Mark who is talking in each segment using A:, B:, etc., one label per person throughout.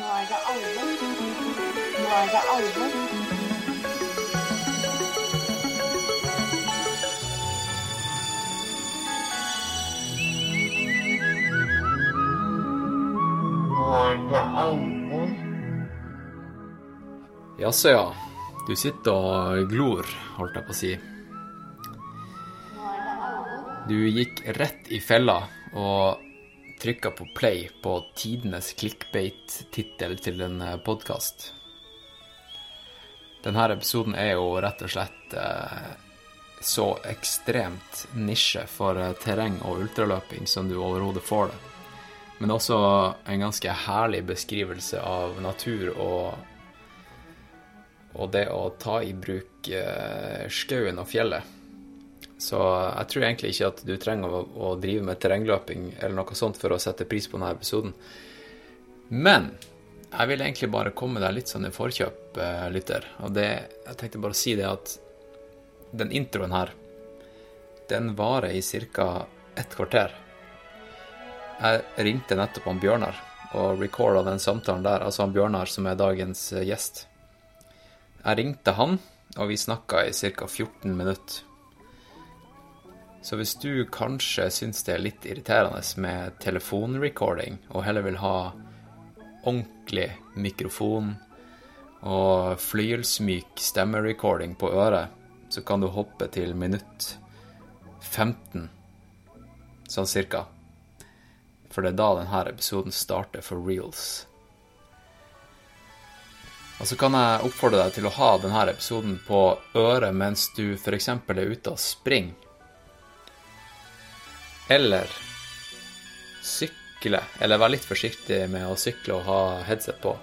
A: Nå er det alvor. Nå er det alvor. Nå er det alvor.
B: Jaså, ja. Du sitter og glor, holdt jeg på å si. Du gikk rett i fella og trykka på play på tidenes clickbait-tittel til en podkast. Denne episoden er jo rett og slett eh, så ekstremt nisje for eh, terreng og ultraløping som du overhodet får det. Men også en ganske herlig beskrivelse av natur og og det å ta i bruk eh, skauen og fjellet. Så jeg tror egentlig ikke at du trenger å, å drive med terrengløping eller noe sånt for å sette pris på denne episoden. Men jeg vil egentlig bare komme deg litt sånn i forkjøp, eh, lytter. Og det, jeg tenkte bare å si det at den introen her, den varer i ca. ett kvarter. Jeg ringte nettopp han Bjørnar og recorda den samtalen der, altså han Bjørnar som er dagens eh, gjest. Jeg ringte han, og vi snakka i ca. 14 minutter. Så hvis du kanskje syns det er litt irriterende med telefonrecording, og heller vil ha ordentlig mikrofon og flyelsmyk stemmerecording på øret, så kan du hoppe til minutt 15, sånn cirka. For det er da denne episoden starter for reals. Og så kan jeg oppfordre deg til å ha denne episoden på øret mens du f.eks. er ute og springer. Eller sykle. Eller vær litt forsiktig med å sykle og ha headset på.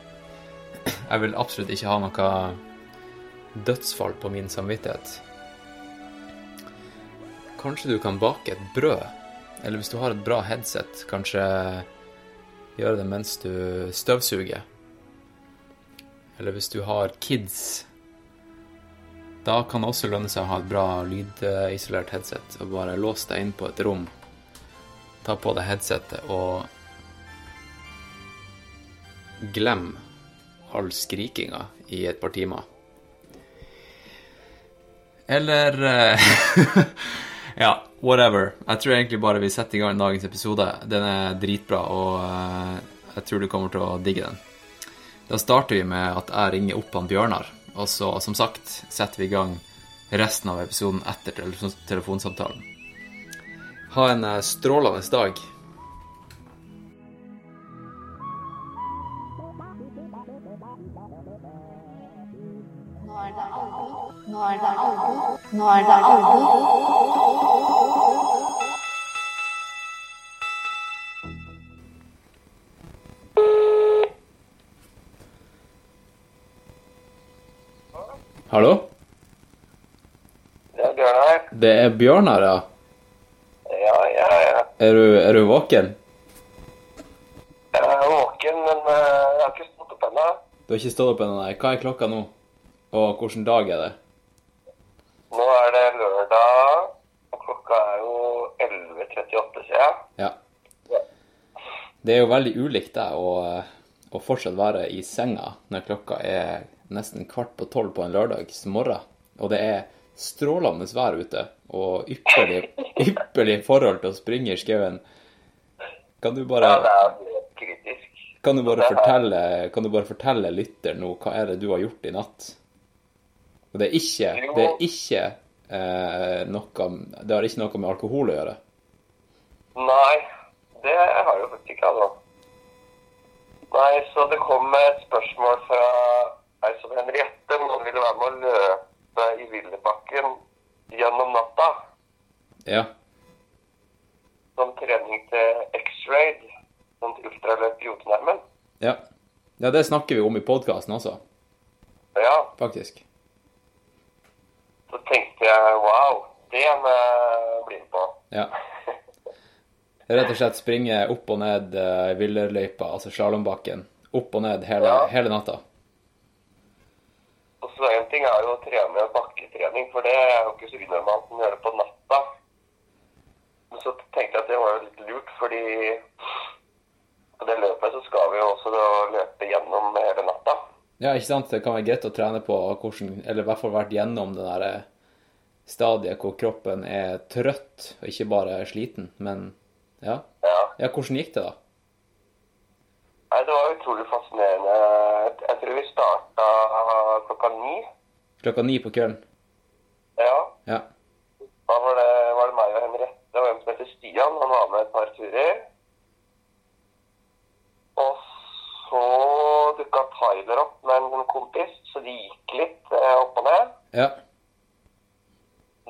B: Jeg vil absolutt ikke ha noe dødsfall på min samvittighet. Kanskje du kan bake et brød? Eller hvis du har et bra headset, kanskje gjøre det mens du støvsuger? eller hvis du har kids, da kan det også lønne seg å ha et bra lydisolert headset og bare lås deg inn på et rom. Ta på deg headsetet og glem all skrikinga i et par timer. Eller eh, Ja, whatever. Jeg tror egentlig bare vi setter i gang dagens episode. Den er dritbra, og eh, jeg tror du kommer til å digge den. Da starter vi med at jeg ringer opp han Bjørnar, og så, som sagt, setter vi i gang resten av episoden etter tele- telefonsamtalen. Ha en eh, strålende dag.
A: Nå er det alvor. Nå er det alvor. Nå er det alvor.
B: Hallo?
C: Det er Bjørn her.
B: Det er Bjørnar, ja.
C: Ja, ja, ja.
B: Er du, er du våken?
C: Jeg er våken, men eh, jeg har ikke stått opp ennå.
B: Du har ikke stått opp ennå, nei. Hva er klokka nå? Og hvilken dag er det?
C: Nå er det lørdag, og klokka er jo 11.38, sier jeg.
B: Ja. Det er jo veldig ulikt deg å, å fortsatt være i senga når klokka er nesten kvart på tolv på en lørdags morgen, og det er strålende vær ute og ypperlig, ypperlig forhold til å springe i skauen. Kan du
C: Ja,
B: bare,
C: det er helt kritisk.
B: kan du bare, fortelle, kan du bare fortelle lytter nå hva er det du har gjort i natt? Og det er ikke, det er ikke eh, noe Det har ikke noe med alkohol å gjøre.
C: Nei, det har jeg jo faktisk ikke altså. Nei, så det kom et spørsmål fra ei som Henriette, om hun ville være med å løpe i Villebakken gjennom natta
B: Ja.
C: som trening til X-Raid, sånn ultraløp i Jotunheimen.
B: Ja. ja, det snakker vi om i podkasten også,
C: Ja,
B: faktisk.
C: Så tenkte jeg wow, det må jeg bli med på.
B: Ja. Rett og slett springe opp og ned eh, villerløypa, altså slalåmbakken. Opp og ned hele,
C: Ja.
B: hele natta.
C: Og så en ting er jo å trene bakketrening, for det er jo ikke så unormalt å gjøre det på natta. Men så tenkte jeg at det var jo litt lurt, fordi på det løpet så skal vi jo også da løpe gjennom hele natta.
B: Ja, ikke sant? Det kan være greit å trene på hvordan Eller i hvert fall vært gjennom det derre stadiet hvor kroppen er trøtt, og ikke bare sliten, men ja.
C: Ja.
B: Ja, hvordan gikk det, da?
C: Nei, det var utrolig fascinerende. Jeg tror vi starta klokka ni.
B: Klokka ni på kvelden?
C: Ja.
B: Ja.
C: Da var det, var det meg og Henriette og en som heter Stian. Han var med et par turer. Og så dukka Tyler opp med en sånn kompis, så de gikk litt eh, opp og ned.
B: Ja.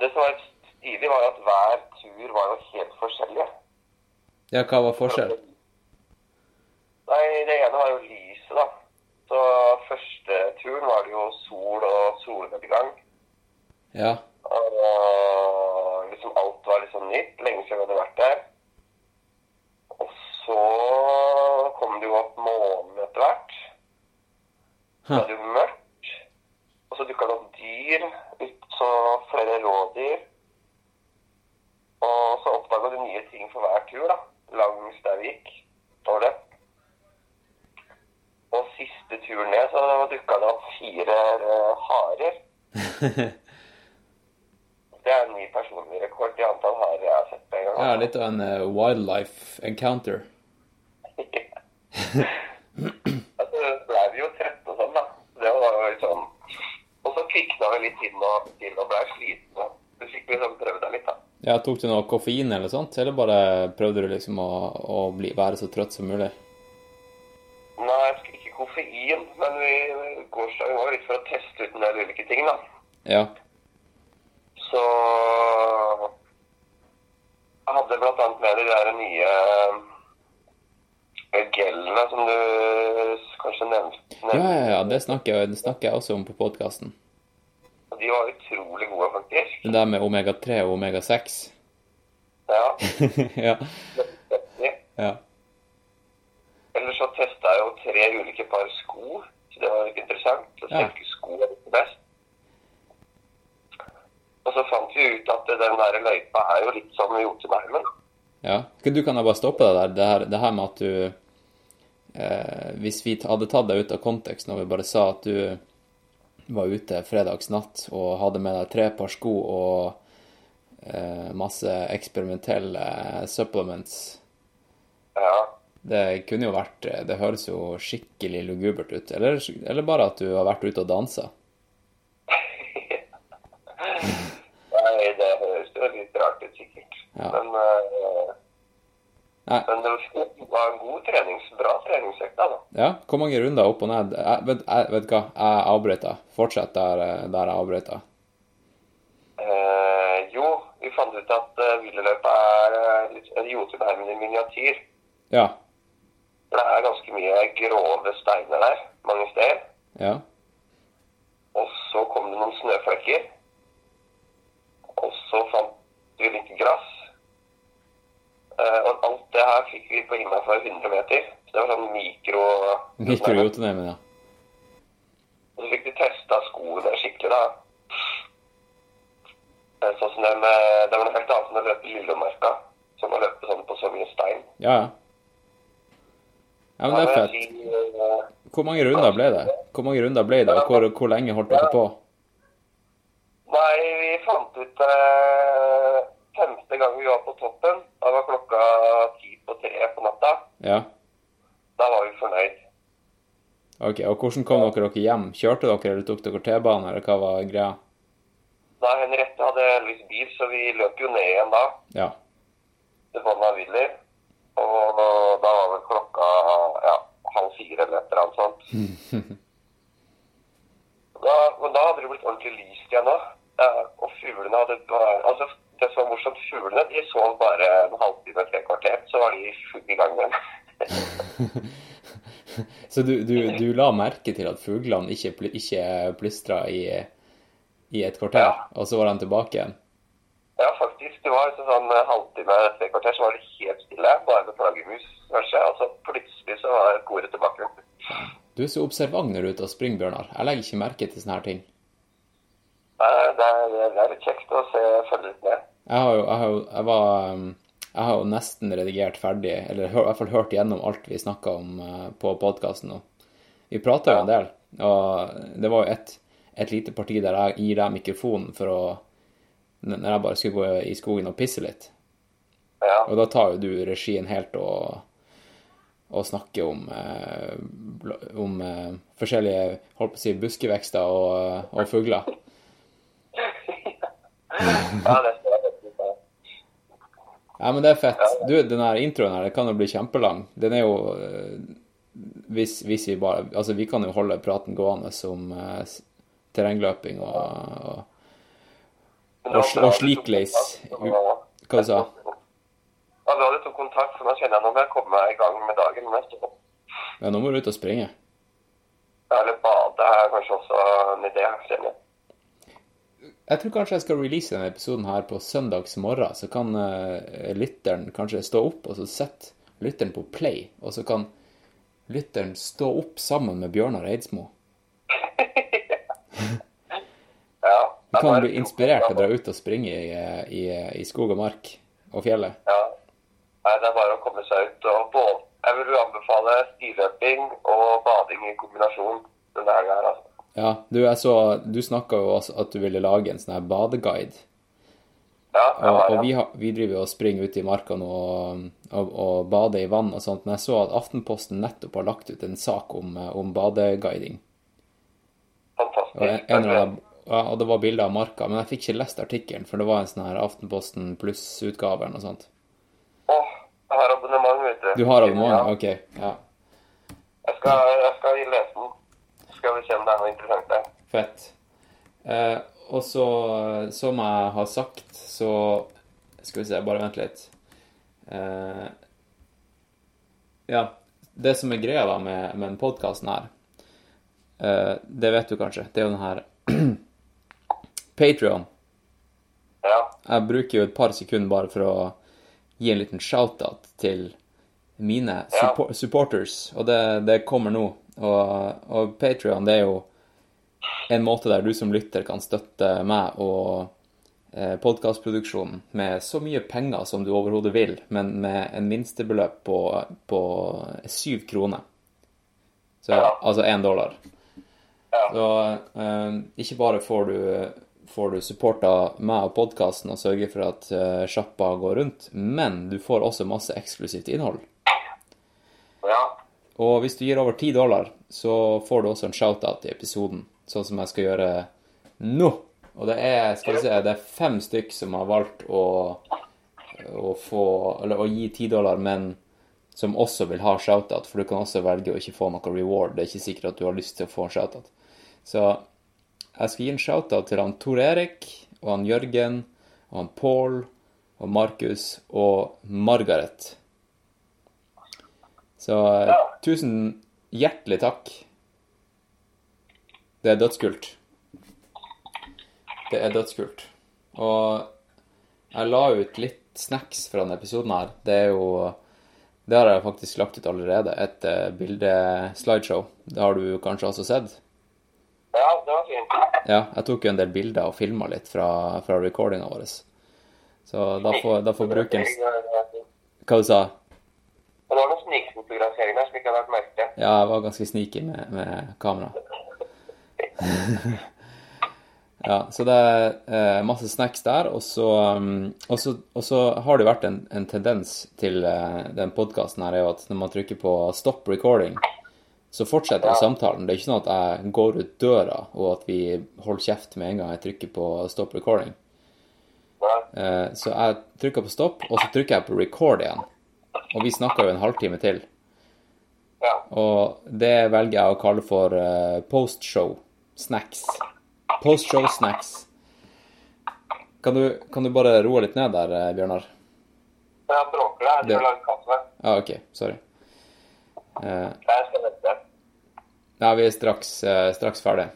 C: Det som var litt stilig, var at hver tur var jo helt forskjellig.
B: Ja, hva var forskjellen?
C: Nei, det ene var jo lyset, da. Så første turen var det jo sol og solnedgang.
B: Ja.
C: Og liksom alt var liksom nytt, lenge siden vi hadde vært der. Og så kom det jo opp månen etter hvert. Så
B: Huh.
C: var det jo mørkt. Og så dukka det opp dyr, ut- så flere rådyr. Og så oppdaga du nye ting for hver tur, da. Langs der vi gikk. Står det. Og siste turen ned så dukka det opp fire eh, harer. Det er en ny personlig rekord i antall harer jeg har sett på en gang.
B: Ja, litt av en eh, wildlife encounter.
C: Altså, det ble vi jo trette og sånn, da. Det var jo litt sånn. Og så kvikna vi litt inn og til og ble slitne. Du fikk liksom prøvd deg litt, da.
B: Ja, tok du noe koffein eller sånt, eller bare prøvde du liksom å, å bli, være så trøtt som mulig?
C: Nei, jeg fikk ikke koffein, men vi gårsdag var litt for å teste ut en del ulike ting, da.
B: Ja.
C: Så jeg hadde blant annet med de der nye eh, gellene som du s- kanskje nevnte.
B: Ja, ja, ja, det snakker, jeg- det snakker jeg også om på podkasten.
C: Og De var utrolig gode, faktisk.
B: Det der med omega-3 og omega-6.
C: Ja.
B: ja.
C: veldig.
B: ja.
C: Ellers så testa jeg jo tre ulike par sko, så det var litt interessant. å se
B: Ja.
C: hvilke sko er litt best. Og så fant vi ut at den der løypa er jo litt som Jotunheimen. da.
B: Ja. Skal Du kan da bare stoppe deg der. Det her, det her med at du eh, Hvis vi t- hadde tatt deg ut av kontekst når vi bare sa at du var ute fredagsnatt og hadde med deg tre par sko og eh, masse eksperimentelle supplements
C: Ja.
B: Det kunne jo vært eh, Det høres jo skikkelig lugubert ut. Eller, eller bare at du har vært ute og dansa.
C: Nei, det høres jo litt rart ut, sikkert.
B: Ja.
C: Men, eh,
B: Nei.
C: men det var en god trenings, bra treningsøkt, da. da.
B: Ja, hvor mange runder opp og ned? Jeg, vet, jeg, vet hva, jeg avbrøt deg. Fortsett der, eh, der jeg avbrøt deg.
C: Eh, jo, vi fant ut at uh, villeløypa er eh, litt- en Jotunheimen i miniatyr.
B: Ja.
C: For det er ganske mye grove steiner der mange steder.
B: Ja.
C: Og så kom det noen snøflekker. Og så fant vi litt gress. Eh, og alt det her fikk vi på innafor 100 meter. Så det var sånn mikro...
B: Liker du Jotunheimen, ja?
C: Og så fikk vi testa skoene skikkelig, da. Eh, Sånn som dem, eh, Det var noe helt annet enn å løpe i Lillemarka. Som å løpe sånn på så mye stein.
B: Ja, ja. Ja, men det er fett.
C: fett.
B: Hvor mange runder ble det? Hvor mange runder ble det, og hvor, hvor lenge holdt dere på?
C: Nei, vi fant ut eh, femte gang vi var på toppen. Da var klokka ti på tre på natta.
B: Ja.
C: Da var vi fornøyd.
B: Ok, og hvordan kom dere dere hjem? Kjørte dere, eller tok dere T-banen, eller hva var greia?
C: Da Henriette hadde heldigvis bil, så vi løp jo ned igjen da,
B: Ja.
C: til bunnen av Willy. Og da var vel klokka ja, halv fire eller et eller annet sånt. Da, men da hadde det blitt ordentlig lyst igjen òg. Og fuglene hadde bare Altså, det som var morsomt, fuglene de sov bare en halvtime, tre kvarter, så var de i full gang igjen.
B: Så du, du, du la merke til at fuglene ikke, pl- ikke plystra i, i et kvarter,
C: Ja.
B: og så var de tilbake igjen?
C: Ja, faktisk. Det var liksom sånn eh, halvtime, tre kvarter, så var det helt stille. Bare med flaggermus, kanskje. Og så plutselig så var koret tilbake.
B: Du er så observant når du er ute og springer, Bjørnar. Jeg legger ikke merke til sånne her ting.
C: Nei, Det er, det er litt kjekt å se, følge litt med.
B: Jeg har jo, jeg har jo, jeg var, um, jeg har jo nesten redigert ferdig, eller hør, i hvert fall hørt gjennom alt vi snakka om eh, på podkasten nå. Vi prata jo en del, og det var jo et, et lite parti der jeg gir deg mikrofonen for å Når jeg bare skulle gå i skogen og pisse litt.
C: Ja.
B: Og da tar jo du regien helt og, og snakker om, eh, bl- om eh, forskjellige holdt på å si, buskevekster og, eh, og fugler.
C: ja, det skal jeg faktisk si.
B: Ja, men det er fett. Du, den her introen her, det kan jo bli kjempelang. Den er jo eh, hvis, hvis vi bare Altså, vi kan jo holde praten gående om eh, s- terrengløping og, og
C: Men
B: Og
C: det var
B: sl- og
C: bra du tok
B: slikleis.
C: kontakt, og-
B: Hva du sa
C: Ja, bra du tok kontakt, for nå kjenner jeg nå må jeg komme i gang med dagen. Men jeg står-
B: Ja, nå må du ut og springe.
C: Eller bade er kanskje også en idé. kjenner jeg.
B: Jeg tror kanskje jeg skal release denne episoden her på søndags morgen, så kan eh, lytteren kanskje stå opp, og så setter lytteren på play, og så kan lytteren stå opp sammen med Bjørnar Eidsmo.
C: Ja.
B: Du
C: Ja, nå
B: kan
C: er
B: bli
C: det-
B: inspirert til å dra ut og springe i, i, i skog og mark og fjellet.
C: Ja. Nei, det er bare å komme seg ut og bål. Jeg vil anbefale stiløping og bading i kombinasjon denne helga her, altså.
B: Ja, du, jeg så, du snakka jo også at du ville lage en sånn her badeguide.
C: Ja, jeg
B: Og,
C: har
B: og
C: det.
B: vi, har, vi driver jo og springer ute i marka nå og, og, og bader i vann og sånt, men jeg så at Aftenposten nettopp har lagt ut en sak om, eh, om badeguiding.
C: Fantastisk.
B: Og, en en eller annen, ja, og det var bilder av marka, men jeg fikk ikke lest artikkelen, for det var en sånn her Aftenposten pluss-utgave eller noe sånt.
C: Åh, jeg har abonnement, vet du.
B: Du har abonnement?
C: Ja.
B: OK. Ja.
C: Jeg skal, jeg skal lese den. Så skal vi se om det er noe interessant der.
B: Fett. Eh, og så, eh, som jeg har sagt, så Skal vi se, bare vent litt. Eh, ja. Det som er greia da med, med den podkasten her, eh, det vet du kanskje, det er jo den her Patrion.
C: Ja.
B: Jeg bruker jo et par sekunder bare for å gi en liten shout-out til mine suppo- supporters, og det, det kommer nå. Og, og Patrion, det er jo en måte der du som lytter kan støtte meg og eh, podkastproduksjonen med så mye penger som du overhodet vil, men med en minstebeløp på, på syv kroner. Så
C: Ja.
B: altså én dollar.
C: Ja.
B: Så eh, ikke bare får du, får du supporta meg og podkasten og sørger for at eh, sjappa går rundt, men du får også masse eksklusivt innhold.
C: Ja.
B: Og hvis du gir over 10 dollar, så får du også en shout-out i episoden, sånn som jeg skal gjøre nå. Og det er skal vi se, det er fem stykk som har valgt å, å få Eller å gi 10 dollar, men som også vil ha shout-out, for du kan også velge å ikke få noe reward. Det er ikke sikkert at du har lyst til å få en shout-out. Så jeg skal gi en shout-out til han Tor Erik og han Jørgen og han Pål og Markus og Margaret. Så eh,
C: Ja.
B: tusen hjertelig takk. Det er dødskult. Det er dødskult. Og jeg la ut litt snacks fra denne episoden her. Det er jo Det har jeg faktisk lagt ut allerede. Et eh, bilde-slideshow. Det har du kanskje også sett?
C: Ja, det var fint.
B: Ja, jeg tok jo en del bilder og filma litt fra, fra recordinga vår. Så da får, da får brukeren
C: Det
B: Hva du sa du?
C: var noen snikfotografering der som ikke hadde vært merket til.
B: Ja, jeg var ganske sneaky med, med kamera. ja, så det er eh, masse snacks der, og så, um, og så, og så har det vært en, en tendens til eh, den podkasten her, er jo at når man trykker på stop recording, så fortsetter jo samtalen. Det er ikke sånn at jeg går ut døra, og at vi holder kjeft med en gang jeg trykker på stop recording.
C: Nei.
B: Eh, Så jeg trykka på stopp, og så trykka jeg på record igjen. Og vi snakka jo en halvtime til.
C: Ja.
B: Og det velger jeg å kalle for eh, postshow snacks. Postshow snacks. Kan du, kan du bare roe litt ned der, eh, Bjørnar?
C: Men jeg bråker deg.
B: Det-
C: Jeg driver og lager kaffe.
B: Ja, ah, OK. Sorry. Eh,
C: Jeg skal vente.
B: nei, vi er straks, eh, straks ferdig.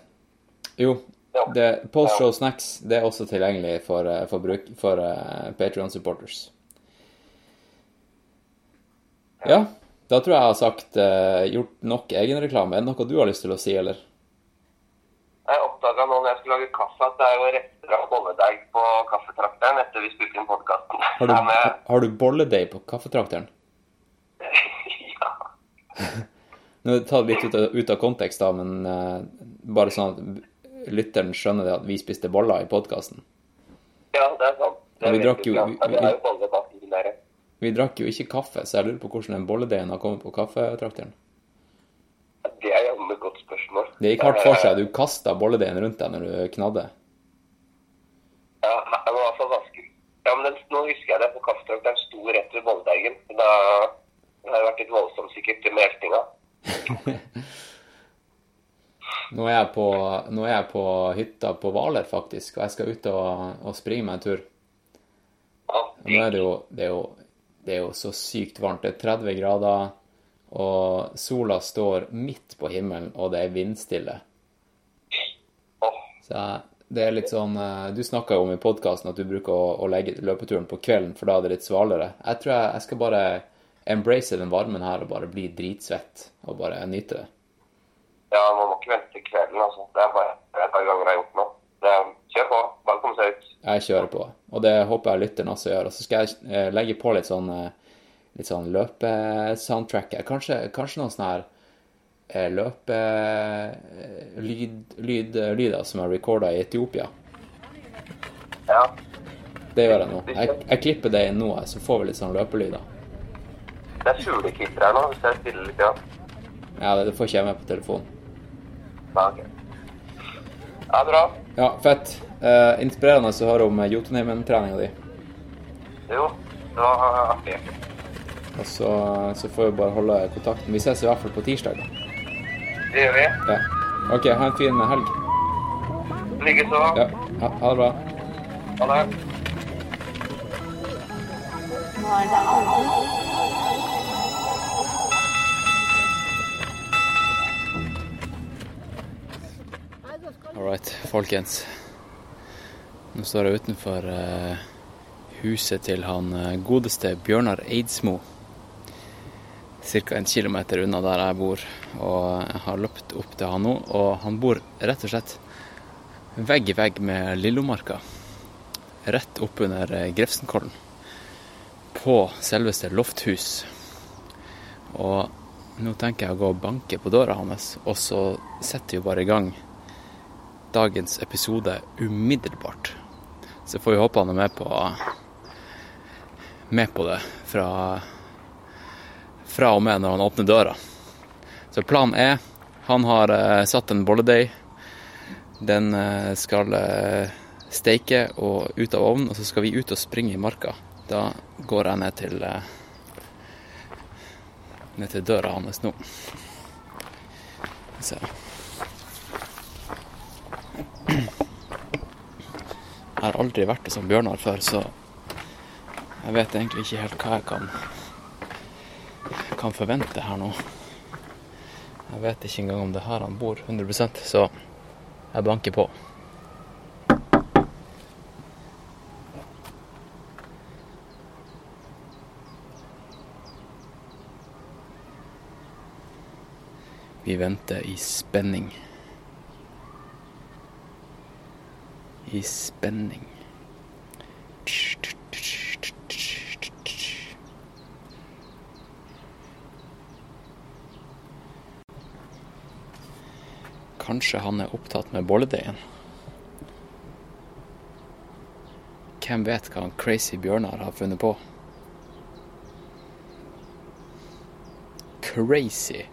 B: Jo,
C: Ja.
B: det, postshow snacks det er også tilgjengelig for, eh, for, bruk, for Patrion supporters. Ja, da tror jeg jeg har sagt eh, gjort nok egenreklame. Er det noe du har lyst til å si, eller?
C: Jeg oppdaga nå når jeg skulle lage kaffe, at det er jo rester av bolledeig på kaffetrakteren etter vi spilte inn podkasten.
B: Har du, har du bolledeig på kaffetrakteren?
C: ja.
B: Nå er det tatt litt ut av, ut av kontekst, da, men eh, bare sånn at lytteren skjønner det at vi spiste boller i podkasten.
C: Ja, det er sant. Det
B: Ja, vi
C: vet
B: drakk
C: ikke
B: jo-
C: sant.
B: vi-
C: Ja, Det
B: vi-
C: er jo bolle bak i den der.
B: Vi drakk jo ikke kaffe, så jeg lurer på hvordan den bolledeigen har kommet på kaffetrakteren.
C: Ja, Det er jammen et godt spørsmål.
B: Det gikk hardt for seg. Du kasta bolledeigen rundt deg når du knadde.
C: Ja, jeg var i hvert fall vanskelig. Ja, men den, nå husker jeg det på kaffetrakteren sto rett ved Bolledeigen. Men Da det har jo vært litt voldsomt sikkert med eltinga.
B: Nå er jeg på, nå er jeg på hytta på Hvaler, faktisk, og jeg skal ut og, og springe meg en tur.
C: Ja,
B: Og Nå er det jo det er jo, det er jo så sykt varmt. Det er 30 grader, og sola står midt på himmelen, og det er vindstille.
C: Åh,
B: Så jeg- det er litt sånn eh, Du snakka jo om i podkasten at du bruker å, å legge løpeturen på kvelden, for da er det litt svalere. Jeg tror jeg, jeg skal bare embrace den varmen her og bare bli dritsvett og bare nyte det.
C: ja, man må ikke vente til kvelden, altså. Det er bare det er et par ganger jeg har gjort nå. Det er, kjør på, bare kom seg ut.
B: Jeg kjører på, og det håper jeg lytteren også gjør. Og så skal jeg eh, legge på litt sånn, eh, litt sånn løpesoundtrack. her. Kanskje, kanskje noen sånne her eh, løpelyder lyd, lyd, eh, lyder som er recorda i Etiopia.
C: Ja,
B: Det gjør jeg nå. Jeg, jeg klipper det inn nå, så får vi litt sånn løpelyder.
C: det er fuglekvitter her nå, hvis jeg stiller litt, ja.
B: Ja, det, det får ikke jeg med på telefonen.
C: Ja, ok. Ja, bra.
B: Ja, fett. Eh, inspirerende å høre om eh, Jotunheimen-treninga di.
C: Jo, det var artig.
B: Og så, så får vi bare holde kontakten. Vi ses i hvert fall på tirsdag. da.
C: Det gjør vi.
B: Ja. OK, ha en fin helg.
C: Ligger så.
B: Ja, ha, ha det bra.
C: Ha det.
B: All right, folkens. Nå står jeg utenfor eh, huset til han eh, godeste Bjørnar Eidsmo. Ca. en kilometer unna der jeg bor, og jeg har løpt opp til han nå. Og han bor rett og slett vegg i vegg med Lillomarka. Rett oppunder eh, Grefsenkollen. På selveste Lofthus. Og nå tenker jeg å gå og banke på døra hans, og så setter vi bare i gang dagens episode umiddelbart. Så får vi håpe han er med på med på det fra fra og med når han åpner døra. Så planen er han har eh, satt en bolledeig. Den eh, skal eh, steike og ut av ovnen, og så skal vi ut og springe i marka. Da går jeg ned til eh, ned til døra hans nå. Så. Jeg har aldri vært det som Bjørnar før, så jeg vet egentlig ikke helt hva jeg kan, kan forvente her nå. Jeg vet ikke engang om det er her han bor 100 så jeg banker på. Vi venter i spenning. i spenning. Kanskje han er opptatt med bolledeigen? Hvem vet hva han crazy Bjørnar har funnet på? Crazy,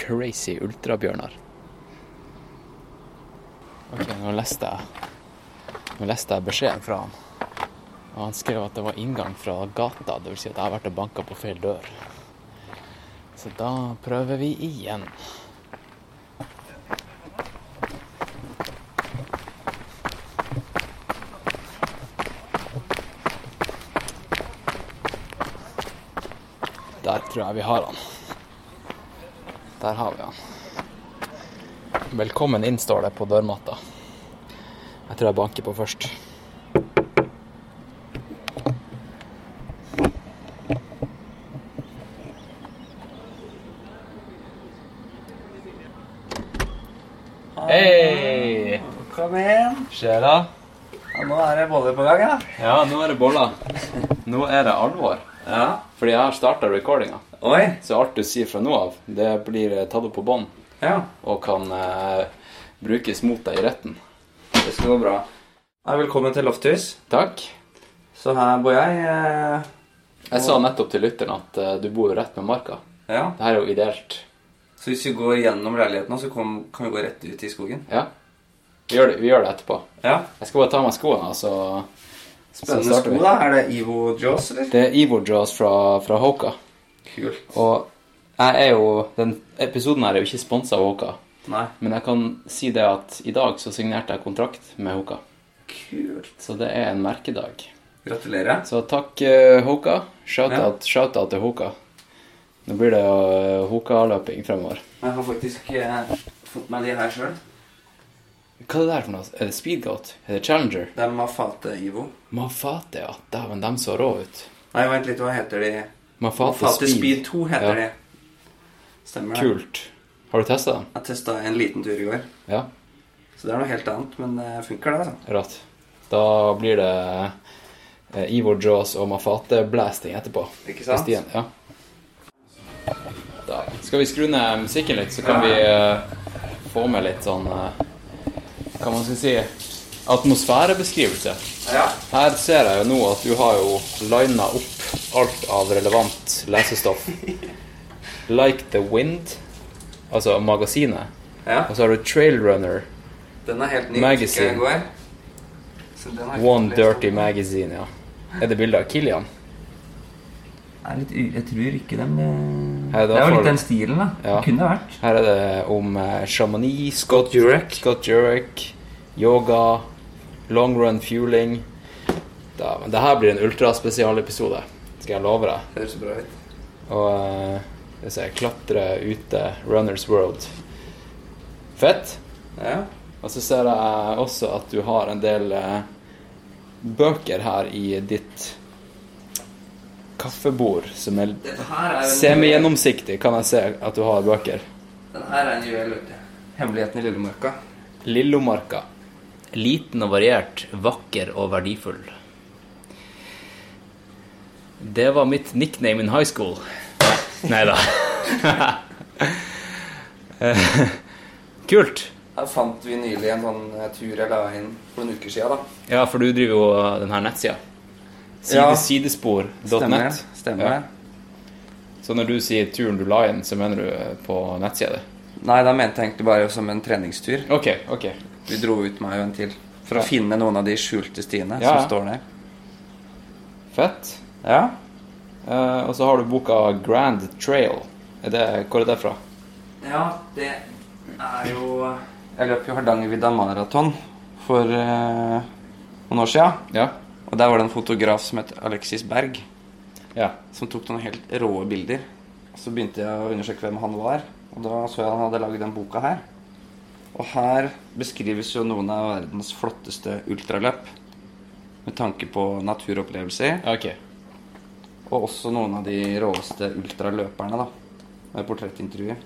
B: crazy ultrabjørnar. Ok, nå leste jeg nå leste jeg beskjeden fra han. Og han skrev at det var inngang fra gata, dvs. Si at jeg har vært og banka på feil dør. Så da prøver vi igjen. Der tror jeg vi har han. Der har vi han. Velkommen inn, står det på dørmatta. Jeg tror jeg banker på først. Hei!
D: Kom igjen.
B: Skjer det?
D: Ja, nå er det boller på gang, da.
B: Ja, nå er det boller. Nå er det alvor.
D: Ja.
B: Fordi jeg har starta recordinga.
D: Å Oi.
B: Så alt du sier fra nå av, det blir eh, tatt opp på bånd
D: Ja.
B: og kan eh, brukes mot deg i retten.
D: Det skal gå bra. Nei, velkommen til Lofthus.
B: Takk.
D: Så her bor jeg. Eh,
B: Jeg sa nettopp til lytteren at eh, du bor jo rett med marka.
D: ja.
B: Det her er jo ideelt.
D: Så hvis vi går gjennom leiligheten nå, så kom, kan vi gå rett ut i skogen?
B: Ja. Vi gjør det, vi gjør det etterpå.
D: Ja.
B: Jeg skal bare ta av meg skoene, altså. og så så
D: Spennende
B: starter
D: sko,
B: vi.
D: da. Er det Ivo Jaws, eller?
B: Det er Ivor Jaws fra, fra Hoka.
D: Kult.
B: Og jeg er jo Den episoden her er jo ikke sponsa av Hoka,
D: Nei.
B: men jeg kan si det at i dag så signerte jeg kontrakt med Hoka.
D: Kult.
B: Så det er en merkedag.
D: Gratulerer.
B: Så takk, eh, Hoka. Shout-out
D: Ja.
B: shout-out til Hoka. Nå blir det jo Hoka-løping fremover.
D: Jeg har faktisk eh, fått meg de her sjøl.
B: Hva er det der for noe? Er det speedgoat? Er det Challenger?
D: Det er Mafate Ivo.
B: Mafate, ja. Dæven, dem så rå ut.
D: Nei, vent litt, hva heter de?
B: Mafate,
D: Mafate Speed 2 heter
B: Ja,
D: de. Stemmer det.
B: Kult. Har du testa dem?
D: Jeg testa en liten tur i går,
B: Ja.
D: så det er noe helt annet, men det funker, det. altså.
B: Rått. Da blir det eh, Ivor Jaws og Mafate-blasting etterpå.
D: Ikke
B: På
D: sant?
B: stien, ja. Da. Skal vi skru ned musikken litt, så kan
D: Ja.
B: vi eh, få med litt sånn eh, Hva man skal si Atmosfærebeskrivelse.
D: Ja.
B: Her ser jeg jo nå at du har jo lina opp alt av relevant lesestoff. Like the Wind, altså magasinet.
D: ja.
B: Og så har du Trail Runner,
D: Den er helt ny.
B: Magazine.
D: fikk jeg i går. Så den har jeg
B: One
D: ikke lest
B: Dirty
D: om.
B: Magazine, ja. Er det bilde av Kilian?
D: Jeg, er litt u- jeg tror ikke den eh,
B: Hei, da
D: Det er jo
B: får
D: litt
B: du-
D: den stilen, da.
B: Ja.
D: Det kunne vært.
B: Her er det om eh, shamani, Scott
D: Jurek.
B: Scott Jurek, yoga, long run fueling. Da, men det her blir en ultraspesialepisode, skal jeg love deg.
D: Det høres bra ut.
B: Og eh, skal vi se, klatre ute, Runners World. Fett.
D: Ja.
B: Og så ser jeg også at du har en del eh, bøker her i ditt kaffebord, som er
D: Den her er jo en juvel.
B: semigjennomsiktig, kan jeg se at du har bøker.
D: Den her er en juvel, vet du. Hemmeligheten i Lillemarka.
B: Lillomarka. Liten og variert, vakker og verdifull. Det var mitt nickname in high school. Nei da. Eh, Kult.
D: Her fant vi nylig en sånn eh, tur jeg la inn for noen uker siden, da.
B: Ja, for du driver jo denne nettsida.
D: Ja.
B: Side, Sidespor.net.
D: Stemmer.
B: Ja. Så når du sier turen du la inn, så mener du eh, på nettsida di?
D: Nei, da mente jeg egentlig bare som en treningstur.
B: OK. ok.
D: Vi dro ut meg og en til for å finne noen av de skjulte stiene
B: Ja, ja.
D: som står der.
B: Fett.
D: Ja.
B: Eh, og så har du boka Grand Trail. Er det, hvor er det fra?
D: ja, det er jo eh, Jeg løp jo Hardangervidda maraton for eh, noen år sia.
B: Ja.
D: Og der var det en fotograf som het Alexis Berg,
B: ja.
D: som tok noen helt rå bilder. Og så begynte jeg å undersøke hvem han var, og da så jeg han hadde lagd den boka her. Og her beskrives jo noen av verdens flotteste ultraløp med tanke på naturopplevelser.
B: Ok.
D: Og også noen av de råeste ultraløperne, da. Med portrettintervjuer.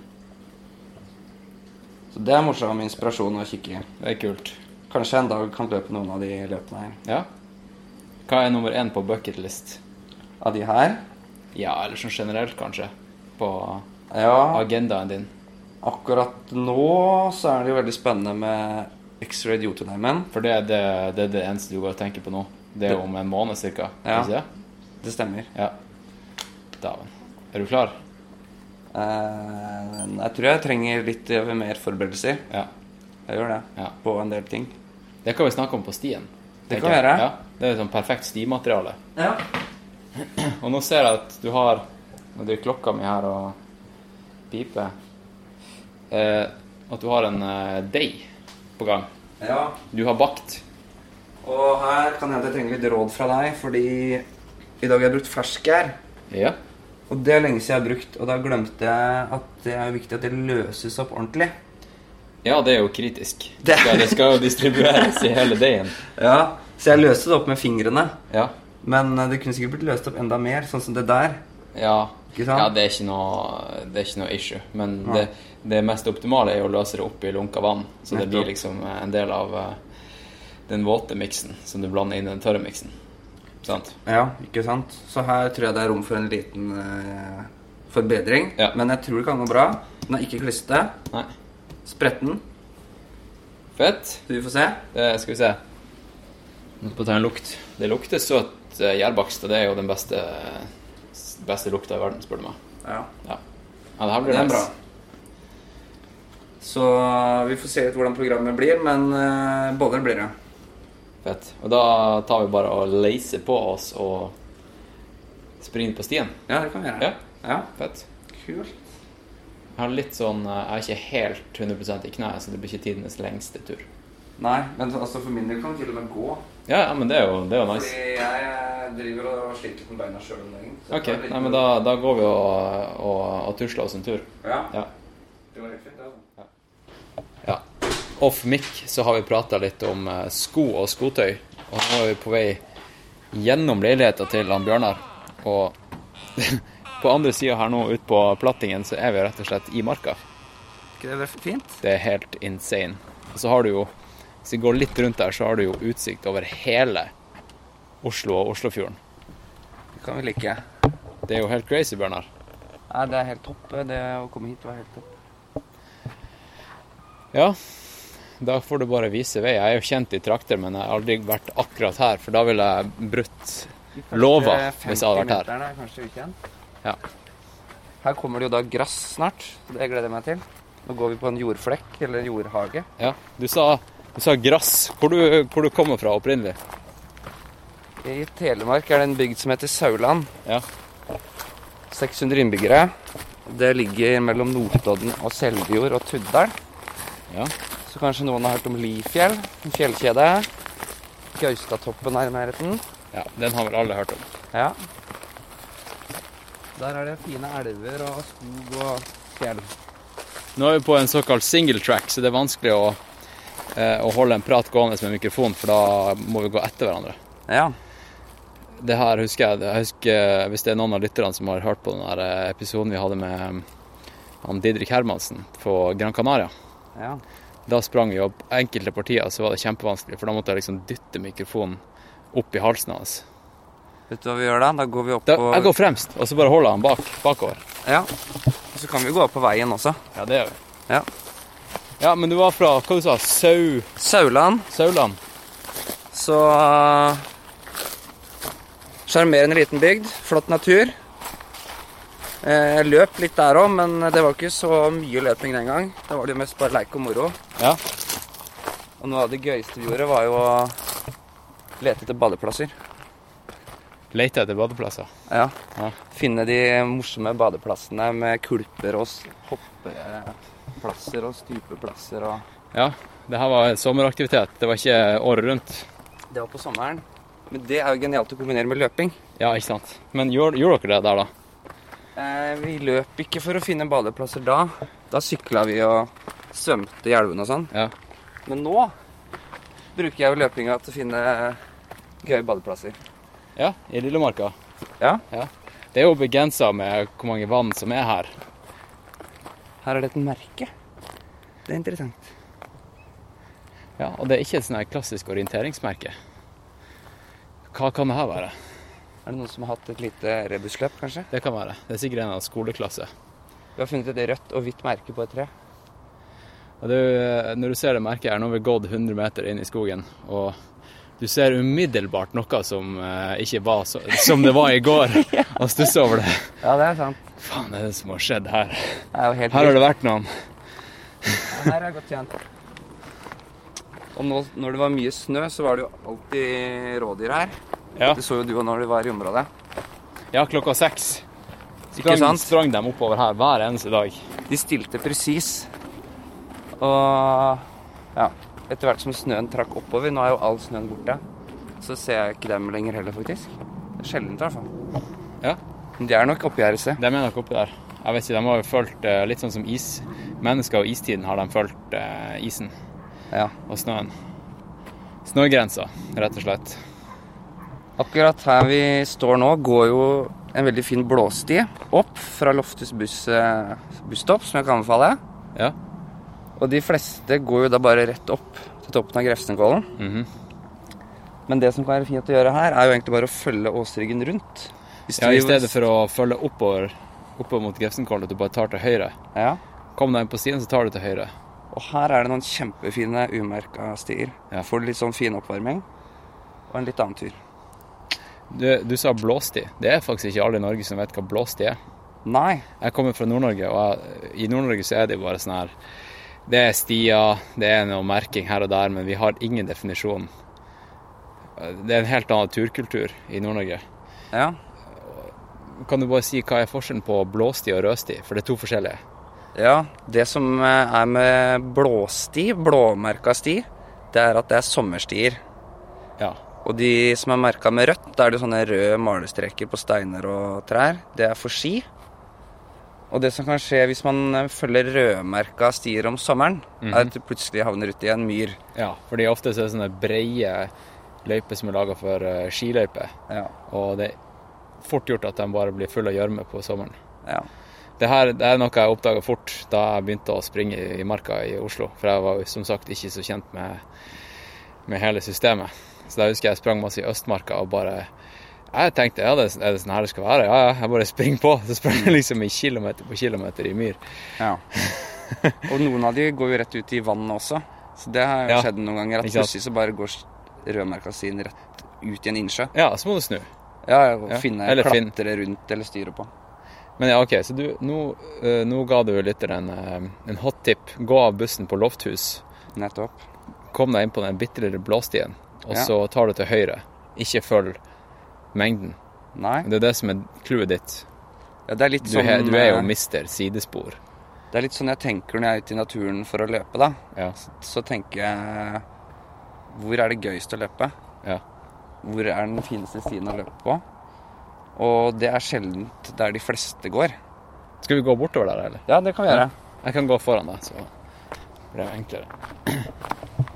D: Så det er morsom inspirasjon å kikke i.
B: Det er kult.
D: Kanskje jeg en dag kan løpe noen av de løpene her.
B: Ja. Hva er nummer én på bucketlist?
D: Av de her?
B: Ja, eller sånn generelt, kanskje. På
D: Ja,
B: agendaen din.
D: akkurat nå så er det jo veldig spennende med X-Ray Jotunheimen.
B: For det er det, det, er det eneste du går og tenker på nå. Det er jo om en måned cirka.
D: Ja.
B: Ikke det?
D: Det stemmer.
B: Ja. Dæven. Er du klar?
D: Eh, jeg tror jeg trenger litt eh, mer forberedelser.
B: Ja.
D: Jeg gjør det.
B: Ja.
D: På en del ting.
B: Det kan vi snakke om på stien.
D: Det
B: tenker
D: kan
B: jeg.
D: vi gjøre.
B: Ja. Det er jo sånn perfekt stimateriale.
D: Ja.
B: Og nå ser jeg at du har Nå driver klokka mi her og piper. Eh, at du har en eh, deig på gang.
D: ja.
B: Du har bakt.
D: Og her kan jeg trenge litt råd fra deg, fordi i dag har jeg brukt ferskjær.
B: Ja.
D: Og det er lenge siden jeg har brukt, og da glemte jeg at det er viktig at det løses opp ordentlig.
B: Ja, det er jo kritisk. Det
D: Det-
B: skal, det skal jo distribueres i hele deigen.
D: Ja, Så jeg løste det opp med fingrene.
B: Ja.
D: Men eh, det kunne sikkert blitt løst opp enda mer, sånn som det der.
B: Ja.
D: Ikke sant?
B: ja, det er ikke noe, det er ikke noe issue. Men det, det mest optimale er jo å løse det opp i lunka vann. Så det
D: Nettopp.
B: blir liksom en del av eh, den våte miksen som du blander inn i den tørre miksen. Sant?
D: Ja, ikke sant? Så her tror jeg det er rom for en liten eh, forbedring.
B: Ja.
D: Men jeg tror det kan gå bra. Den er ikke klissete.
B: Nei.
D: Spretten.
B: Fett.
D: Du får se.
B: Det skal vi se. Nå skal jeg ta en lukt. Det lukter søt eh, gjærbakst, og det er jo den beste, eh, beste lukta i verden, spør du meg.
D: Ja,
B: Ja, ja det her
D: det
B: blir
D: er
B: nice.
D: bra. Så eh, vi får se litt hvordan programmet blir, men eh, boller blir det.
B: Fett. Og da tar vi bare og leiser på oss og springer på stien.
D: Ja, det kan vi gjøre.
B: Ja.
D: ja.
B: Fett.
D: Kult.
B: Jeg har litt sånn eh, Jeg er ikke helt 100 i kneet, så det blir ikke tidenes lengste tur.
D: Nei, men altså for min del kan vi til og med gå.
B: Ja, ja men det er jo, det er jo nice.
D: Fordi jeg eh, driver og sliter litt med beina sjøl om dagen. så
B: OK.
D: det er litt-
B: Nei, men da, da går vi og, og, og tusler oss en tur.
D: Ja,
B: Ja.
D: det var helt fint, det. Altså.
B: Ja. Off mic så har vi prata litt om eh, sko og skotøy. Og nå er vi på vei gjennom leiligheta til han Bjørnar. Og på andre sida her nå, ute på plattingen, så er vi rett og slett i marka.
D: Ikke det vært fint?
B: Det er helt insane. Og så har du jo, hvis vi går litt rundt der, så har du jo utsikt over hele Oslo og Oslofjorden.
D: Det kan vi like.
B: Det er jo helt crazy, Bjørnar.
D: Nei, det er helt topp. eh, Det å komme hit var helt topp.
B: Ja, da får du bare vise vei. Jeg er jo kjent i trakter, men jeg har aldri vært akkurat her, for da ville jeg brutt lova hvis jeg hadde vært her.
D: Kanskje ukjent.
B: Ja.
D: Her kommer det jo da gress snart, så det gleder jeg meg til. Nå går vi på en jordflekk, eller en jordhage.
B: Ja, du sa, du sa grass. Hvor du, hvor du kommer fra opprinnelig?
D: I Telemark er det en bygd som heter Sauland.
B: Ja.
D: 600 innbyggere. Det ligger mellom Notodden og Seljord og Tuddal.
B: Ja.
D: Så kanskje noen har hørt om Lifjell, en fjellkjede. Gaustatoppen er i nærheten.
B: ja den har vel alle hørt om.
D: Ja. Der er det fine elver og skog og fjell.
B: Nå er vi på en såkalt single track, så det er vanskelig å, eh, å holde en prat gående med mikrofon, for da må vi gå etter hverandre.
D: Ja.
B: Det her husker jeg, jeg husker, Hvis det er noen av lytterne som har hørt på den her eh, episoden vi hadde med eh, han Didrik Hermansen på Gran Canaria.
D: ja.
B: Da sprang vi opp. Enkelte partier så var det kjempevanskelig, for da måtte jeg liksom dytte mikrofonen opp i halsen hans.
D: Vet du hva vi gjør da? Da går vi opp
B: Da,
D: på
B: jeg går fremst, og så bare holder jeg han bak, bakover.
D: Ja. Og så kan vi gå opp på veien også.
B: Ja, det gjør vi.
D: Ja.
B: Ja, men du var fra hva du sa, Sau...
D: Sauland,
B: Sauland?
D: så Sjarmerende liten bygd. Flott natur. Eh, Jeg løp litt der òg, men det var ikke så mye løping den gang. Da var det jo mest bare leik og moro.
B: Ja.
D: Og noe av det gøyeste vi gjorde, var jo å lete etter badeplasser.
B: Leter etter badeplasser.
D: Ja.
B: Ja.
D: Finne de morsomme badeplassene med kulper og s- hoppeplasser og stupeplasser og
B: Ja. Det her var sommeraktivitet, det var ikke året rundt.
D: Det var på sommeren. Men det er jo genialt å kombinere med løping.
B: Ja, ikke sant. Men gjorde gjorde dere det der, da?
D: Eh, vi løp ikke for å finne badeplasser da. Da sykla vi og svømte i elvene og sånn.
B: Ja.
D: Men nå bruker jeg jo løpinga til å finne gøye badeplasser.
B: Ja, I Lillemarka.
D: Ja.
B: Det er jo begrensa med hvor mange vann som er her.
D: Her er det et merke. Det er interessant.
B: Ja, Og det er ikke et sånn her klassisk orienteringsmerke. Hva kan det her være?
D: Er det noen som har hatt et lite rebusløp, kanskje?
B: Det kan være. Det er sikkert en av skoleklasse.
D: Vi har funnet et rødt og hvitt merke på et tre.
B: Og det, er jo- når du ser det merket her, nå har vi gått 100 meter inn i skogen, og du ser umiddelbart noe som eh, ikke var så, som det var i går, og stusser over det.
D: Ja, det er sant.
B: Faen, er det som har skjedd her?
D: Det er jo helt
B: Her har det vært noen.
D: Her er jeg godt kjent. Og nå, når det var mye snø, så var det jo alltid rådyr her.
B: Ja,
D: Det så jo du òg når du var i området.
B: ja klokka seks.
D: Ikke
B: Sprang,
D: sant?
B: sprang dem oppover her hver eneste dag.
D: De stilte presis. Og ja, etter hvert som snøen trakk oppover, nå er jo all snøen borte, så ser jeg ikke dem lenger heller, faktisk. Det er Sjeldent, i hvert fall.
B: Ja.
D: Men de er nok oppi her et sted.
B: De er nok oppi der. Jeg vet ikke, de har jo fulgt eh, litt sånn som is. Mennesker og istiden har de fulgt eh, isen
D: Ja.
B: og snøen. Snøgrensa, rett og slett.
D: Akkurat her vi står nå, går jo en veldig fin blåsti opp fra Loftus buss, eh, busstopp, som jeg kan anbefale.
B: Ja.
D: Og de fleste går jo da bare rett opp til toppen av Grefsenkollen.
B: Mhm.
D: Men det som kan være fint å gjøre her, er jo egentlig bare å følge åsryggen rundt. Hvis
B: Ja,
D: du-
B: I stedet for å følge oppover, oppe mot Grefsenkollen at du bare tar til høyre.
D: Ja.
B: Kom deg inn på stien, så tar du til høyre.
D: Og her er det noen kjempefine umerka stier.
B: Ja.
D: Får litt sånn fin oppvarming og en litt annen tur.
B: Du, du sa blåsti. Det er faktisk ikke alle i Norge som vet hva blåsti er.
D: Nei.
B: Jeg kommer fra Nord-Norge, og jeg, i Nord-Norge så er det jo bare sånn her Det er stier, det er noe merking her og der, men vi har ingen definisjon. Det er en helt annen turkultur i Nord-Norge.
D: Ja.
B: Kan du bare si hva er forskjellen på blåsti og rødsti? For det er to forskjellige.
D: Ja, det som eh, er med blåsti, blåmerka sti, det er at det er sommerstier.
B: Ja.
D: Og de som er merka med rødt, da er det sånne røde malestreker på steiner og trær. Det er for ski. Og det som kan skje hvis man eh, følger rødmerka stier om sommeren, er at du plutselig havner uti en myr.
B: ja. Fordi ofte så er det sånne breie løyper som er laga for eh, skiløyper.
D: Ja.
B: Og det er fort gjort at de bare blir fulle av gjørme på sommeren.
D: ja.
B: Det her det er noe jeg oppdaga fort da jeg begynte å springe i- i marka i Oslo. For jeg var jo som sagt ikke så kjent med, med hele systemet. Så da husker jeg jeg sprang masse i Østmarka og bare Jeg tenkte ja, det er er det sånn her det skal være? Ja, ja, jeg bare springer på. Så sprang jeg liksom i kilometer på kilometer i myr.
D: Ja. Og noen av de går jo rett ut i vannet også. Så det har jo
B: Ja.
D: skjedd noen ganger. At
B: Ikke sant?
D: plutselig så bare går rødmerka sin rett ut i en innsjø.
B: Ja, så må du snu.
D: Ja, ja, og
B: Ja,
D: finne,
B: eller finn.
D: klatre rundt eller styre på.
B: Men ja, OK, så du, nå, eh, nå ga du lytteren eh, en hot tip. Gå av bussen på Lofthus.
D: Nettopp.
B: Kom deg inn på den bitte lille blåstien, og
D: Ja.
B: så tar du til høyre. Ikke følg mengden.
D: Nei.
B: Det er det som er clouet ditt.
D: Ja, det er litt
B: Du,
D: sånn
B: he- du er jo
D: eh,
B: mister sidespor.
D: Det er litt sånn jeg tenker når jeg er ute i naturen for å løpe, da.
B: Ja.
D: Så tenker jeg Hvor er det gøyest å løpe?
B: Ja.
D: Hvor er den fineste stien å løpe på? Og det er sjelden der de fleste går.
B: Skal vi gå bortover der, eller?
D: Ja, det kan vi gjøre.
B: Jeg kan gå foran deg, så blir det enklere.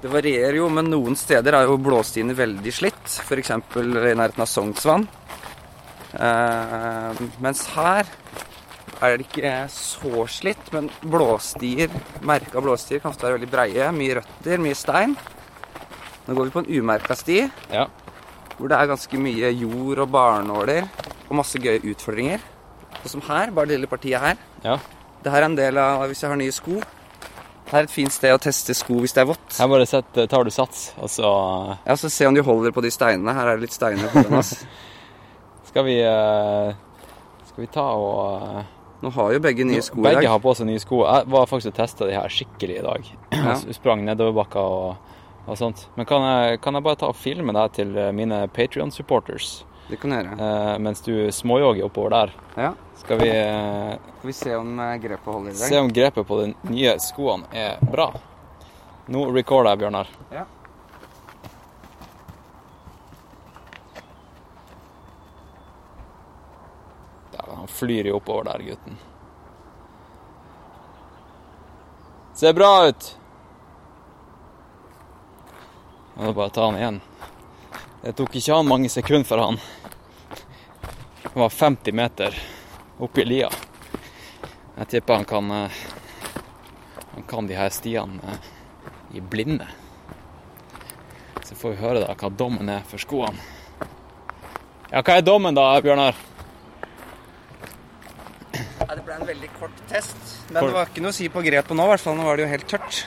D: Det varierer jo, men noen steder er jo blåstiene veldig slitt. F.eks. i nærheten av Sognsvann. Eh, mens her er det ikke så slitt, men blåstier, merka blåstier kan ofte være veldig breie. Mye røtter, mye stein. Nå går vi på en umerka sti
B: Ja.
D: hvor det er ganske mye jord og barnåler og masse gøye utfordringer. Og som her, bare det lille partiet her.
B: ja.
D: Det her er en del av hvis jeg har nye sko. Det er et fint sted å teste sko hvis det er vått.
B: Her bare setter, tar du sats, og så
D: Ja, så se om de holder på de steinene. Her er det litt steiner på den, ass.
B: skal vi eh, Skal vi ta og eh,
D: Nå har jo begge nye sko i
B: Begge
D: dag.
B: har på seg nye sko. Jeg var faktisk og testa de her skikkelig i dag.
D: Ja.
B: Jeg Sprang nedoverbakka og, og sånt. Men kan jeg, kan jeg bare ta og filme deg til eh, mine Patrion-supporters
D: Det kan du gjøre.
B: eh, mens du småjogger oppover der?
D: Ja.
B: Skal vi eh,
D: Skal vi se om eh, grepet holder i
B: Se
D: dag.
B: om grepet på de nye skoene er bra. Nå recorder jeg, Bjørnar.
D: Ja.
B: Dæven, han flyr jo oppover der, gutten. Ser bra ut! Nå er det bare å ta han igjen. Det tok ikke han mange sekunder for han. Han var 50 meter opp i lia. Jeg tipper han kan eh, Han kan de her stiene eh, i blinde. Så får vi høre da hva dommen er for skoene. Ja, hva er dommen da, Bjørnar?
D: Ja, det ble en veldig kort test. Men
B: Kort.
D: det var ikke noe å si på grepet nå, i hvert fall. Nå var det jo helt tørt.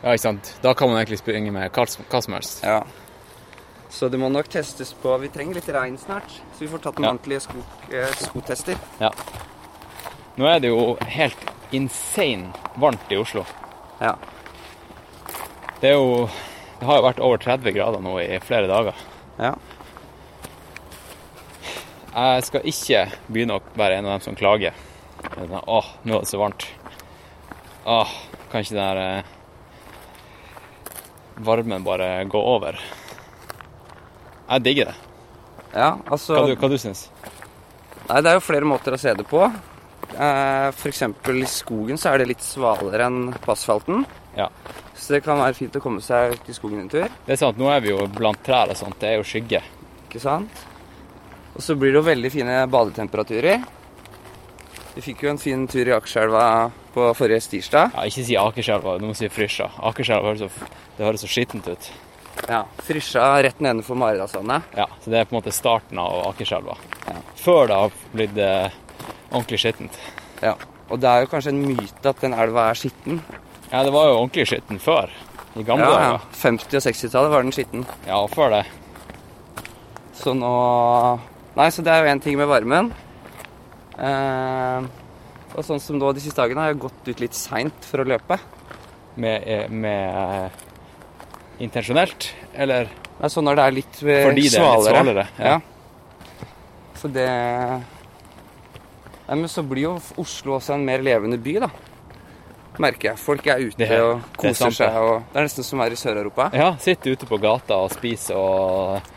B: Ja, ikke sant. Da kan man egentlig springe med hva som hva som helst.
D: Ja. Så det må nok testes på Vi trenger litt regn snart, så vi får tatt noen
B: Ja.
D: ordentlige sko, eh, skotester.
B: Ja. Nå er det jo helt insane varmt i Oslo.
D: Ja.
B: Det er jo Det har jo vært over 30 grader nå i flere dager.
D: ja.
B: Jeg skal ikke begynne å være en av dem som klager. Det er sånn, Åh, nå er det så varmt. Åh, kan ikke den der eh, varmen bare gå over? Jeg digger det.
D: Ja, altså
B: Hva, du, hva du syns
D: Nei, det er jo flere måter å se det på. Eh, for eksempel i skogen så er det litt svalere enn på asfalten.
B: Ja.
D: Så det kan være fint å komme seg ut i skogen en tur.
B: Det er sant, nå er vi jo blant trær og sånt. Det er jo skygge.
D: Ikke sant? Og så blir det jo veldig fine badetemperaturer. Vi fikk jo en fin tur i Akerselva på forrige tirsdag.
B: Ja, ikke si Akerselva, du må si Frysja. Akerselva høres så, f- det høres så skittent ut.
D: Ja, Frysja rett nedenfor Maridalsvannet.
B: Ja, Så det er på en måte starten av Akerselva. Før det har blitt eh, ordentlig skittent.
D: Ja. Og det er jo kanskje en myte at den elva er skitten.
B: Ja, det var jo ordentlig skitten før. I gamle
D: Ja, ja.
B: dager.
D: 50- og 60-tallet var den skitten.
B: Ja, før det.
D: Så nå Nei, så det er jo én ting med varmen. Eh, og sånn som nå de siste dagene har jeg gått ut litt seint for å løpe.
B: Med, eh, med eh, Intensjonelt? Eller
D: Nei, så når det er litt eh,
B: Fordi det er litt
D: svalere.
B: svalere, ja.
D: Så det Nei, men så blir jo Oslo også en mer levende by, da. Merker jeg. Folk er ute
B: Det er-
D: og
B: det er
D: koser
B: sant, Eh, det.
D: seg. Og det er nesten som å være i Sør-Europa.
B: Ja, sitte ute på gata og spise og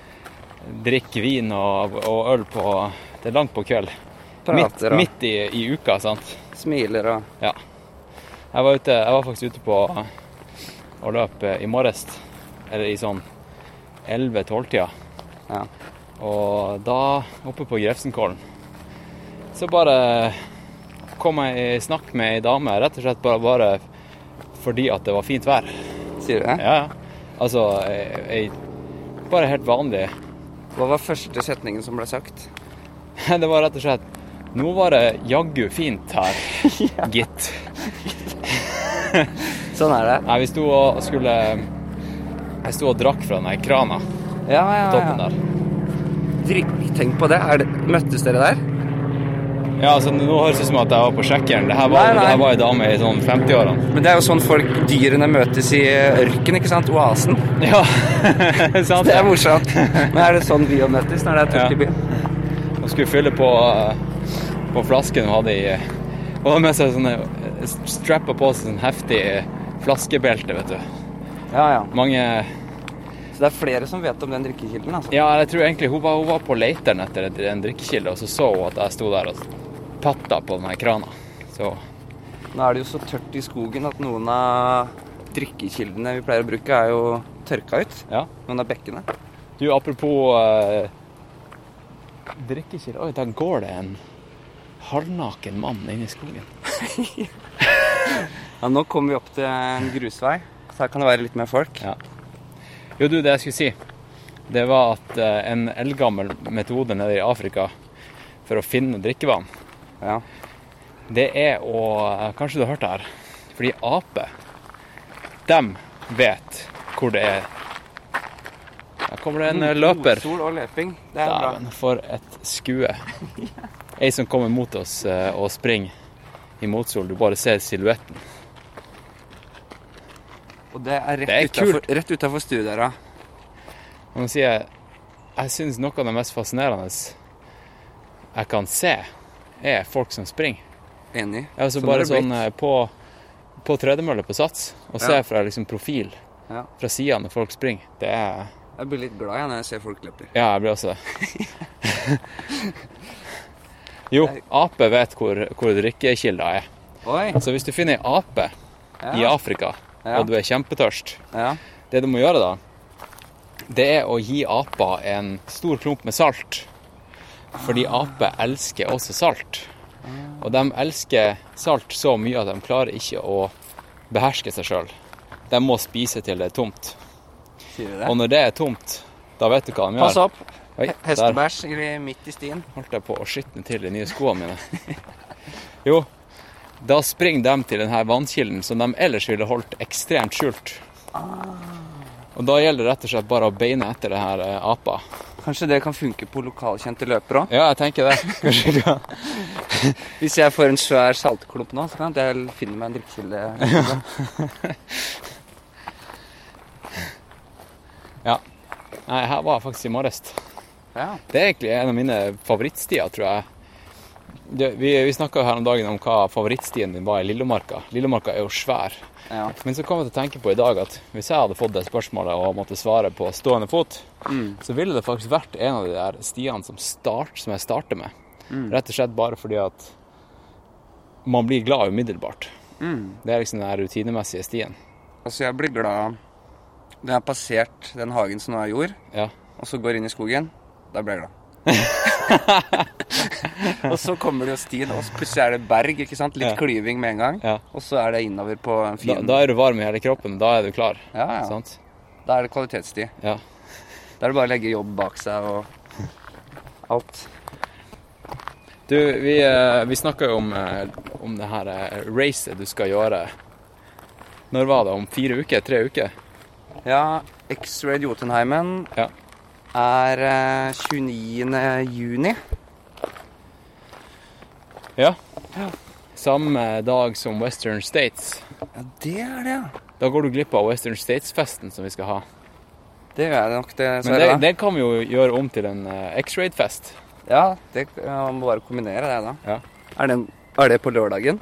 B: drikke vin og, og øl på Det er langt på kveld. Midt,
D: Prater og
B: midt i, i uka, sant.
D: smiler og
B: Jeg var, ute, jeg var faktisk ute på og løp i morges, eller i sånn 11-12-tida.
D: Ja.
B: Og da, oppe på Grefsenkollen, så bare kom jeg i snakk med ei dame, rett og slett bare, bare fordi at det var fint vær.
D: Sier du det?
B: Ja, ja. Altså, ei, ei, bare helt vanlig.
D: Hva var første setningen som ble sagt?
B: Det var rett og slett Nå var det jaggu fint her, gitt.
D: Sånn er det.
B: Nei, vi sto og skulle Jeg sto og drakk fra den der krana på
D: Ja, Ah, ja,
B: toppen
D: ja.
B: der.
D: Drikk- Tenk på det. Er det. Møttes dere der?
B: Ja, altså Nå høres det ut som at jeg var på sjekkeren. Det her var,
D: Nei, nei.
B: det her var ei dame i sånn 50-årene.
D: Men det er jo sånn folk, dyrene møtes i ørken, ikke sant? Oasen.
B: Ja, sant?
D: Det er morsomt. Men er det sånn byen møtes når det er tørt i byen?
B: Hun skulle fylle på, eh, på flasken hun hadde i Hun hadde med seg sånne strappa på seg sånn heftig flaskebelte, vet du.
D: Ja, ja.
B: Mange
D: Så det er flere som vet om den drikkekilden, altså.
B: Ja, jeg tror egentlig hun var, hun var på leteren etter en- en drikkekilde, og så så hun at jeg sto der og patta på den her krana. Så
D: Nå er det jo så tørt i skogen at noen av drikkekildene vi pleier å bruke, er jo tørka ut.
B: ja.
D: Noen av bekkene.
B: Du, apropos eh, drikkekilde Oi, der går det en halvnaken mann inne i skogen.
D: Ja, nå kommer vi opp til en grusvei, så her kan det være litt mer folk.
B: Jo, du, det jeg skulle si, det var at eh, en eldgammel metode nede i Afrika for å finne drikkevann,
D: Ja.
B: det er å Kanskje du har hørt det her? Fordi aper, dem vet hvor det er. Her kommer det en eh, løper.
D: Sol og løping. Det er bra.
B: Dæven, for et skue. Ei som kommer mot oss eh, og springer i motsol. Du bare ser silhuetten.
D: Og det er
B: Det er
D: rett utenfor- rett utafor stuedøra.
B: Og nå sier jeg jeg syns noe av det mest fascinerende jeg kan se, er folk som springer.
D: Enig.
B: Jeg er altså
D: Sånn
B: bare
D: har det
B: sånn
D: blitt.
B: eh, på, på tredemølle på Sats og
D: Ja.
B: ser fra liksom profil
D: Ja.
B: fra sida når folk springer. Det er
D: Jeg blir litt glad jeg når jeg ser folk løper.
B: Ja, jeg blir også det. jo, ape vet hvor, hvor drikkekilda er.
D: Oi!
B: Så hvis du finner ei ape i
D: Ja.
B: Afrika,
D: Ja.
B: og du er kjempetørst
D: Ja.
B: Det du må gjøre da, det er å gi apa en stor klump med salt. Fordi aper elsker også salt. Og de elsker salt så mye at de klarer ikke å beherske seg sjøl. De må spise til det er tomt.
D: Sier du
B: Og
D: det?
B: når det er tomt, da vet du hva de
D: Pass
B: gjør.
D: opp!
B: Oi, der
D: Hestebæsj i- midt i stien.
B: holdt jeg på å skitne til de nye skoene mine. Jo, da springer de til denne vannkilden som de ellers ville holdt ekstremt skjult. Ah. Og da gjelder det rett og slett bare å beine etter det her eh, apa.
D: Kanskje det kan funke på lokalkjente løpere òg?
B: Ja, jeg tenker det. Kanskje du kan.
D: Hvis jeg får en svær saltklump nå, så kan jeg finne meg en drikkekilde.
B: Nei, her var jeg faktisk i morges.
D: Ja.
B: Det er egentlig en av mine favorittstier, tror jeg. Det, vi vi snakka her om dagen om hva favorittstien din var i Lillemarka. Lillemarka er jo svær.
D: ja.
B: Men så kom jeg til å tenke på i dag at hvis jeg hadde fått det spørsmålet og måtte svare på stående fot, så ville det faktisk vært en av de der stiene som, start, som jeg starter med. Rett og slett bare fordi at man blir glad umiddelbart. Det er liksom den her rutinemessige stien.
D: Altså, jeg blir glad når jeg har passert den hagen som nå er jord,
B: Ja.
D: og så går inn i skogen. Da blir jeg glad. og så kommer det jo stien, og så plutselig er det berg. ikke sant? Litt
B: Ja.
D: klyving med en gang.
B: Ja.
D: Og så er det innover på en
B: Da,
D: fin
B: da er du varm i hele kroppen, da er du klar.
D: Ja, ja.
B: Sant?
D: Da er det kvalitetssti.
B: Ja.
D: Da er det bare å legge jobb bak seg og alt.
B: Du, vi, eh, vi snakka jo om, eh, om det her eh, racet du skal gjøre. Når var det? Om fire uker? Tre uker?
D: Ja, X-Raid Jotunheimen
B: Ja.
D: er eh, 29. juni.
B: Ja. Samme dag som Western States.
D: Ja, det er det, ja.
B: Da går du glipp av Western States-festen som vi skal ha.
D: Det gjør jeg nok, det.
B: Men
D: Sverre,
B: det,
D: da.
B: det kan vi jo gjøre om til en eh, X-Raid-fest.
D: Ja, det ja, man må bare kombinere det, da.
B: Ja.
D: Er, den, er det på lørdagen?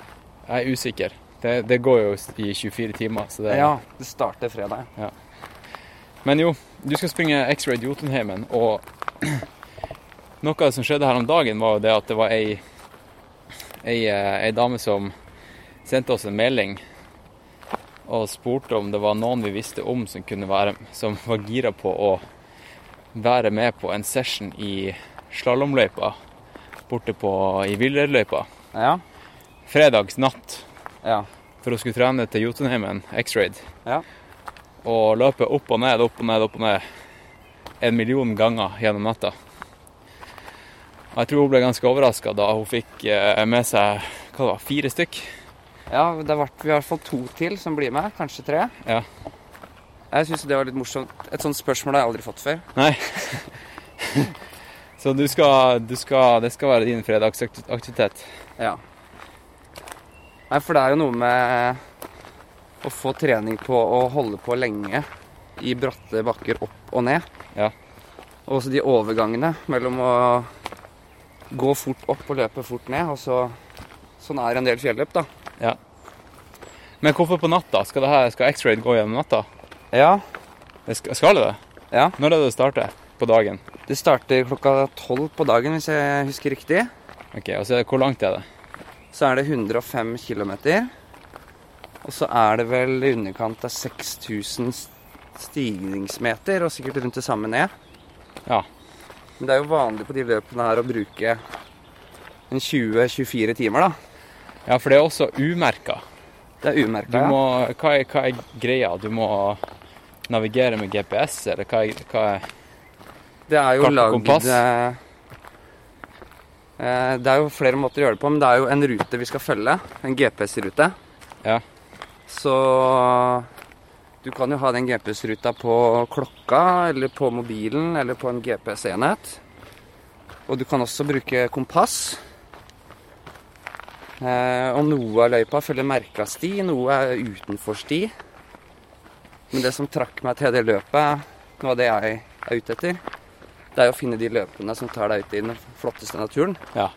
B: Jeg er usikker. Det, det går jo i 24 timer. Så det,
D: Ja, det starter fredag.
B: Men jo, du skal springe X-Raid Jotunheimen, og noe av det som skjedde her om dagen, var jo det at det var ei, ei, eh, ei dame som sendte oss en melding og spurte om det var noen vi visste om som kunne være som var gira på å være med på en session i slalåmløypa borte på, i Villerløypa
D: Ja.
B: fredags natt
D: Ja.
B: for hun skulle trene til Jotunheimen X-Raid.
D: Ja.
B: Og løpe opp og ned, opp og ned, opp og ned en million ganger gjennom natta. Og jeg tror hun ble ganske overraska da hun fikk eh, med seg hva det var, fire stykk.
D: ja det har vært i hvert fall to til som blir med. Kanskje tre.
B: Ja.
D: Jeg syns det var litt morsomt. Et sånt spørsmål har jeg aldri fått før.
B: Nei. Så du skal, du skal Det skal være din fredagsaktivitet.
D: Ja. Nei, for det er jo noe med å få trening på å holde på lenge i bratte bakker opp og ned.
B: Ja.
D: Og også de overgangene mellom å gå fort opp og løpe fort ned, og så Sånn er en del fjelløp, da.
B: Men hvorfor på natta? Skal, det her- skal X-Raid gå gjennom natta?
D: Ja.
B: Det skal, skal det det?
D: Ja.
B: Når er det det starter? På dagen?
D: Det starter klokka tolv på dagen, hvis jeg husker riktig.
B: Ok, og så er det, Hvor langt er det?
D: Så er det 105 km. Og så er det vel i underkant av 6000 st- stigningsmeter, og sikkert rundt det samme ned.
B: Ja.
D: Men det er jo vanlig på de løpene her å bruke en 20-24 timer, da.
B: Ja, for det er også umerka.
D: Det er
B: Du
D: umerka.
B: må, hva, er, hva er greia? Du må navigere med GPS, eller hva er, hva er
D: Det er jo
B: Kart og kompass.
D: lagd eh, eh, Det er jo flere måter å gjøre det på, men det er jo en rute vi skal følge. En GPS-rute.
B: Ja.
D: Så du kan jo ha den GPS-ruta på klokka, eller på mobilen, eller på en GPS-enhet. Og du kan også bruke kompass. Eh, og noe av løypa følger merka sti, noe er utenfor sti. Men det som trakk meg til det løpet, noe av det jeg er ute etter, det er jo å finne de løpene som tar deg ut i den flotteste naturen.
B: Ja.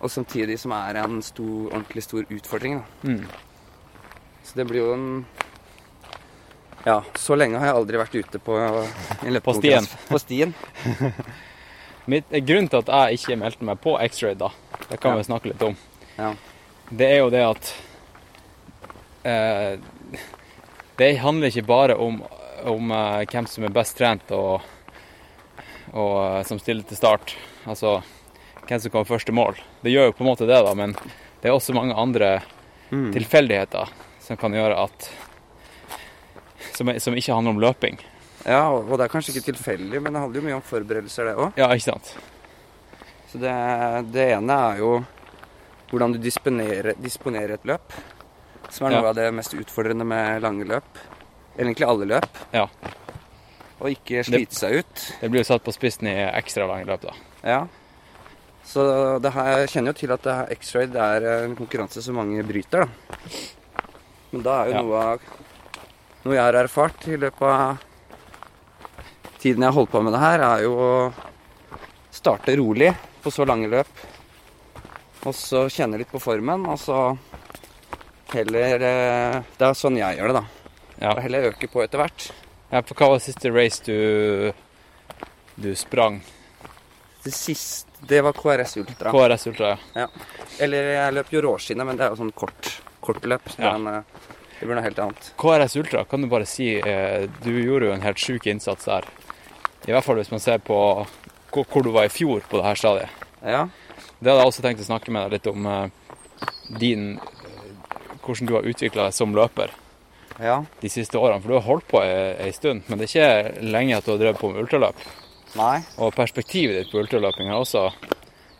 D: Og samtidig som er en stor, ordentlig stor utfordring. Da.
B: Mm.
D: Så det blir jo en Ja, så lenge har jeg aldri vært ute på i en
B: På stien.
D: løpekonkurranse. På stien.
B: Mitt, grunnen til at jeg ikke meldte meg på X-Ray, da, det kan
D: Ja.
B: vi snakke litt om,
D: Ja.
B: det er jo det at eh, Det handler ikke bare om, om eh, hvem som er best trent og, og eh, som stiller til start. Altså hvem som kommer først til mål. Det gjør jo på en måte det, da, men det er også mange andre
D: Mm.
B: tilfeldigheter som kan gjøre at som, som ikke handler om løping.
D: ja, og og det er kanskje ikke tilfeldig, men det handler jo mye om forberedelser, det òg.
B: Ja, ikke sant?
D: Så det, det ene er jo hvordan du disponerer, disponerer et løp, som er
B: Ja.
D: noe av det mest utfordrende med lange løp. Egentlig alle løp.
B: Ja.
D: Og ikke slite seg ut.
B: Det blir jo satt på spissen i ekstra lange løp, da.
D: Ja. Så det her, jeg kjenner jo til at det her X-Raid er en konkurranse som mange bryter, da. Men da er jo
B: Ja.
D: noe av Noe jeg har erfart i løpet av tiden jeg har holdt på med det her, er jo å starte rolig på så lange løp. Og så kjenne litt på formen, og så heller eh, Det er sånn jeg gjør det, da.
B: Ja.
D: Og heller øke på etter hvert.
B: Ja, for hva var siste race du, du sprang?
D: Det siste Det var KRS Ultra.
B: KRS Ultra, ja.
D: Eller jeg løp jo råskinnet, men det er jo sånn kort, kortløp. Så
B: Ja.
D: den, eh, det blir noe helt annet.
B: KRS Ultra, kan du bare si eh, Du gjorde jo en helt sjuk innsats der. I hvert fall hvis man ser på hvor, hvor du var i fjor på det her stadiet.
D: Ja.
B: Det hadde jeg også tenkt å snakke med deg litt om eh, din eh, Hvordan du har utvikla deg som løper.
D: ja.
B: de siste årene, for du har holdt på ei ei stund, men det er ikke lenge at du har drevet på med ultraløp.
D: Nei.
B: Og perspektivet ditt på ultraløping har også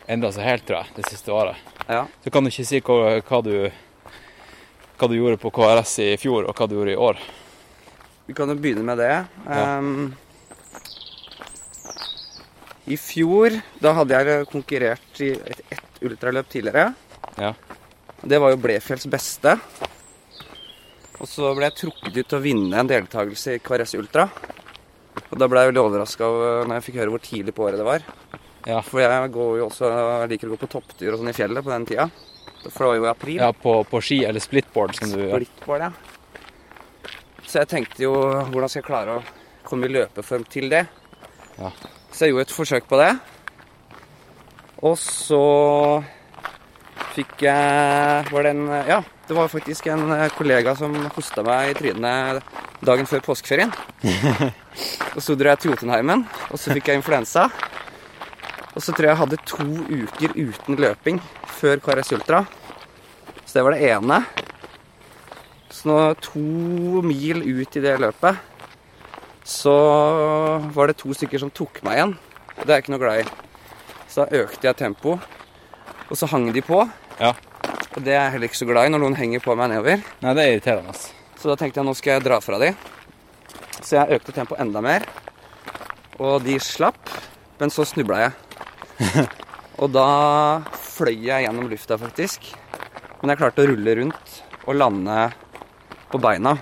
B: endra seg helt, tror jeg, det siste året.
D: Ja.
B: Så kan du ikke si hva, hva, du, hva du gjorde på KRS i fjor, og hva du gjorde i år.
D: Vi kan jo begynne med det. Ehm, I fjor, da hadde jeg konkurrert i et, ett ultraløp tidligere.
B: Ja.
D: Det var jo Blefjells beste. Og så ble jeg trukket ut til å vinne en deltakelse i KRS Ultra. Og da ble jeg veldig overraska når jeg fikk høre hvor tidlig på året det var.
B: Ja.
D: For jeg går jo også, liker å gå på topptur og sånn i fjellet på den tida. For det var jo i april.
B: Ja, på, på ski eller splitboard, som du ja.
D: Blitt var det. Så jeg tenkte jo hvordan skal jeg klare å komme i løpeform til det.
B: Ja.
D: Så jeg gjorde et forsøk på det. Og så fikk jeg Var det en Ja, det var faktisk en eh, kollega som hosta meg i trynet dagen før påskeferien. og så dro jeg til Jotunheimen, og så fikk jeg influensa. Og så tror jeg jeg hadde to uker uten løping før KRS Ultra. Så det var det ene. Så nå to mil ut i det løpet, så var det to stykker som tok meg igjen. Det er jeg ikke noe glad i. Så da økte jeg tempoet, og så hang de på.
B: Ja.
D: Og det er jeg heller ikke så glad i når noen henger på meg nedover.
B: Nei, det er irriterende. ass.
D: Så da tenkte jeg nå skal jeg dra fra de. Så jeg økte tempoet enda mer. Og de slapp, men så snubla jeg. og da fløy jeg gjennom lufta, faktisk. Men jeg klarte å rulle rundt og lande på beina.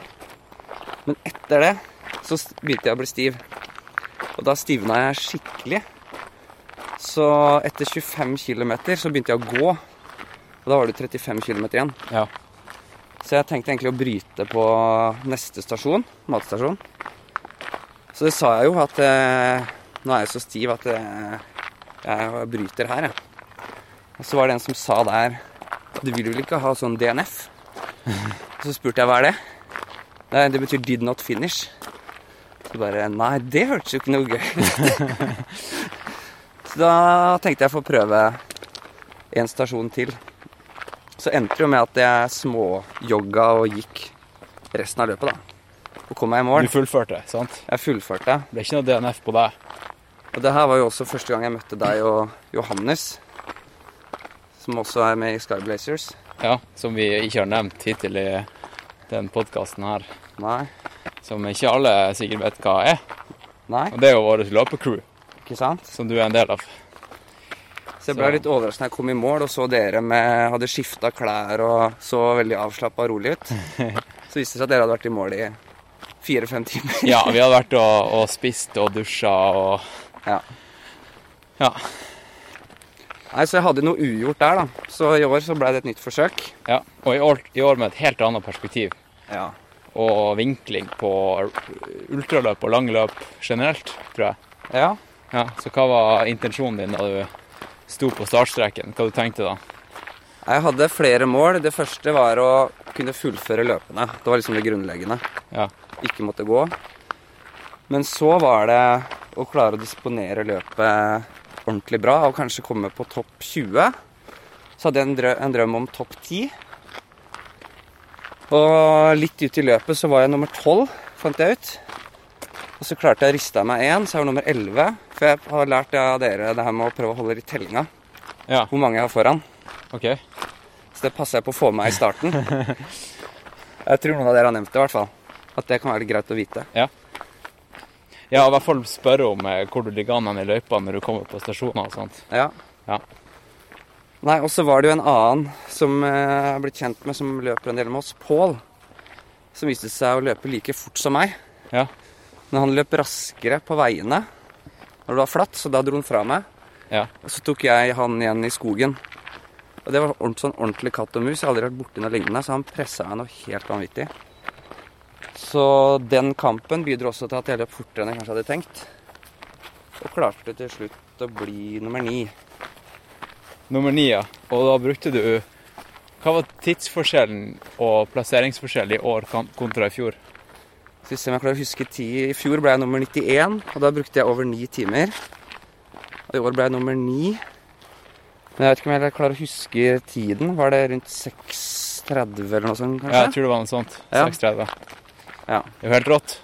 D: Men etter det så s- begynte jeg å bli stiv. Og da stivna jeg skikkelig. Så etter 25 km så begynte jeg å gå. Og da var det 35 km igjen.
B: Ja.
D: Så jeg tenkte egentlig å bryte på neste stasjon, matstasjon. Så det sa jeg jo at eh, nå er jeg så stiv at eh, jeg bryter her, jeg. Og så var det en som sa der Du vil vel ikke ha sånn DNF? Så spurte jeg hva er det? Nei, det betyr did not finish. Så bare Nei, det hørtes jo ikke noe gøy ut. så da tenkte jeg å få prøve en stasjon til. Så endte det jo med at jeg småjogga og gikk resten av løpet, da. Og kom meg i
B: Du
D: mål.
B: fullførte, sant?
D: Jeg fullførte.
B: Det ble ikke noe DNF på deg.
D: Og det her var jo også første gang jeg møtte deg og Johannes, som også er med i Skyblazers.
B: Ja, som vi ikke har nevnt hittil i den podkasten her.
D: Nei,
B: Som ikke alle sikkert vet hva er.
D: nei,
B: Og det er jo vårt løpecrew,
D: ikke sant?
B: som du er en del av.
D: Så jeg ble litt overrasket når jeg kom i mål og så dere med, hadde skifta klær og så veldig avslappa og rolig ut. Så viste det seg at dere hadde vært i mål i fire-fem timer.
B: Ja, vi har vært og, og spist og dusja og
D: Ja.
B: Ja.
D: Nei, Så jeg hadde noe ugjort der, da. Så i år så ble det et nytt forsøk.
B: ja. Og i år, i år med et helt annet perspektiv
D: Ja.
B: og vinkling på ultraløp og langløp generelt, tror jeg.
D: ja.
B: Ja, Så hva var intensjonen din da du sto på startstreken? Hva du tenkte da?
D: Jeg hadde flere mål. Det første var å kunne fullføre løpene. Det var liksom det grunnleggende.
B: Ja.
D: Ikke måtte gå. Men så var det å klare å disponere løpet ordentlig bra og kanskje komme på topp 20. Så hadde jeg en, drø en drøm om topp 10. Og litt ut i løpet så var jeg nummer 12, fant jeg ut. Og så klarte jeg å riste av meg én, så jeg var nummer 11. For jeg har lært av dere det her med å prøve å holde i tellinga
B: Ja,
D: hvor mange jeg har foran.
B: OK.
D: Så det passer jeg på å få med i starten. Jeg tror noen av dere har nevnt det, i hvert fall. At det kan være litt greit å vite.
B: Ja, i hvert fall spørre om eh, hvor du ligger an hen i løypa når du kommer på stasjoner og sånt.
D: Ja.
B: Ja.
D: Nei, og så var det jo en annen som eh, jeg har blitt kjent med, som løper en del med oss, Pål. Som viste seg å løpe like fort som meg.
B: Ja.
D: Men han løp raskere på veiene når det var flatt, så da dro han fra meg.
B: Ja.
D: Og så tok jeg han igjen i skogen. Og det var ordent- sånn ordentlig katt og mus. Jeg har aldri vært borti noe lignende, så han pressa meg noe helt vanvittig. Så den kampen bidro også til at jeg løp fortere enn jeg kanskje hadde tenkt. Og klarte til slutt å bli nummer ni.
B: Nummer ni, ja. Og da brukte du Hva var tidsforskjellen og plasseringsforskjell i år kan- kontra i fjor?
D: Skal vi se om jeg klarer å huske ti. I fjor ble jeg nummer 91, og da brukte jeg over ni timer. Og i år ble jeg nummer ni. Men jeg vet ikke om jeg klarer å huske tiden. Var det rundt 6.30 eller noe sånt,
B: Ja, jeg
D: kanskje?
B: tror det var noe sånt.
D: Ja.
B: 6.30.
D: Ja.
B: Det er jo helt rått.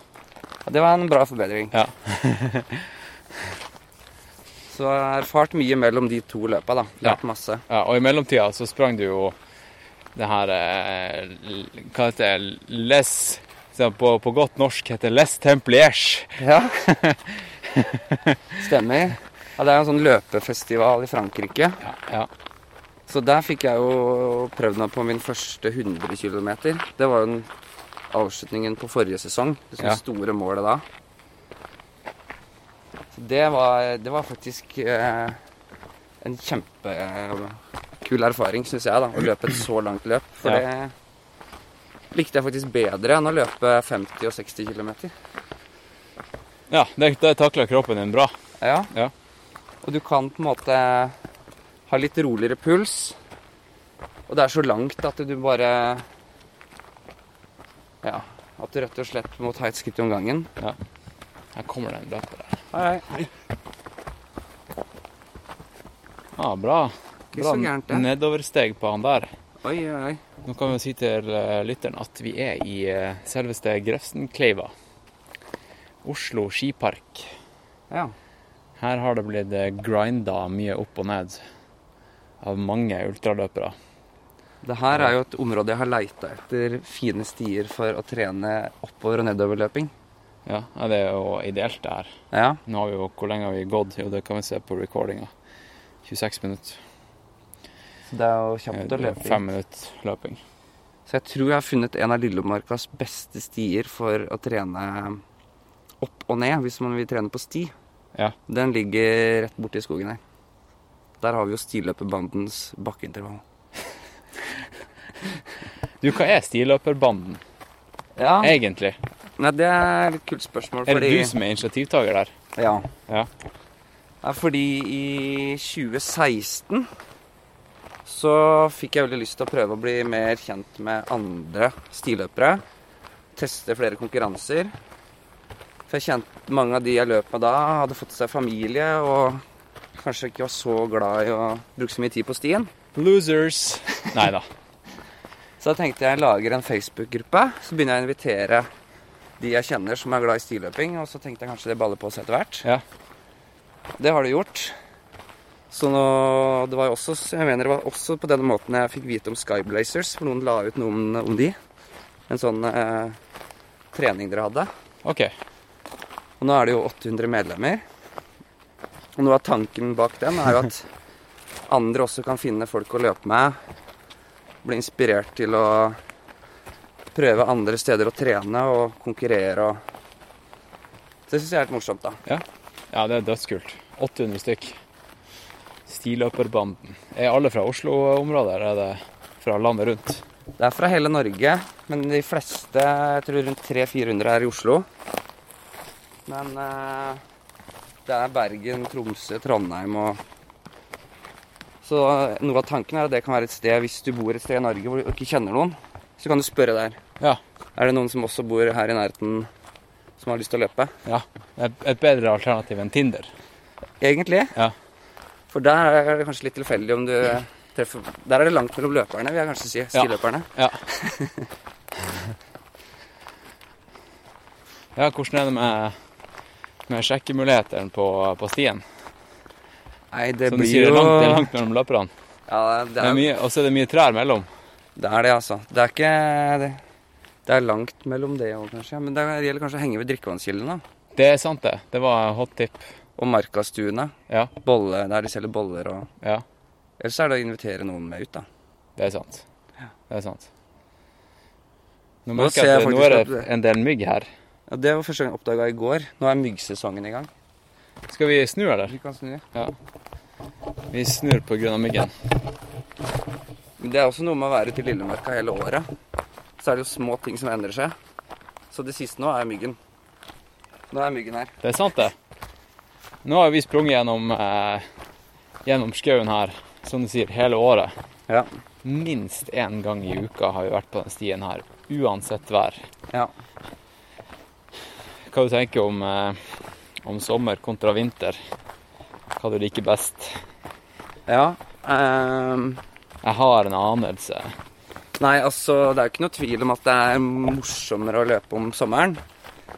D: Og Det var en bra forbedring.
B: Ja.
D: Så jeg har erfart mye mellom de to løpa, da.
B: Ja.
D: Lært masse.
B: Ja, og i mellomtida så sprang du jo det her eh, l- Hva heter det? Les som på, på godt norsk heter Les Templiers.
D: Ja. Stemmer. Ja, det er en sånn løpefestival i Frankrike.
B: Ja.
D: Så der fikk jeg jo prøvd meg på min første 100 km. Det var jo den avslutningen på forrige sesong. Det
B: Ja.
D: sånne store målet da. Så det var, det var faktisk eh, en kjempekul erfaring, syns jeg, da. Å løpe et så langt løp. For
B: Ja.
D: det likte jeg faktisk bedre enn å løpe 50 og 60 km.
B: ja det, det takla kroppen din bra.
D: Ja.
B: Ja.
D: Og du kan på en måte ha litt roligere puls. Og det er så langt at du bare Ja. At du rett og slett må ta et skritt om gangen.
B: Her kommer det en løper der.
D: Hei,
B: Ja, bra.
D: Ikke
B: Bra
D: så gærent, det.
B: nedoversteg på han der.
D: Oi, oi, oi.
B: Nå kan vi si til eh, lytteren at vi er i eh, selveste Grefsenkleiva. Oslo skipark.
D: Ja.
B: Her har det blitt eh, grinda mye opp og ned av mange ultraløpere.
D: Det her er jo et område jeg har leita etter fine stier for å trene oppover- og nedoverløping.
B: Ja, ja, det er jo ideelt det her.
D: Ja.
B: Nå har vi jo hvor lenge har vi gått, jo det kan vi se på recordinga. 26 minutter.
D: Så det er jo kjapt å
B: Eh,
D: løpe. i.
B: Fem minutter løping.
D: Så jeg tror jeg har funnet en av Lillemarkas beste stier for å trene opp og ned, hvis man vil trene på sti.
B: Ja.
D: Den ligger rett borti skogen her. Der har vi jo stiløperbandens bakkeintervall.
B: Du, hva er stiløperbanden
D: Ja,
B: egentlig?
D: Nei, det er et litt kult spørsmål,
B: Er det
D: Ah. fordi
B: du som er initiativtaker der?
D: Ja.
B: Ja.
D: Nei, fordi i 2016 så fikk jeg veldig lyst til å prøve å bli mer kjent med andre stiløpere. Teste flere konkurranser. For jeg kjente mange av de jeg løp med da, hadde fått seg familie og kanskje ikke var så glad i å bruke så mye tid på stien.
B: Losers! Nei da.
D: Så da tenkte jeg lager en Facebook-gruppe. Så begynner jeg å invitere de jeg kjenner som er glad i stiløping. Og så tenkte jeg kanskje det baller på seg etter hvert.
B: Ja.
D: Det har det gjort. Så nå, det var jo også, jeg mener det var også på denne måten jeg fikk vite om Skyblazers. For noen la ut noe om, om de. En sånn eh, trening dere hadde.
B: OK.
D: Og nå er det jo 800 medlemmer. Og noe av tanken bak den er jo at andre også kan finne folk å løpe med. Bli inspirert til å prøve andre steder å trene og konkurrere og Det syns jeg er helt morsomt, da.
B: Ja, det er dødskult. 800 stykk. Stiløperbanden. Er alle fra Oslo-området, eller er det fra landet rundt?
D: Det er fra hele Norge, men de fleste, jeg tror rundt 300-400, er i Oslo. Men eh, det er Bergen, Tromsø, Trondheim og Så noe av tanken er at det kan være et sted, hvis du bor et sted i Norge hvor du ikke kjenner noen, så kan du spørre der.
B: Ja.
D: Er det noen som også bor her i nærheten, som har lyst til å løpe?
B: ja. Et et bedre alternativ enn Tinder.
D: Egentlig.
B: Ja.
D: For der er det kanskje litt tilfeldig om du treffer Der er det langt mellom løperne, vil jeg kanskje si. Stiløperne.
B: Ja. Ja, hvordan er det med, med sjekkemulighetene på, på stien?
D: Nei, det
B: Som du
D: blir
B: sier, det er
D: jo
B: langt, det er langt mellom løperne.
D: Ja, det
B: Det
D: er
B: er mye- Og så er det mye trær mellom.
D: Det er det, altså. Det er ikke Det, det er langt mellom det òg, kanskje. Men det gjelder kanskje å henge ved drikkevannskildene. da.
B: Det er sant, det. Det var hot tip.
D: Og Markastuene.
B: Ja.
D: Bolle, der de selger boller og
B: Ja,
D: Ellers er det å invitere noen med ut, da.
B: det er sant. Det er sant. Nå
D: Nå
B: merker
D: ser
B: jeg at
D: jeg
B: det- nå
D: faktisk
B: er
D: at
B: det
D: det-
B: en del mygg her.
D: Ja, det var første gang jeg oppdaga i går. Nå er myggsesongen i gang.
B: Skal vi snu, eller?
D: Vi kan snu.
B: Ja. Vi snur på grunn av myggen.
D: Men det er også noe med å være ute i Lillemarka hele året. Så er det jo små ting som endrer seg. Så det siste nå er myggen. Nå er myggen her.
B: Det er sant, det. Nå har vi sprunget gjennom, eh, gjennom skauen her, som du sier, hele året.
D: Ja.
B: Minst én gang i uka har vi vært på den stien her, uansett vær.
D: ja.
B: Hva du tenker om, eh, om sommer kontra vinter? Hva du liker best?
D: ja. ehm,
B: Jeg har en anelse.
D: Nei, altså, det er jo ikke noe tvil om at det er morsommere å løpe om sommeren.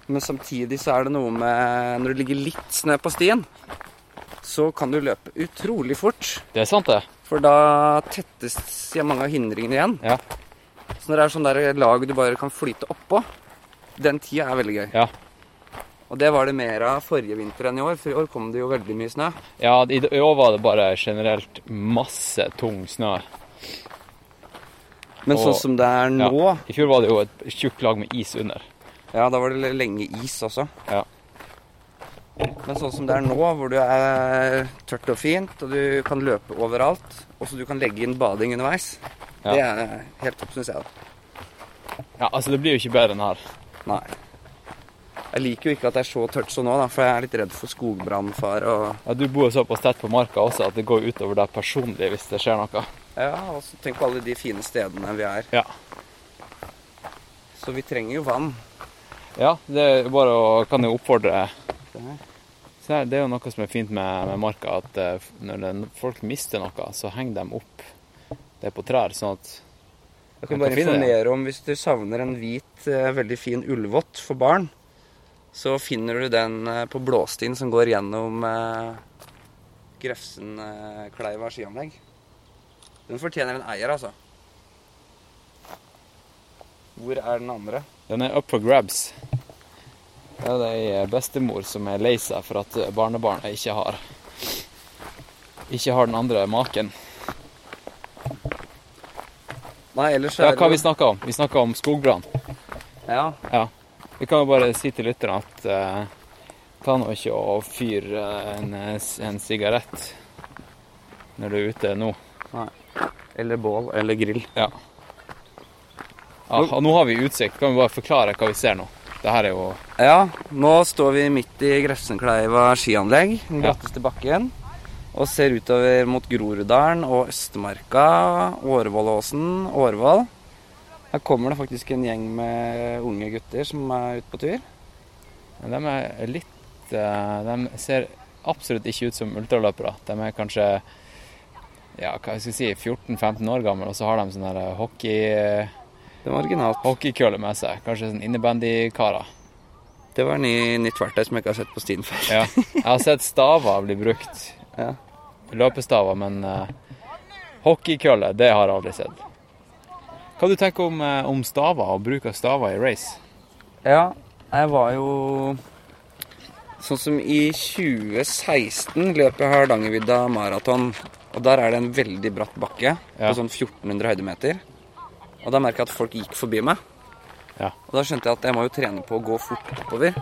D: Men samtidig så er det noe med Når det ligger litt snø på stien, så kan du løpe utrolig fort.
B: Det er sant, det.
D: For da tettes ja, mange av hindringene igjen.
B: Ja.
D: Så når det er sånn der lag du bare kan flyte oppå, den tida er veldig gøy.
B: Ja.
D: Og det var det mer av forrige vinter enn i år, for i år kom det jo veldig mye snø.
B: Ja, i i år var det bare generelt masse tung snø.
D: Men
B: Og-
D: sånn som det er
B: Ja.
D: nå,
B: I fjor var det jo et tjukt lag med is under.
D: Ja, da var det lenge is også.
B: Ja.
D: Men sånn som det er nå, hvor du er tørt og fint, og du kan løpe overalt, og så du kan legge inn bading underveis,
B: Ja.
D: det er helt topp, syns jeg. da.
B: Ja, altså det blir jo ikke bedre enn her.
D: Nei. Jeg liker jo ikke at det er så tørt som nå, da, for jeg er litt redd for skogbrannfare og
B: Ja, du bor jo såpass tett på marka også at det går utover deg personlig hvis det skjer noe.
D: Ja, og så tenk på alle de fine stedene vi er.
B: Ja.
D: Så vi trenger jo vann.
B: Ja, det er bare å kan jo oppfordre Så her, Det er jo noe som er fint med, med marka, at eh, f- når den, folk mister noe, så henger de opp det på trær, sånn at
D: Jeg kan
B: Man
D: bare
B: kan finne det, ja.
D: informere om hvis du savner en hvit, eh, veldig fin ullvott for barn, så finner du den eh, på blåstien som går gjennom eh, Grefsenkleiva skianlegg. Den fortjener en eier, altså. Hvor er den andre?
B: Den er up for grabs. Det er ei bestemor som er lei seg for at eh, barnebarnet ikke har Ikke har den andre maken.
D: Nei, ellers
B: Ja,
D: er
B: hva har vi
D: det jo-
B: snakka om? Vi snakka om skogbrann.
D: Ja,
B: Vi kan jo bare si til lytterne at eh, ta nå ikke og fyr eh, en, en sigarett når du er ute nå.
D: eller bål, eller grill.
B: Ja, og nå har vi utsikt. Kan vi bare forklare hva vi ser nå? Det her er jo
D: Ja, nå står vi midt i Grefsenkleiva skianlegg, den
B: Ja.
D: bratteste bakken, og ser utover mot Groruddalen og Østmarka, Årvollåsen, Årvoll. Her kommer det faktisk en gjeng med unge gutter som er ute på tur.
B: Men De er litt eh, De ser absolutt ikke ut som ultraløpere. De er kanskje ja, hva skal jeg si, 14-15 år gamle, og så har de sånn her hockey,
D: Det var originalt.
B: hockeykølle med seg. Kanskje sånn innebandykarer.
D: Det var ny, nytt verktøy som jeg ikke har sett på stien før.
B: Ja. Jeg har sett staver bli brukt.
D: Ja.
B: Løpestaver, men eh, hockeykølle, det har jeg aldri sett. Hva du tenker om, eh, om staver og bruk av staver i race?
D: Ja, jeg var jo Sånn som i 2016 løp jeg Hardangervidda maraton. Og der er det en veldig bratt bakke
B: Ja.
D: på sånn 1400 høydemeter. Og da merka jeg at folk gikk forbi meg.
B: Ja.
D: Og da skjønte jeg at jeg må jo trene på å gå fort oppover.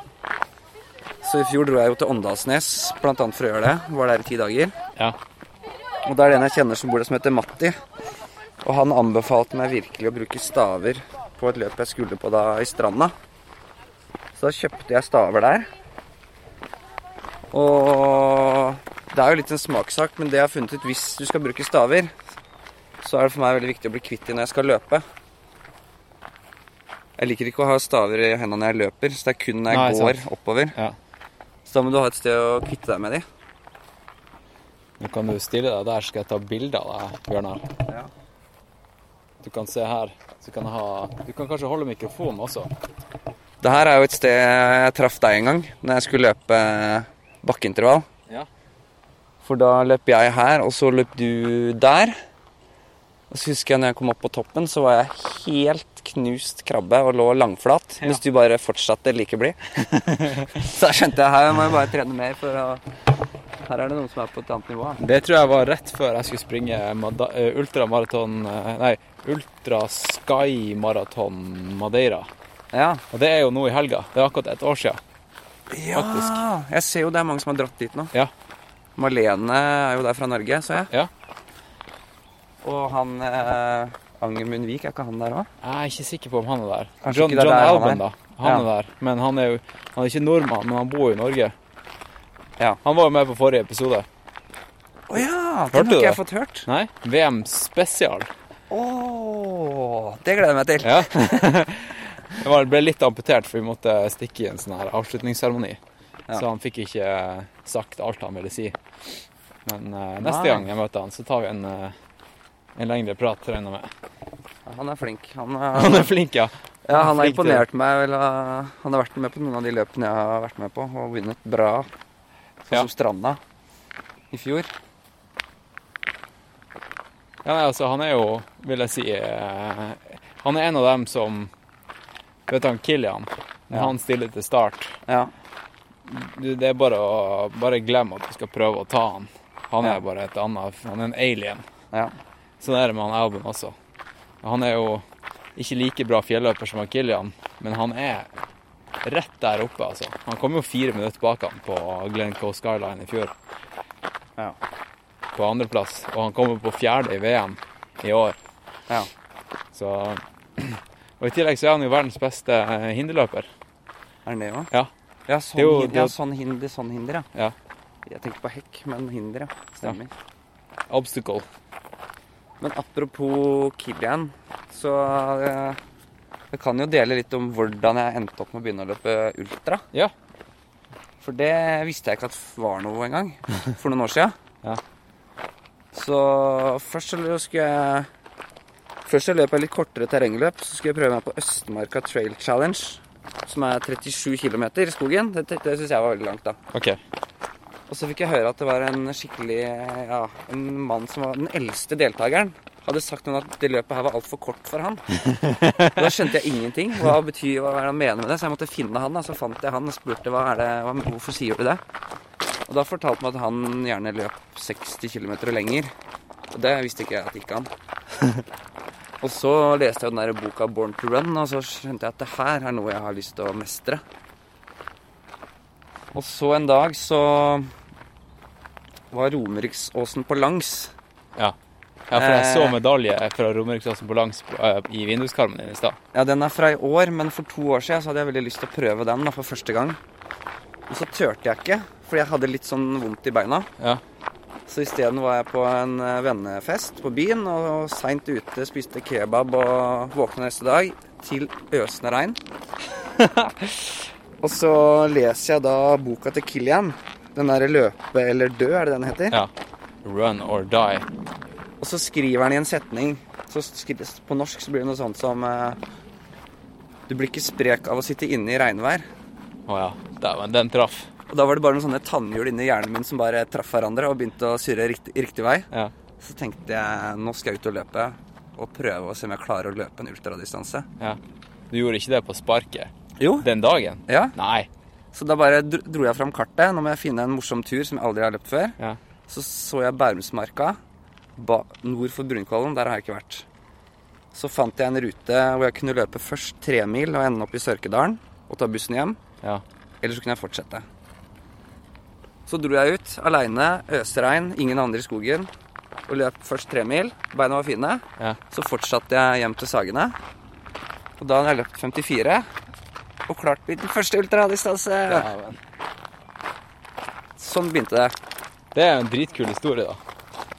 D: Så i fjor dro jeg jo til Åndalsnes, blant annet for å gjøre det. Var der i ti dager.
B: Ja.
D: Og det er det en jeg kjenner som bor der, som heter Matti. Og han anbefalte meg virkelig å bruke staver på et løp jeg skulle på da i stranda. Så da kjøpte jeg staver der. Og det er jo litt en smakssak, men det jeg har funnet ut hvis du skal bruke staver, så er det for meg veldig viktig å bli kvitt de når jeg skal løpe. Jeg liker ikke å ha staver i hendene når jeg løper, så det er kun når jeg
B: Nei,
D: går
B: sant.
D: oppover.
B: Ja.
D: Så da må du ha et sted å kvitte deg med de.
B: Nå kan du stille deg der, skal jeg ta bilde av deg, Bjørnar.
D: Ja.
B: Du kan se her. Så kan jeg ha Du kan kanskje holde mikrofonen også.
D: Det her er jo et sted jeg traff deg en gang, når jeg skulle løpe eh, bakkeintervall.
B: Ja.
D: For da løp jeg her, og så løp du der. Og så husker jeg når jeg kom opp på toppen, så var jeg helt knust krabbe og lå langflat. Hvis du bare fortsatte like blid. så da skjønte jeg her må jeg bare trene mer, for å... her er det noen som er på et annet nivå.
B: Det tror jeg var rett før jeg skulle springe Mada- eh, ultramaraton eh, Nei, Ultra Sky Maraton Madeira.
D: Ja.
B: Og det er jo nå i helga. Det er akkurat et år siden.
D: ja. Jeg ser jo det er mange som har dratt dit nå.
B: Ja.
D: Malene er jo der fra Norge, så jeg.
B: Ja.
D: Og han eh, Anger Munvik, er ikke han der òg?
B: Jeg er ikke sikker på om han er der.
D: Kanskje
B: John,
D: ikke det er
B: John
D: der han
B: Alban,
D: er.
B: da. Han
D: Ja.
B: er der. Men han er jo Han er ikke nordmann, men han bor jo i Norge.
D: Ja.
B: Han var jo med på forrige episode.
D: Å ja! Den
B: Hørte
D: har
B: du
D: ikke jeg
B: det?
D: fått hørt.
B: Nei? VM spesial.
D: Åh, det gleder jeg meg til.
B: Ja. Det var- ble litt amputert, for vi måtte stikke i en sånn her avslutningsseremoni.
D: Ja.
B: Så han fikk ikke eh, sagt alt han ville si. Men eh, neste
D: Nei.
B: gang jeg møter han, så tar vi en, eh, en lengre prat, regner jeg med.
D: Han er flink. Han
B: Han
D: er,
B: er flink, ja.
D: ja, han har
B: flink til det.
D: imponert meg. Vel, eh, han har vært med på noen av de løpene jeg har vært med på, og vunnet bra. Sånn
B: Ja.
D: som Stranda. i fjor.
B: Ja, nei, altså, han er jo, vil jeg si eh, Han er en av dem som Vet du han Kilian? Når
D: Ja.
B: han stiller til start
D: Ja.
B: du, Det er bare å bare glemme at du skal prøve å ta han. Han er
D: Ja.
B: bare et annet Han er en alien.
D: ja.
B: Sånn er det med han Alban også. Han er jo ikke like bra fjelløper som han Kilian, men han er rett der oppe, altså. Han kom jo fire minutter bak han på Glenn Coast Skyline i fjor.
D: Ja.
B: På andreplass. Og han kommer på fjerde i VM i år.
D: Ja.
B: Så Og i tillegg så er han jo verdens beste eh, hinderløper.
D: Er den det òg?
B: Ja.
D: Ja, sånn,
B: Det er jo-
D: hin-
B: det er-
D: ja, sånn hinder, sånn hinder, ja.
B: Ja.
D: Jeg tenkte på hekk, men hinder, ja. Stemmer.
B: Obstacle.
D: Men apropos Kilian, så eh, jeg kan jo dele litt om hvordan jeg endte opp med å begynne å løpe ultra.
B: Ja.
D: For det visste jeg ikke at var noe engang, for noen år siden.
B: Ja.
D: Så først så skulle jeg Først så løp jeg litt kortere terrengløp. Så skulle jeg prøve meg på Østmarka Trail Challenge, som er 37 km i skogen. Det, det, det syns jeg var veldig langt, da.
B: OK.
D: Og så fikk jeg høre at det var en skikkelig Ja, en mann som var den eldste deltakeren. Hadde sagt noen at det løpet her var altfor kort for han. Og Da skjønte jeg ingenting. Hva betyr, hva er det han mener med det? Så jeg måtte finne han. da. Så fant jeg han og spurte hva er det, hva, hvorfor sier du det. Og da fortalte han at han gjerne løp 60 km og lenger. Og det visste ikke jeg at gikk an. Og så leste jeg den der boka 'Born to Run', og så skjønte jeg at det her er noe jeg har lyst til å mestre. Og så en dag så var Romeriksåsen på langs.
B: Ja, for jeg så
D: Eh.
B: medalje fra Romeriksklassen på langs eh, i vinduskarmen din i stad.
D: Ja, den er fra i år, men for to år siden så hadde jeg veldig lyst til å prøve den da, for første gang. Og så turte jeg ikke, fordi jeg hadde litt sånn vondt i beina.
B: Ja.
D: Så isteden var jeg på en eh, vennefest på byen, og seint ute spiste kebab og våkna neste dag til øsende regn. og så leser jeg da boka til Kilian. Den derre 'Løpe eller dø', er det den heter?
B: Ja. Run or die.
D: Og så skriver han i en setning. Så skrives, på norsk så blir det noe sånt som eh, Du blir ikke sprek av å sitte inne i regnvær.
B: Å ja. Dæven, den traff.
D: Og da var det bare noen sånne tannhjul inni hjernen min som bare traff hverandre og begynte å surre riktig, riktig vei.
B: Ja.
D: Så tenkte jeg nå skal jeg ut og løpe og prøve å se om jeg klarer å løpe en ultradistanse.
B: ja. Du gjorde ikke det på sparket
D: Jo.
B: den dagen?
D: Ja.
B: Nei.
D: Så da bare dro dro jeg fram kartet. Nå må jeg finne en morsom tur som jeg aldri har løpt før.
B: Ja.
D: Så så jeg Bærumsmarka, ba nord for Brunkollen. Der har jeg ikke vært. Så fant jeg en rute hvor jeg kunne løpe først tre mil og ende opp i Sørkedalen og ta bussen hjem.
B: Ja.
D: Eller så kunne jeg fortsette. Så dro jeg ut aleine, øsregn, ingen andre i skogen. Og løp først tre mil. Beina var fine.
B: Ja.
D: Så fortsatte jeg hjem til Sagene. Og da hadde jeg løpt 54 og klart min første ultradistanse.
B: Dæven.
D: Sånn begynte det.
B: Det er jo en dritkul historie, da.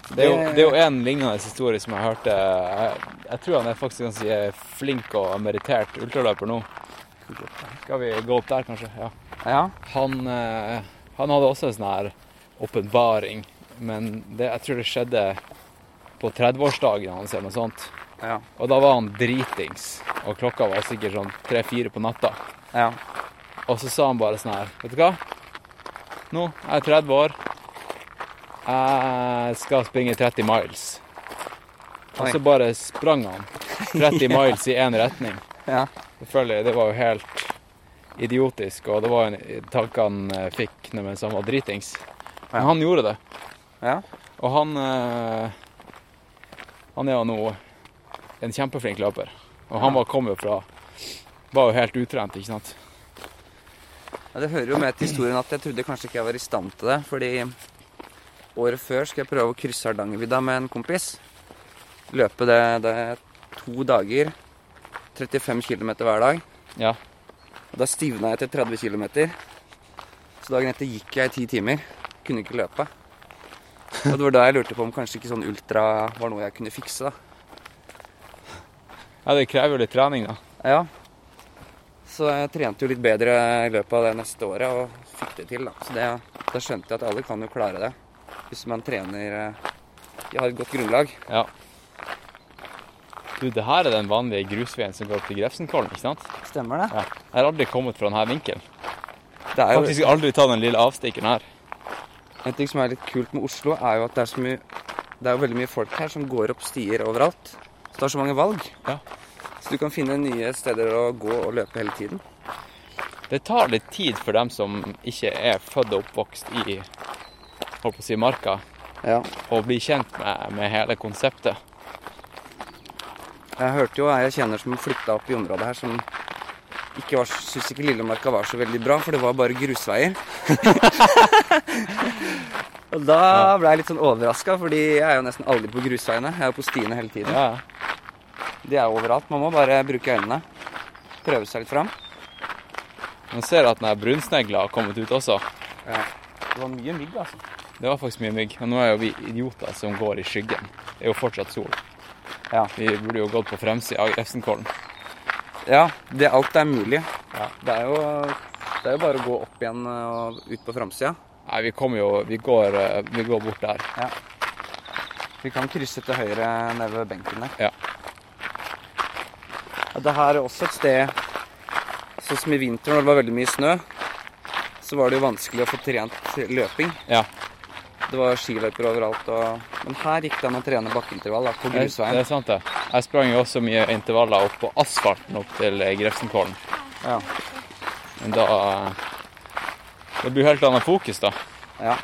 B: Det er, jo, det er jo en lignende historie som jeg hørte Jeg, jeg tror han er faktisk ganske flink og merittert ultraløper nå. Skal vi gå opp der, kanskje? Ja.
D: Ja.
B: Han, eh, han hadde også en sånn her åpenbaring, men det, jeg tror det skjedde på 30-årsdagen hans eller noe sånt.
D: Ja.
B: Og da var han dritings, og klokka var sikkert sånn tre-fire på natta.
D: ja.
B: Og så sa han bare sånn her, vet du hva? Nå er jeg 30 år. Jeg skal springe 30 miles. Og
D: Oi.
B: så bare sprang han 30 miles i én retning.
D: Ja.
B: Selvfølgelig, det var jo helt idiotisk, og det var jo en tanke han eh, fikk når- mens han var dritings. Men
D: Ja.
B: han gjorde det.
D: Ja.
B: Og han eh, Han er jo nå en kjempeflink løper. Og han var, kom jo fra Var jo helt utrent, ikke sant?
D: Ja, Det hører jo med til historien at jeg trodde kanskje ikke jeg var i stand til det. Fordi året før skal jeg prøve å krysse Hardangervidda med en kompis. Løpe det, det er to dager. 35 km hver dag.
B: Ja.
D: Og da stivna jeg til 30 km. Så dagen etter gikk jeg i ti timer. Kunne ikke løpe. Og det var da jeg lurte på om kanskje ikke sånn ultra var noe jeg kunne fikse, da.
B: Ja, det krever jo litt trening, da.
D: Ja. Så jeg trente jo litt bedre i løpet av det neste året og fikk det til. Da, så det, da skjønte jeg at alle kan jo klare det hvis man trener eh, har et godt grunnlag.
B: Ja. Du, det her er den vanlige grusveien som går opp til Grefsenkollen, ikke sant?
D: Stemmer det?
B: Ja. Jeg har aldri kommet fra denne vinkelen.
D: Det er jo,
B: Faktisk aldri tatt den lille avstikkeren her.
D: En ting som er litt kult med Oslo, er jo at det er så mye Det er jo veldig mye folk her som går opp stier overalt. Så det er så mange valg.
B: Ja.
D: Så du kan finne nye steder å gå og løpe hele tiden.
B: Det tar litt tid for dem som ikke er født og oppvokst i holdt på å si, marka,
D: Ja.
B: å bli kjent med, med hele konseptet.
D: Jeg hørte jo ei jeg kjenner som flytta opp i området her, som ikke var, syntes ikke Lillemarka var så veldig bra, for det var bare grusveier. og da ble jeg litt sånn overraska, fordi jeg er jo nesten aldri på grusveiene. Jeg er jo på stiene hele tiden.
B: Ja.
D: De er overalt. Man må bare bruke øynene. Prøve seg litt fram.
B: Man ser at den her brunsnegla har kommet ut også.
D: Det var mye mygg, altså.
B: Det var faktisk mye mygg. Og nå er jo vi idioter som går i skyggen. Det er jo fortsatt sol.
D: Ja.
B: Vi burde jo gått på fremsida av Grefsenkollen.
D: Ja, det, alt er mulig. Det, er jo, det er jo bare å gå opp igjen og ut på framsida.
B: Nei, vi kommer jo Vi går, eh, vi går bort der.
D: Vi kan krysse til høyre nede ved benken der.
B: Ja.
D: Ja, Det her er også et sted Sånn som i vinter når det var veldig mye snø, så var det jo vanskelig å få trent løping.
B: Ja.
D: Det var skiløyper overalt og Men her gikk det an å trene bakkeintervall da, på
B: Det, det
D: grusveien.
B: er sant, det. Jeg sprang jo også mye intervaller opp på asfalten opp til eh, Grefsenkollen.
D: Ja.
B: Men da eh, Det blir helt annet fokus, da.
D: Ja.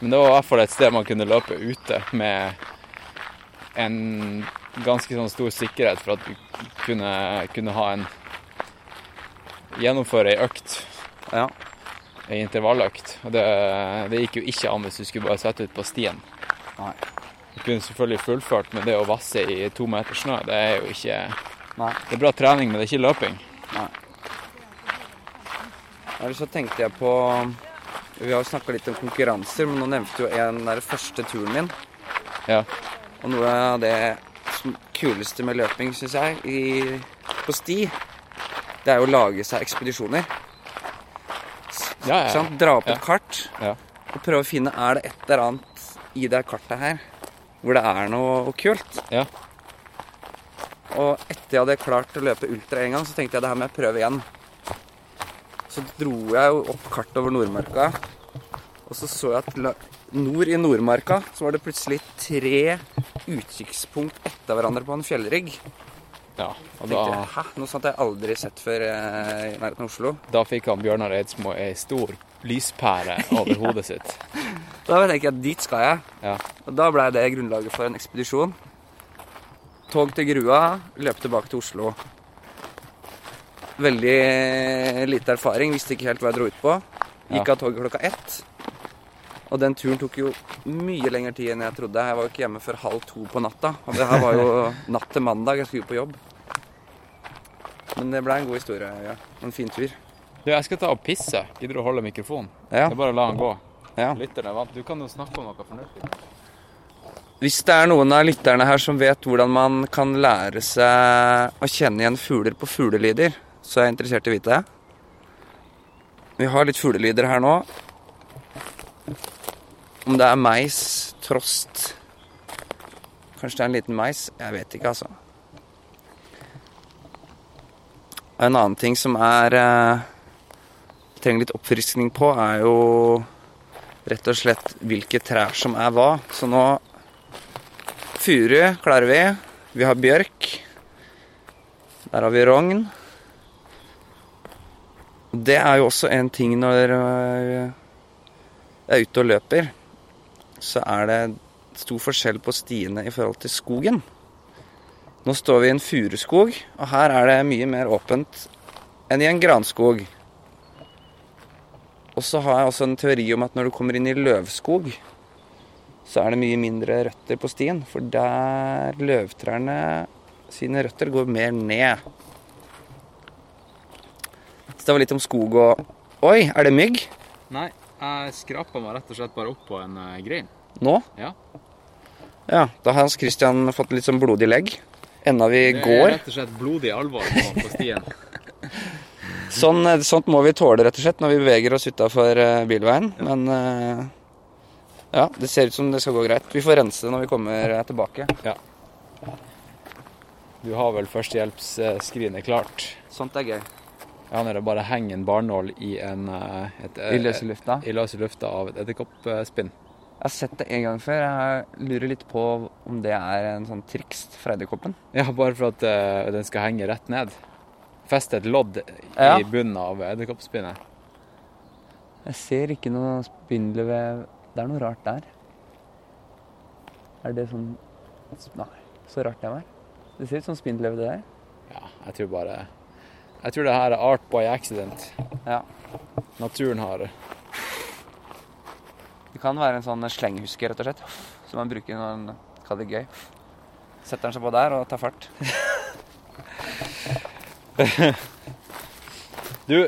B: Men det var i hvert fall et sted man kunne løpe ute med en ganske sånn stor sikkerhet for at du kunne, kunne ha en Gjennomføre ei økt,
D: ja.
B: ei intervalløkt. Og det, det gikk jo ikke an hvis du skulle bare sette ut på stien.
D: Nei.
B: Du kunne selvfølgelig fullført, men det å vasse i to meter snø, det er jo ikke
D: Nei.
B: Det er bra trening, men det er ikke løping.
D: Eller så tenkte jeg på Vi har jo snakka litt om konkurranser, men nå nevnte jo en der første turen min.
B: Ja.
D: Og noe av det som kuleste med løping, syns jeg, i, på sti, det er jo å lage seg ekspedisjoner.
B: Ja, ja,
D: Ikke
B: ja.
D: sant? Dra opp et kart
B: Ja.
D: og prøve å finne er det et eller annet i det kartet her hvor det er noe kult.
B: Ja.
D: Og etter jeg hadde klart å løpe ultra en gang, så tenkte jeg det her må jeg prøve igjen. Så dro jeg jo opp kartet over Nordmarka, og så så jeg at la- nord i Nordmarka så var det plutselig tre utkikkspunkt etter hverandre på en fjellrygg.
B: ja. Og
D: Tenkte
B: da,
D: jeg, Hæ? Noe sånt har jeg aldri sett før eh, i nærheten av Oslo.
B: da fikk han Bjørnar Eidsmo ei stor lyspære over hodet sitt.
D: Da tenker jeg dit skal jeg.
B: Ja.
D: Og da blei det grunnlaget for en ekspedisjon. Tog til Grua, løp tilbake til Oslo. Veldig lite erfaring, visste ikke helt hva jeg dro ut på. Gikk
B: Ja.
D: av toget klokka ett. Og den turen tok jo mye lengre tid enn jeg trodde. Jeg var jo ikke hjemme før halv to på natta. Og det her var jo natt til mandag, jeg skulle jo på jobb. Men det blei en god historie. Ja. En fin tur.
B: Du, jeg skal ta og pisse. Gidder du å holde mikrofonen?
D: Ja.
B: Det er bare å la han gå.
D: Ja.
B: Lytteren er vant. Du kan jo snakke om noe fornuftig.
D: Hvis det er noen av lytterne her som vet hvordan man kan lære seg å kjenne igjen fugler på fuglelyder, så er jeg interessert i å vite det. Vi har litt fuglelyder her nå. Om det er meis, trost Kanskje det er en liten meis? Jeg vet ikke, altså. Og En annen ting som er eh, trenger litt oppfriskning på, er jo rett og slett hvilke trær som er hva. Så nå Furu klarer vi. Vi har bjørk. Der har vi rogn. Det er jo også en ting når øh, jeg er ute og løper, så er det stor forskjell på stiene i forhold til skogen. Nå står vi i en furuskog, og her er det mye mer åpent enn i en granskog. Og så har jeg også en teori om at når du kommer inn i løvskog, så er det mye mindre røtter på stien, for der løvtrærne sine røtter går mer ned. Så det var litt om skog og Oi, er det mygg?
B: Nei, jeg skrapa meg rett og slett bare opp på en uh, grein.
D: Nå?
B: Ja.
D: Ja, da har Hans Christian fått litt sånn blodig legg. Enda vi
B: Det er
D: går.
B: rett og slett blodig alvor på, på stien.
D: Sånn, eh, sånt må vi tåle, rett og slett, når vi beveger oss utafor bilveien. Men eh, ja, det ser ut som det skal gå greit. Vi får rense det når vi kommer eh, tilbake.
B: Du har vel førstehjelpsskrinet klart?
D: Sånt er gøy.
B: Ja, når det bare henger en barnål i en eh, et,
D: I løse lufta.
B: i løse lufta av et edderkoppspinn.
D: Jeg har sett det en gang før. Jeg lurer litt på om det er en sånn triks fra edderkoppen.
B: Ja, bare for at eh, den skal henge rett ned. Feste et lodd
D: Ja.
B: i bunnen av edderkoppspinnet.
D: Jeg ser ikke noe spindelvev Det er noe rart der. Er det sånn Nei, så rart det var. Det ser ut som spindelvev, det der.
B: Ja, jeg tror bare Jeg tror det her er art by accident.
D: Ja.
B: Naturen har
D: Det kan være en sånn slenghuske, rett og slett. Som man bruker når man skal ha det gøy. Setter den seg på der og tar fart.
B: Du,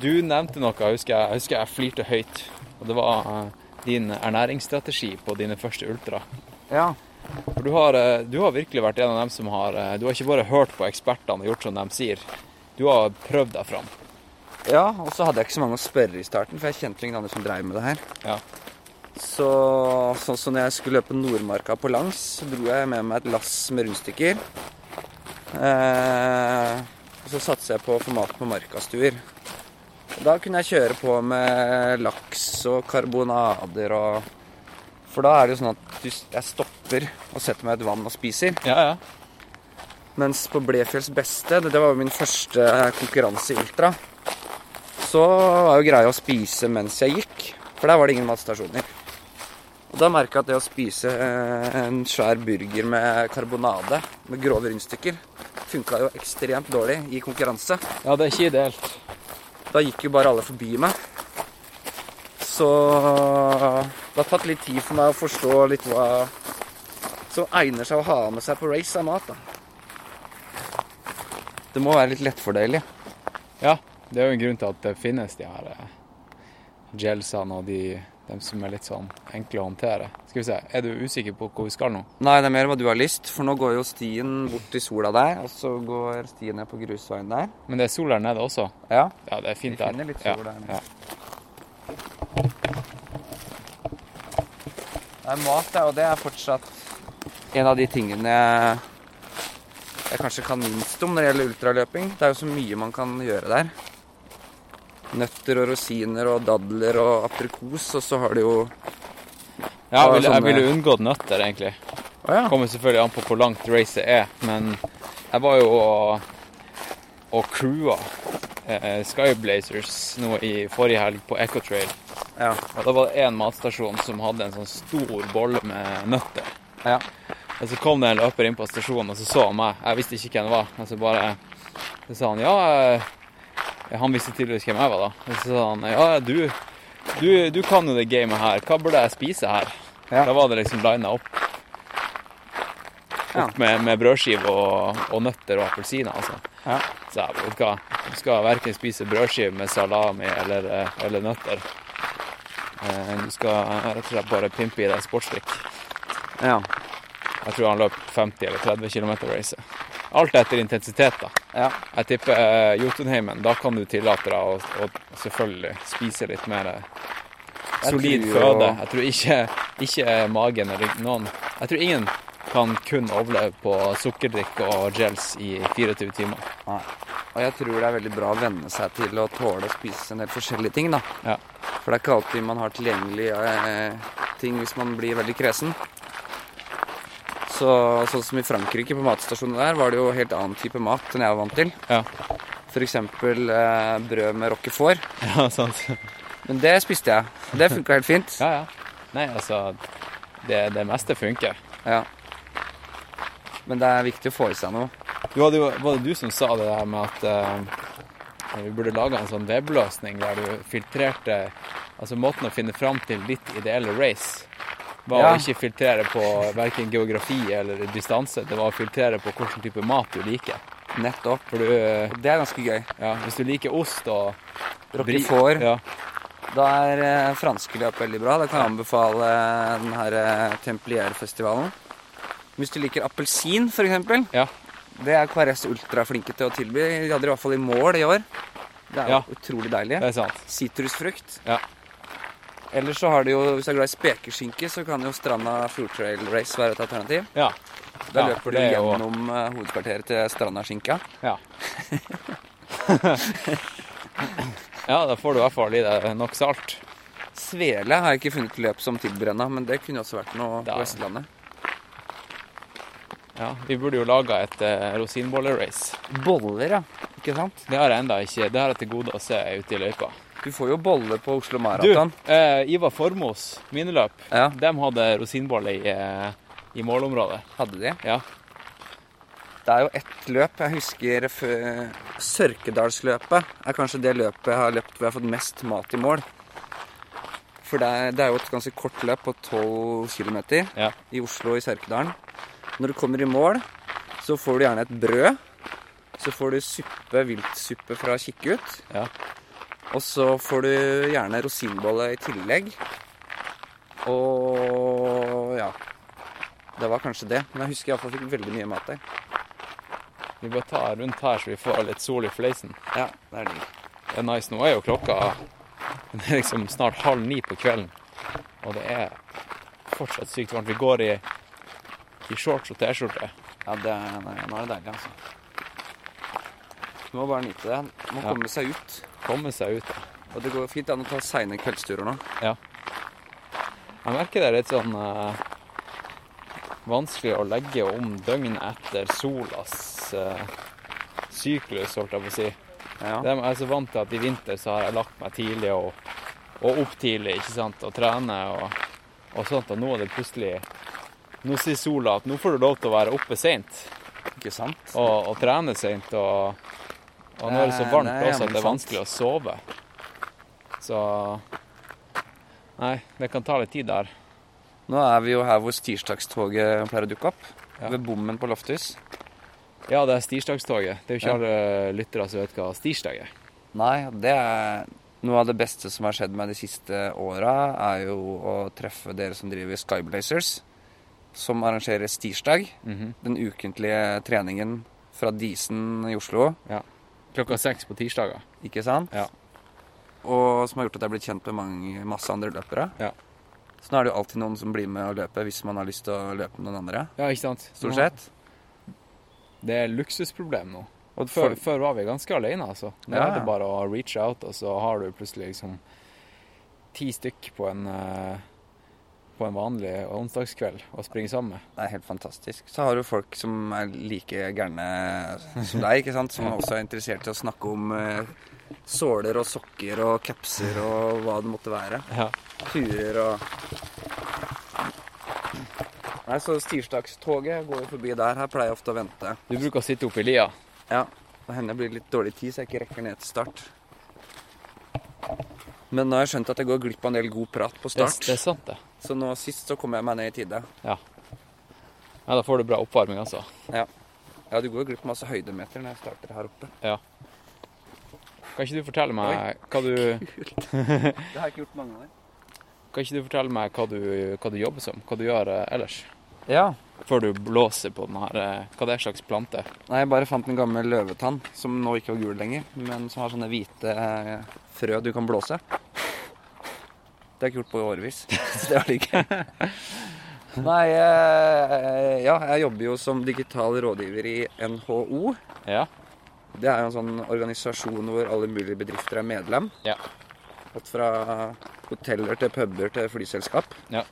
B: du nevnte noe, husker jeg. Jeg husker jeg flirte høyt. Og det var eh, din ernæringsstrategi på dine første ultra.
D: Ja.
B: For du har, eh, du har virkelig vært en av dem som har eh, Du har ikke bare hørt på ekspertene og gjort som de sier. Du har prøvd deg fram.
D: Ja, og så hadde jeg ikke så mange å spørre i starten, for jeg kjente ingen andre som dreiv med det her.
B: Ja.
D: Så sånn som når jeg skulle løpe Nordmarka på langs, så dro jeg med meg et lass med rundstykker. Eh, og så satser jeg på å få mat på markastuer. Og Da kunne jeg kjøre på med laks og karbonader og For da er det jo sånn at du, jeg stopper og setter meg i et vann og spiser.
B: Ja, ja.
D: Mens på Blefjells beste, det, det var jo min første eh, konkurranse i ultra, så var jo greia å spise mens jeg gikk. For der var det ingen matstasjoner. Og da merka jeg at det å spise eh, en svær burger med karbonade med grove rundstykker funka jo ekstremt dårlig i konkurranse.
B: Ja, det er ikke ideelt.
D: Da gikk jo bare alle forbi meg. Så det har tatt litt tid for meg å forstå litt hva som egner seg å ha med seg på race av mat. da. Det må være litt lettfordelig.
B: Ja, det er jo en grunn til at det finnes de her eh, gelsene og de, dem som er litt sånn enkle å håndtere. Skal vi se, er du usikker på hvor vi skal nå?
D: Nei, det er mer hva du har lyst, for nå går jo stien bort til sola der, og så går stien ned på grusveien der.
B: Men det er sol der nede også.
D: Ja.
B: Ja, det er fint
D: Vi
B: der.
D: finner litt
B: ja,
D: sol der nede.
B: ja.
D: Det er mat, da, og det er fortsatt en av de tingene jeg, jeg kanskje kan minst om når det gjelder ultraløping. Det er jo så mye man kan gjøre der. Nøtter og rosiner og dadler og aprikos, og så har du jo
B: Ja, jeg
D: Og
B: ville, jeg
D: sånne-
B: ville unngått nøtter, egentlig.
D: Å ja.
B: Kommer selvfølgelig an på hvor langt racet er, men jeg var jo og, og crewa eh, Skyblazers nå i forrige helg på Ecotrail.
D: Ja.
B: Og da var det én matstasjon som hadde en sånn stor bolle med nøtter.
D: Ja.
B: Og så kom det en løper inn på stasjonen, og så så han meg. Jeg visste ikke hvem det var. Og så bare Så sa han ja eh, Han visste tydeligvis hvem jeg var, da. Og så sa han ja, du, du, du kan jo det gamet her. Hva burde jeg spise her?
D: Ja.
B: Da var det liksom lina opp.
D: Ja.
B: Opp med, med brødskive og, og nøtter og appelsiner, altså.
D: Ja.
B: Så jeg vet du hva, du skal verken spise brødskive med salami eller, eh, eller nøtter. Eh, Du skal eh, rett og slett bare pimpe i deg sportsdrikk.
D: Ja.
B: Jeg tror han løp 50 eller 30 km race. Alt etter intensitet, da.
D: Ja.
B: Jeg tipper eh, Jotunheimen, da kan du tillate deg å, å selvfølgelig spise litt mer eh,
D: Jeg
B: solid
D: tror jo-
B: føde. Jeg tror ikke, ikke magen eller noen Jeg tror ingen kan kun overleve på sukkerdrikk og gels i 24 timer.
D: Og jeg tror det er veldig bra å venne seg til å tåle å spise en del forskjellige ting, da.
B: Ja.
D: For det er ikke alltid man har tilgjengelig eh, ting hvis man blir veldig kresen. Så, sånn som i Frankrike, på matstasjonen der, var det jo helt annen type mat enn jeg var vant til.
B: Ja.
D: For eksempel eh, brød med roquefort.
B: Ja, sant.
D: Men det spiste jeg. og Det funka helt fint.
B: Ja, ja. Nei, altså det, det meste funker.
D: Ja. Men det er viktig å få i seg noe.
B: Du hadde jo, var det du som sa det der med at eh, vi burde lage en sånn webløsning der du filtrerte Altså måten å finne fram til ditt ideelle race var
D: Ja.
B: å ikke filtrere på verken geografi eller distanse, det var å filtrere på hvilken type mat du liker.
D: Nettopp.
B: For du eh,
D: Det er ganske gøy.
B: Ja, hvis du liker ost og bri-
D: Roquefort.
B: Ja,
D: Da er eh, franske løp veldig bra. Da kan jeg anbefale den her eh, Templierfestivalen. Hvis du liker appelsin, f.eks.
B: Ja.
D: Det er KRS Ultra flinke til å tilby. De hadde det i hvert fall i mål i år. Det er jo
B: Ja.
D: utrolig deilig.
B: det er sant.
D: Sitrusfrukt.
B: Ja.
D: Eller så har de jo, hvis du er glad i spekeskinke, så kan jo Stranda Fjordtrail Race være et alternativ.
B: Ja.
D: Da
B: Ja,
D: løper du
B: det er jo-
D: gjennom eh, hovedkvarteret til Stranda Skinka.
B: Ja. Ja, da får du i hvert fall i deg nok salt.
D: Svele har jeg ikke funnet løp som tilbyr ennå, men det kunne også vært noe
B: Da-
D: på Vestlandet.
B: Ja, Vi burde jo laga et eh, rosinbollerace.
D: Boller, ja. Ikke sant?
B: Det har jeg enda ikke. Det har jeg til gode å se ute i løypa.
D: Du får jo bolle på Oslo
B: Du,
D: Maraton.
B: eh, Ivar Formos mineløp,
D: Ja.
B: de hadde rosinbolle i, eh, i målområdet.
D: Hadde de?
B: Ja.
D: Det er jo ett løp jeg husker før- Sørkedalsløpet er kanskje det løpet jeg har løpt hvor jeg har fått mest mat i mål. For det er, det er jo et ganske kort løp på 12 km
B: Ja.
D: i Oslo i Sørkedalen. Når du kommer i mål, så får du gjerne et brød. Så får du suppe, viltsuppe fra Kikkut.
B: Ja.
D: Og så får du gjerne rosinbolle i tillegg. Og ja. Det var kanskje det. Men jeg husker iallfall fikk veldig mye mat der.
B: Vi bare tar rundt her, så vi får litt sol i fleisen.
D: Ja, det er digg.
B: Det er nice. Nå er jo klokka Det er liksom snart halv ni på kvelden, og det er fortsatt sykt varmt. Vi går i, i shorts og T-skjorte.
D: Ja, det er, nei, nå er det deilig, altså. Du må bare nyte det. Du må
B: Ja.
D: komme seg ut.
B: Komme seg ut.
D: Og det går fint an å ta seine kveldsturer nå.
B: Jeg merker det er litt sånn eh, vanskelig å legge om døgnet etter solas eh, syklus, holdt jeg på å si.
D: Ja.
B: Dem- Jeg er så vant til at i vinter så har jeg lagt meg tidlig og, og opp tidlig, ikke sant, og trener og, og sånt, og nå er det plutselig Nå sier sola at nå får du lov til å være oppe seint
D: Ikke sant?
B: og, og trene seint, og, og nå er det så
D: Nei,
B: varmt
D: Eh, det er
B: også at det er
D: sant.
B: vanskelig å sove. Så Nei, det kan ta litt tid der.
D: Nå er vi jo her hvor tirsdagstoget pleier å dukke opp.
B: Ja.
D: Ved bommen på Lofthus.
B: Ja, det er stirsdagstoget. Det er jo ikke
D: Ja.
B: alle lyttere som vet hva stirsdag er.
D: Nei, det er noe av det beste som har skjedd meg de siste åra, er jo å treffe dere som driver Skyblazers, som arrangerer tirsdag. Den ukentlige treningen fra Disen i Oslo.
B: Klokka seks på tirsdager.
D: Ikke sant?
B: Ja.
D: Og som har gjort at jeg er blitt kjent med mange, masse andre løpere.
B: Ja.
D: Så nå er det jo alltid noen som blir med og løper hvis man har lyst til å løpe med noen andre.
B: Ja, ikke sant?
D: Stort sett.
B: Det er luksusproblem nå.
D: Og
B: Før,
D: for,
B: før var vi ganske alene, altså. Nå
D: Ja,
B: er det
D: ja.
B: bare å reach out, og så har du plutselig liksom ti stykk på en, eh, på en vanlig onsdagskveld å springe sammen med.
D: det er helt fantastisk. Så har du folk som er like gærne som deg, ikke sant? Som også er interessert i å snakke om eh, såler og sokker og capser og hva det måtte være.
B: Ja.
D: Turer og Nei, så tirsdagstoget går jo forbi der. Her pleier jeg ofte å vente.
B: Du bruker å sitte oppe i lia.
D: Ja, det hender jeg blir litt dårlig tid, så jeg ikke rekker ned til start. Men nå har jeg skjønt at jeg går glipp av en del god prat på
B: Det,
D: start.
B: det er sant, det.
D: Så nå sist så kom jeg meg ned i tide.
B: Ja, da får du bra oppvarming, altså.
D: Ja, du går glipp av masse høydemeter når jeg starter her oppe.
B: Kan ikke du fortelle meg hva du,
D: Det har jeg ikke gjort mange år.
B: kan ikke du, fortelle meg hva du, hva du jobber som? Hva du gjør eh, ellers?
D: Ja.
B: Før du blåser på den her eh, Hva det er slags plante?
D: Nei, jeg bare fant en gammel løvetann som nå ikke var gul lenger, men som har sånne hvite eh, frø du kan blåse. Det har jeg ikke gjort på årevis. Så det var litt gøy. Nei, eh, ja, jeg jobber jo som digital rådgiver i NHO.
B: Ja.
D: Det er jo en sånn organisasjon hvor alle mulige bedrifter er medlem.
B: Ja.
D: Alt fra hoteller til puber til flyselskap.
B: Ja.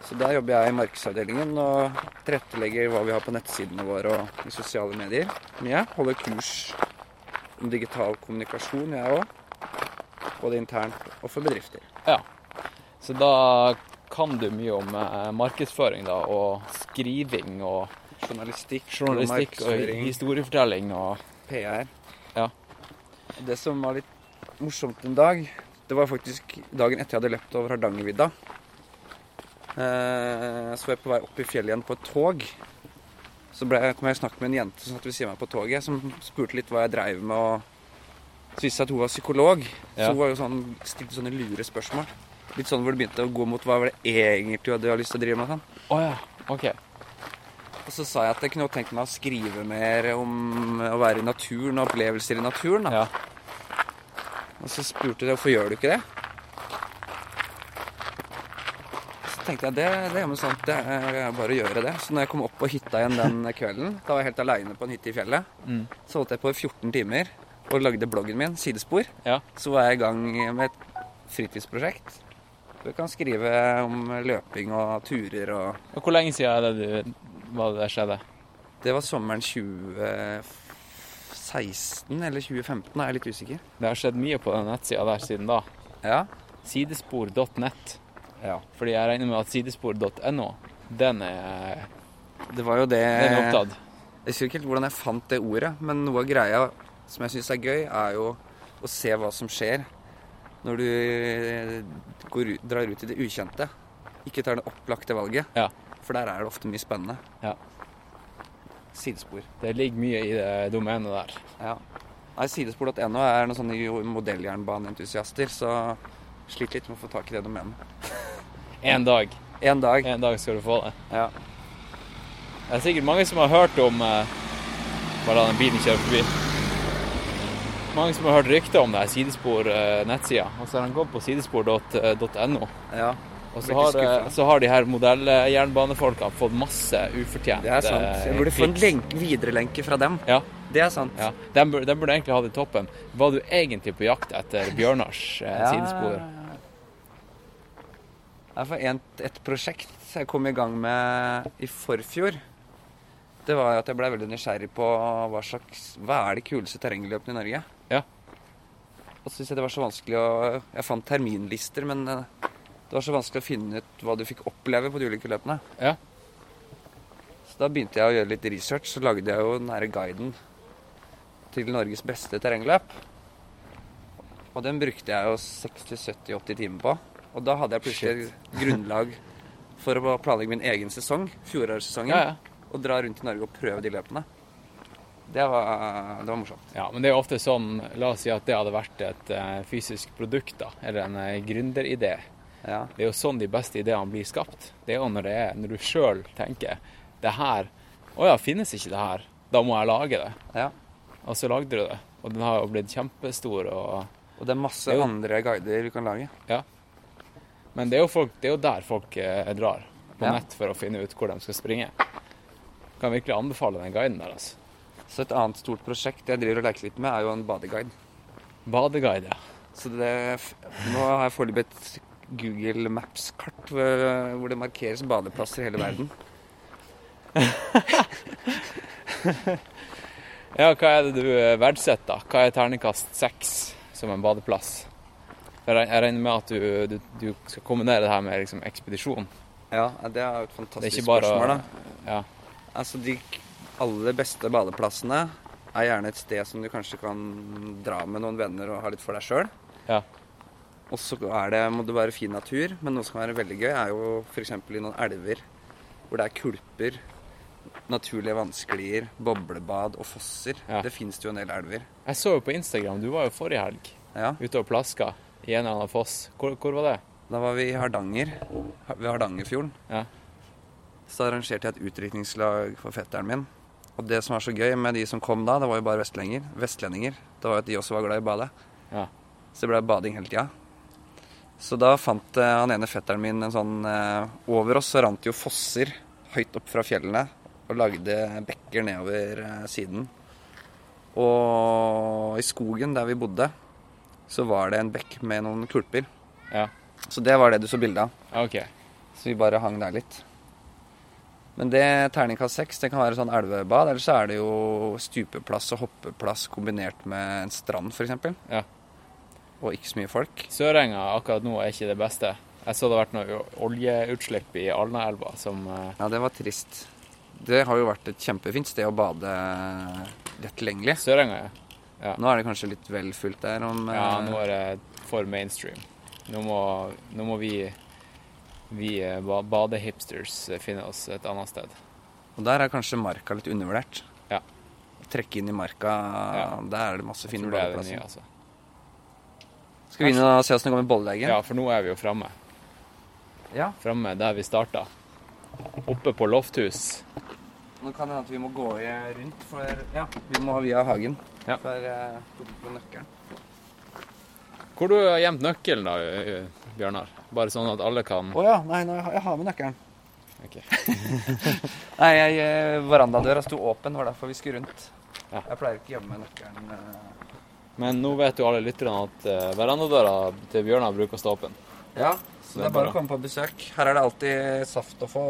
D: Så der jobber jeg i markedsavdelingen og tilrettelegger hva vi har på nettsidene våre og i sosiale medier. Mye. Holder kurs om digital kommunikasjon, jeg òg. Både internt og for bedrifter.
B: Så da kan du mye om eh, markedsføring da, og skriving og
D: Journalistikk,
B: journalistikk og
D: markedsføring,
B: historiefortelling og
D: PR.
B: Ja.
D: Det som var litt morsomt en dag, det var faktisk dagen etter jeg hadde løpt over Hardangervidda. Eh, så var jeg på vei opp i fjellet igjen på et tog. Så ble, jeg- kom jeg i snakk med en jente som satt ved siden av meg på toget, som spurte litt hva jeg dreiv med. og Så viste det seg at hun var psykolog, så
B: Ja.
D: hun var jo sånn, stilte sånne lure spørsmål. Litt sånn hvor det begynte å gå mot hva var det egentlig du har lyst til å drive med. og Sånn.
B: Å ja. OK.
D: Og så sa jeg at jeg kunne jo tenkt meg å skrive mer om å være i naturen og opplevelser i naturen. da.
B: Ja.
D: Og så spurte de hvorfor gjør du ikke det. Så tenkte jeg det, det er jo sant, det er bare å gjøre det. Så når jeg kom opp på hytta igjen den kvelden, da var jeg helt aleine på en hytte i fjellet,
B: Mm.
D: så holdt jeg på i 14 timer. og lagde bloggen min, Sidespor,
B: Ja.
D: så var jeg i gang med et fritidsprosjekt. Du kan skrive om løping og turer og
B: Og hvor lenge siden er det du, var det der skjedde?
D: Det var sommeren 2016 eller 2015, er jeg litt usikker.
B: Det har skjedd mye på den nettsida der siden da.
D: Ja.
B: Sidespor.nett.
D: Ja.
B: Fordi jeg regner med at sidespor.no, den er,
D: Det var jo det
B: den er opptatt.
D: Jeg husker ikke helt hvordan jeg fant det ordet, men noe av greia som jeg syns er gøy, er jo å se hva som skjer når du går, ut- drar ut i det ukjente. Ikke tar det opplagte valget,
B: Ja.
D: for der er det ofte mye spennende.
B: Ja.
D: Sidespor.
B: Det ligger mye i det domenet der.
D: Ja. Nei, sidespor.no er noen sånne jo- modelljernbaneentusiaster, så sliter litt med å få tak i det domenet.
B: En dag.
D: En dag.
B: En dag skal du få det.
D: Ja.
B: Det er sikkert mange som har hørt om eh, Bare la den bilen kjøre forbi. Mange som har hørt rykter om det her sidespor-nettsida. Og så har han gått på eh, sidespor.no.
D: ja.
B: Og
D: Blir
B: så
D: ikke
B: har, eh,
D: skuffet.
B: så har de her modelljernbanefolkene fått masse ufortjent eh,
D: Det er sant. Jeg burde få en lenke, viderelenke fra dem.
B: Ja.
D: Det er sant.
B: Ja, den burde, den burde egentlig ha det i toppen. Var du egentlig på jakt etter Bjørnars eh,
D: Ja,
B: sidespor?
D: ja, ja. Ja, for en, et prosjekt jeg kom i gang med i forfjor, det var jo at jeg ble veldig nysgjerrig på hva slags Hva er de kuleste terrengløpene i Norge?
B: Ja.
D: Og så syntes jeg det var så vanskelig å Jeg fant terminlister, men eh, det var så vanskelig å finne ut hva du fikk oppleve på de ulike løpene.
B: Ja.
D: Så da begynte jeg å gjøre litt research, så lagde jeg jo den herre guiden til Norges beste terrengløp. Og den brukte jeg jo 60-70-80 timer på. Og da hadde jeg plutselig et grunnlag for å planlegge min egen sesong, fjorårssesongen,
B: Ja, ja.
D: og dra rundt i Norge og prøve de løpene. Det var, det var morsomt.
B: Ja, men det er jo ofte sånn La oss si at det hadde vært et eh, fysisk produkt, da, eller en eh, gründeridé.
D: Ja.
B: Det er jo sånn de beste ideene blir skapt. Det er jo når, det er, når du sjøl tenker det her Å ja, finnes ikke det her? Da må jeg lage det.
D: ja.
B: Og så lagde du det. Og den har jo blitt kjempestor. og...
D: Og det er masse
B: Det er jo-
D: andre guider du kan lage.
B: Ja. Men det er jo, folk, det er jo der folk eh, drar på
D: Ja.
B: nett for å finne ut hvor de skal springe. Kan virkelig anbefale den guiden der, altså.
D: Så et annet stort prosjekt jeg driver og leker litt med, er jo en badeguide.
B: Badeguide, ja.
D: Så det, nå har jeg foreløpig et Google Maps-kart hvor, hvor det markeres badeplasser i hele verden.
B: Ja, hva er det du eh, verdsetter? da? Hva er terningkast seks som en badeplass? Jeg reg- jeg regner med at du, du, du skal kombinere det her med liksom ekspedisjon.
D: Ja, det er jo
B: Det
D: et
B: er
D: fantastisk
B: ikke bare
D: spørsmål, da.
B: Ja.
D: Altså, de k- aller beste badeplassene er gjerne et sted som du kanskje kan dra med noen venner og ha litt for deg sjøl.
B: Ja.
D: Og så er det, må det være fin natur, men noe som kan være veldig gøy, er jo f.eks. i noen elver hvor det er kulper, naturlige vannsklier, boblebad og fosser.
B: Ja.
D: Det fins det jo en del elver.
B: Jeg så jo på Instagram, du var jo forrige helg
D: Ja.
B: ute og plaska i en eller annen foss. Hvor, hvor var det?
D: Da var vi i Hardanger, ha- ved Hardangerfjorden.
B: Ja.
D: Så arrangerte jeg et utdrikningslag for fetteren min. Og det som var så gøy med de som kom da, det var jo bare vestlendinger. vestlendinger. Det var jo at de også var glad i å bade.
B: Ja.
D: Så det ble bading hele tida. Så da fant eh, han ene fetteren min en sånn eh, Over oss så rant det jo fosser høyt opp fra fjellene og lagde bekker nedover eh, siden. Og i skogen der vi bodde, så var det en bekk med noen kulper.
B: Ja.
D: Så det var det du så bilde av.
B: Ja, OK.
D: Så vi bare hang der litt. Men det terningkast seks, det kan være sånn elvebad. Eller så er det jo stupeplass og hoppeplass kombinert med en strand, f.eks.
B: Ja.
D: Og ikke så mye folk.
B: Sørenga akkurat nå er ikke det beste. Jeg så det har vært noe oljeutslipp i Alnaelva som eh,
D: Ja, det var trist. Det har jo vært et kjempefint sted å bade lett tilgjengelig.
B: Sørenga er.
D: Nå er det kanskje litt vel fullt der om
B: Ja, nå
D: eh,
B: er det for mainstream. Nå må, nå må vi, vi eh, ba- badehipsters eh, finne oss et annet sted.
D: Og der er kanskje marka litt undervurdert.
B: Ja.
D: Trekke inn i marka,
B: Ja.
D: der er det masse fine
B: Tror det er det nye,
D: badeplasser.
B: altså.
D: Skal vi inn og se åssen det går med bolleleggen?
B: Ja, for nå er vi jo framme.
D: Ja.
B: Framme der vi starta. Oppe på Lofthus.
D: Nå kan det hende at vi må gå i rundt, for ja, vi må via hagen.
B: Ja.
D: For eh, tok vi på nøkkelen.
B: Hvor du har gjemt nøkkelen, da, eh, Bjørnar? Bare sånn at alle kan
D: Å ja, nei, nå, jeg har- jeg har med nøkkelen.
B: Ok.
D: nei, jeg, eh, verandadøra sto åpen, var derfor vi skulle rundt.
B: Ja.
D: Jeg pleier ikke å gjemme nøkkelen eh,
B: Men nå vet jo alle lytterne at eh, verandadøra til Bjørnar bruker å stå åpen.
D: Ja,
B: Det
D: så det
B: er
D: er bare
B: bra.
D: å komme på besøk. Her er det alltid saft å få,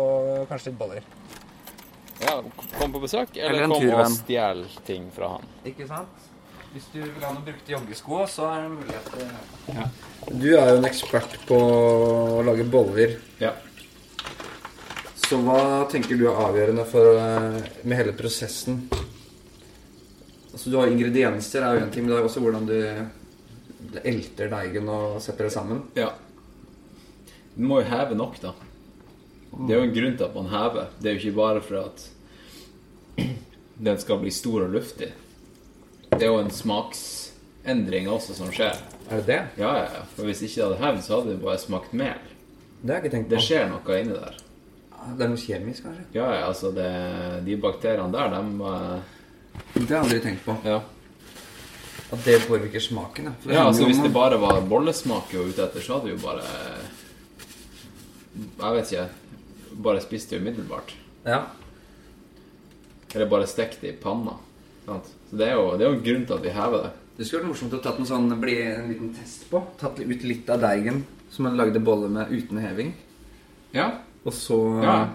D: og kanskje litt boller.
B: Ja, kom på besøk, eller,
D: Eller en
B: kom og
D: turvenn.
B: stjel ting fra han.
D: Ikke sant? Hvis du vil ha noen brukte joggesko, så er det mulighet til Du er jo en ekspert på å lage boller.
B: Ja.
D: Så hva tenker du er avgjørende for, eh, med hele prosessen? Altså, du har ingredienser, er jo en ting, men det er også hvordan du elter deigen og setter det sammen.
B: Ja. Du må jo heve nok, da. Det er jo en grunn til at man hever. Det er jo ikke bare for at den skal bli stor og luftig. Det er jo en smaksendring også som skjer.
D: Er det det?
B: Ja, ja, ja. For hvis ikke det hadde hevd, så hadde det bare smakt mel.
D: Det har jeg ikke tenkt på.
B: Det skjer noe inni der.
D: Det er noe kjemisk, kanskje?
B: Ja, ja, altså det, De bakteriene der, dem eh,
D: Det har jeg aldri tenkt på.
B: Ja.
D: At det påvirker smaken, ja. For det
B: Ja,
D: handler
B: altså
D: jo
B: Hvis
D: om-
B: det bare var bollesmak jeg var ute etter, så hadde vi jo bare eh, Jeg vet ikke. Bare spist det umiddelbart.
D: Ja.
B: Eller bare stekt det i panna. Sant? Så det er, jo, det er jo en grunn til at vi hever det.
D: Det skulle vært morsomt å tatt en sånn bli en liten test på. Tatt ut litt av deigen som man lagde boller med uten heving.
B: Ja,
D: Og så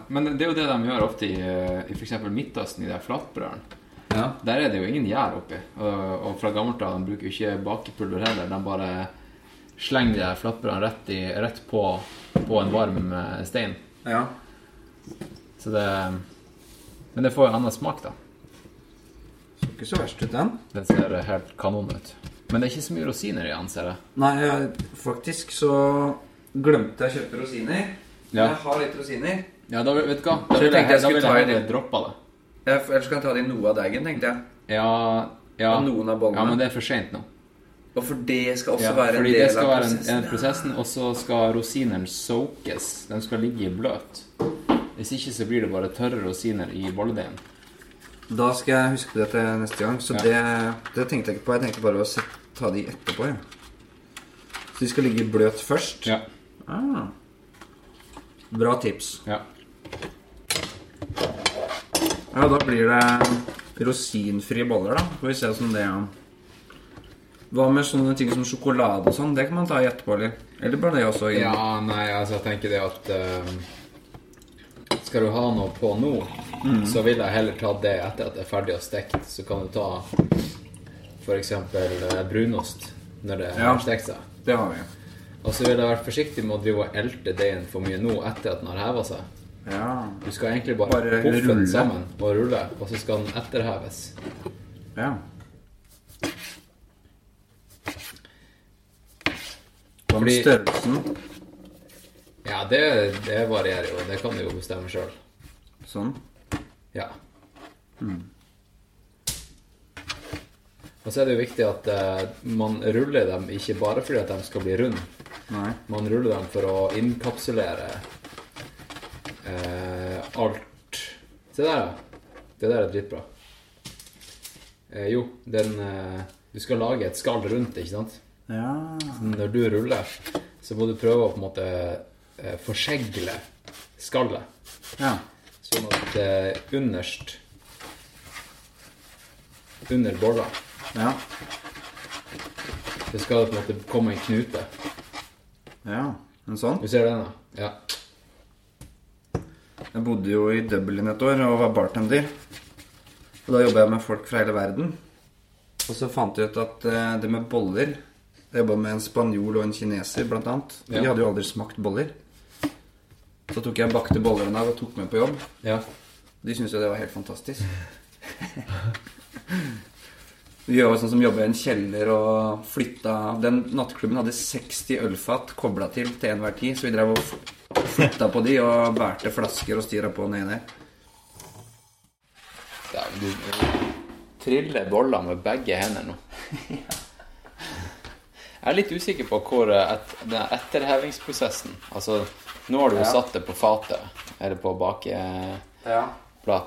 B: men det er jo det de gjør ofte i, eh, i f.eks. Midtøsten, i de flatbrødene.
D: Ja.
B: Der er det jo ingen gjær oppi. Og, og fra gammelt av de bruker jo ikke bakepulver heller. De bare slenger de der flatbrødene rett, i, rett på, på en varm eh, stein.
D: ja.
B: Så det Men det får jo annen smak, da.
D: Så ikke så verst ut, den.
B: Den ser helt kanon ut. Men det er ikke så mye rosiner i den, ser jeg.
D: Nei, jeg- faktisk så glemte jeg å kjøpe rosiner.
B: Ja.
D: Jeg har litt rosiner.
B: Ja, da, vil- vet du hva?
D: Så
B: Da
D: jeg
B: ville
D: tenkte jeg
B: jeg, da
D: skulle
B: vil
D: ta i
B: jeg heller
D: det.
B: droppa det.
D: Jeg, ellers kan jeg ta det i noe av deigen, tenkte jeg.
B: Ja, ja.
D: Og noen av bollene.
B: Ja, men det er for seint nå.
D: Og for det skal også
B: Ja,
D: være en
B: fordi
D: del
B: det skal
D: av
B: være en,
D: prosessen.
B: en prosessen, og så skal rosinene soakes. De skal ligge i bløt. Hvis ikke så blir det bare tørre rosiner i bolledeigen.
D: Da skal jeg huske det til neste gang. Så
B: Ja.
D: det, det tenkte jeg ikke på. Jeg tenkte bare å set- ta de etterpå. Ja. Så de skal ligge i bløt først.
B: Ja.
D: Ah. Bra tips.
B: ja.
D: Ja, da blir det rosinfrie boller, da. Får vi se som det er. Hva med sånne ting som sjokolade og sånn? Det kan man ta i etterpå, eller? Eller bare det også? Inn.
B: nei, altså jeg tenker det at eh, Skal du ha noe på nå,
D: Mm.
B: så vil jeg heller ta det etter at det er ferdig og stekt. Så kan du ta f.eks. brunost når det
D: Ja. har
B: stekt seg.
D: Det har vi.
B: Og så vil jeg være forsiktig med å drive og elte deigen for mye nå etter at den har heva seg.
D: Ja.
B: Du skal egentlig bare,
D: Bare
B: puffe den
D: rulle.
B: sammen og rulle, og så skal den etterheves.
D: ja. Hva med
B: Fordi-
D: størrelsen?
B: Ja, det, det varierer jo. Det kan du jo bestemme sjøl.
D: Sånn.
B: Ja. Og så er det jo viktig at eh, man ruller dem ikke bare fordi at de skal bli runde.
D: Nei.
B: Man ruller dem for å innkapsulere eh, alt Se der, ja. Det der er dritbra. Eh, jo, den eh, Du skal lage et skall rundt, ikke sant?
D: Ja.
B: Når du ruller, så må du prøve å på en måte eh, forsegle skallet.
D: ja.
B: Sånn at eh, underst Under bolla
D: Ja.
B: så skal det på en måte komme en knute.
D: Ja. En sånn.
B: Du ser den, da? Ja.
D: Jeg bodde jo i Dublin et år og var bartender. Og da jobba jeg med folk fra hele verden. Og så fant jeg ut at eh, det med boller Jeg jobba med en spanjol og en kineser, blant annet. De
B: Ja.
D: hadde jo aldri smakt boller. Så tok jeg bakte boller en dag og tok med på jobb.
B: ja.
D: De syntes jo det var helt fantastisk. Vi var sånn som jobba i en kjeller og flytta Den nattklubben hadde 60 ølfat kobla til til enhver tid, så vi drev og f- flytta på de og bærte flasker og styra på nedi der.
B: ja men du triller bolla med begge hender nå. Jeg er litt usikker på hvor eh, et, den etterhevingsprosessen Altså, nå har du jo satt det på fatet, eller på bakeplata.
D: Ja.
B: Jeg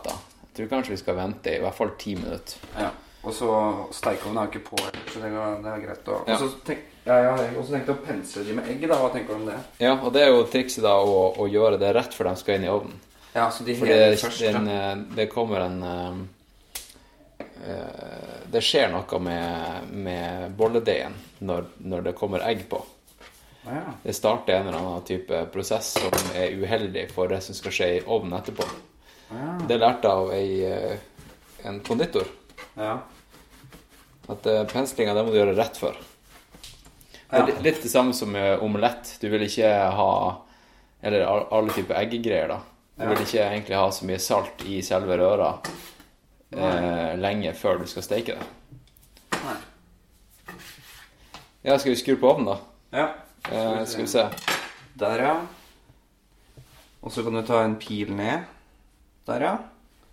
B: tror kanskje vi skal vente i hvert fall ti minutter.
D: ja. Og så Steikeovnen er jo ikke på, så det er, det er greit å
B: Ja.
D: Og så tenk, ja, ja, jeg har også tenkt å pense de med egg, da. Hva tenker du om det?
B: Ja, og det er jo trikset da å, å gjøre det rett før de skal inn i ovnen.
D: Ja, så de
B: For det,
D: hele først.
B: den,
D: da.
B: eh, det kommer en eh, eh, Det skjer noe med, med bolledeigen når, når det kommer egg på.
D: Ja.
B: Det starter en eller annen type prosess som er uheldig for det som skal skje i ovnen etterpå. Det lærte jeg av ei, eh, en konditor.
D: Ja.
B: At eh, penslinga, det må du gjøre rett for. Det er li- litt det samme som med omelett. Du vil ikke ha Eller al- alle typer eggegreier, da. Du vil ikke egentlig ha så mye salt i selve røra eh, lenge før du skal steike det.
D: Nei.
B: Ja, skal vi skru på ovnen, da?
D: Ja.
B: Eh, skal vi se.
D: Der, ja. Og så kan du ta en pil ned. Der, ja.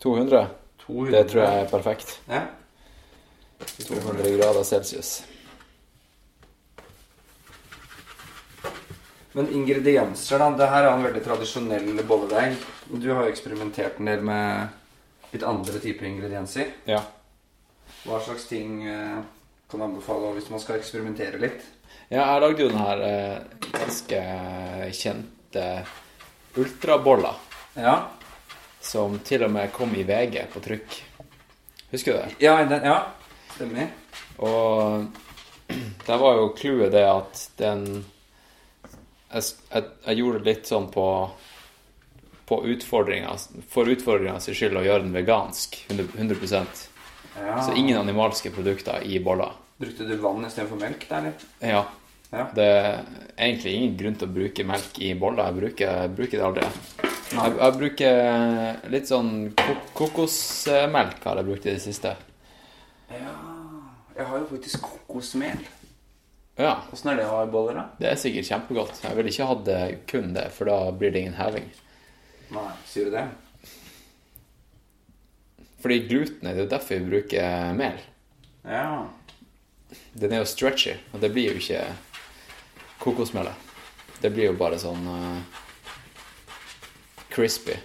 B: 200?
D: 200.
B: Det tror jeg er perfekt.
D: Ja.
B: 200 grader celsius.
D: Men ingredienser, da. Det her er en veldig tradisjonell bolledeig. Du har jo eksperimentert en del med litt andre typer ingredienser.
B: Ja.
D: Hva slags ting eh, kan du anbefale hvis man skal eksperimentere litt?
B: Ja, jeg lagde jo den her eh, ganske kjente ultrabolla,
D: Ja.
B: som til og med kom i VG på trykk. Husker du det?
D: Ja, den, ja. Stemmer.
B: Og der var jo clouet det at den jeg, s- jeg, jeg gjorde det litt sånn på på utfordringa for utfordringa sin skyld å gjøre den vegansk 100, 100
D: Ja.
B: Så ingen animalske produkter i bolla.
D: Brukte du vann istedenfor melk der, eller?
B: Ja.
D: Ja.
B: Det er egentlig ingen grunn til å bruke melk i boller. Jeg bruker, jeg bruker det aldri. Jeg, jeg bruker litt sånn ko kokosmelk har jeg brukt i det siste.
D: Jeg har jo faktisk kokosmel.
B: Ja,
D: Åssen er det å ha i boller, da?
B: det er sikkert kjempegodt. Jeg ville ikke hatt det- kun det, for da blir det ingen heving.
D: Nei, sier du det?
B: Fordi gluten er det jo derfor vi bruker mel.
D: Ja.
B: Den er jo stretchy, og det blir jo ikke kokosmelet. Det blir jo bare sånn eh, crispy.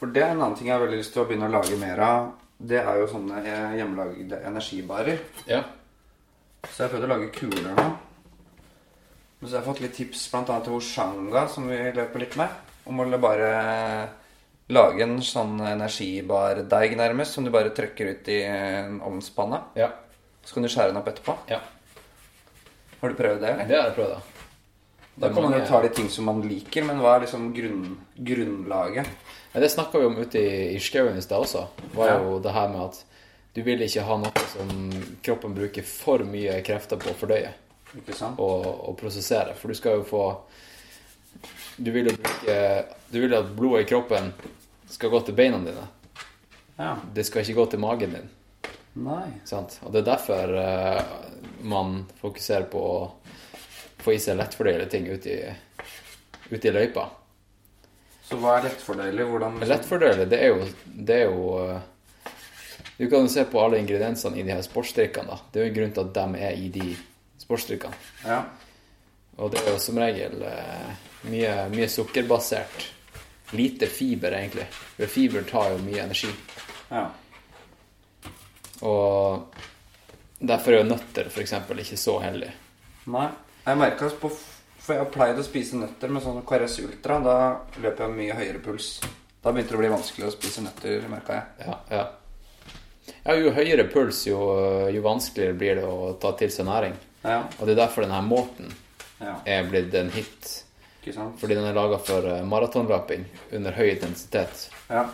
D: For det er en annen ting jeg har veldig lyst til å begynne å lage mer av. Det er jo sånne eh, hjemmelagde energibarer.
B: Ja.
D: Så jeg har prøvd å lage kuler nå. Men så har jeg fått litt tips blant annet til Oshanga, som vi løper litt med. Om å bare eh, lage en sånn energibardeig nærmest, som du bare trykker ut i en ovnspanne.
B: Ja.
D: Så kan du skjære den opp etterpå.
B: ja.
D: Har du prøvd det? eller?
B: Det har jeg prøvd, da.
D: Da kan man jo
B: mange-
D: ta de ting som man liker, men hva er liksom grunn, grunnlaget?
B: Ja, det snakka vi om ute i, i skauen i stad også. var
D: Ja.
B: jo det her med at du vil ikke ha noe som kroppen bruker for mye krefter på å fordøye
D: Ikke sant?
B: og, og prosessere. For du skal jo få Du vil jo bruke Du vil at blodet i kroppen skal gå til beina dine.
D: Ja.
B: Det skal ikke gå til magen din.
D: Nei.
B: Sant? Og det er derfor eh, man fokuserer på å få i seg lettfordøyelige ting ute i, ute i løypa.
D: Så hva er lettfordøyelig? Hvordan
B: Lettfordøyelig, det er jo, det er jo eh, Du kan jo se på alle ingrediensene i de her sportsdrikkene. da. Det er jo en grunn til at de er i de sportsdrikkene.
D: Ja.
B: Og det er jo som regel eh, mye, mye sukkerbasert. Lite fiber, egentlig. For fiber tar jo mye energi.
D: ja.
B: Og derfor er jo nøtter f.eks. ikke så heldig.
D: Nei. Jeg merka på f- For jeg har pleid å spise nøtter med sånn KRS Ultra. Da løper jeg mye høyere puls. Da begynte det å bli vanskelig å spise nøtter, merka jeg.
B: Ja, ja. ja, jo høyere puls, jo, jo vanskeligere blir det å ta til seg næring.
D: Ja.
B: Og det er derfor denne måten
D: ja.
B: er blitt en hit.
D: Ikke sant?
B: Fordi den er laga for eh, maratonløping under høy intensitet.
D: Ja.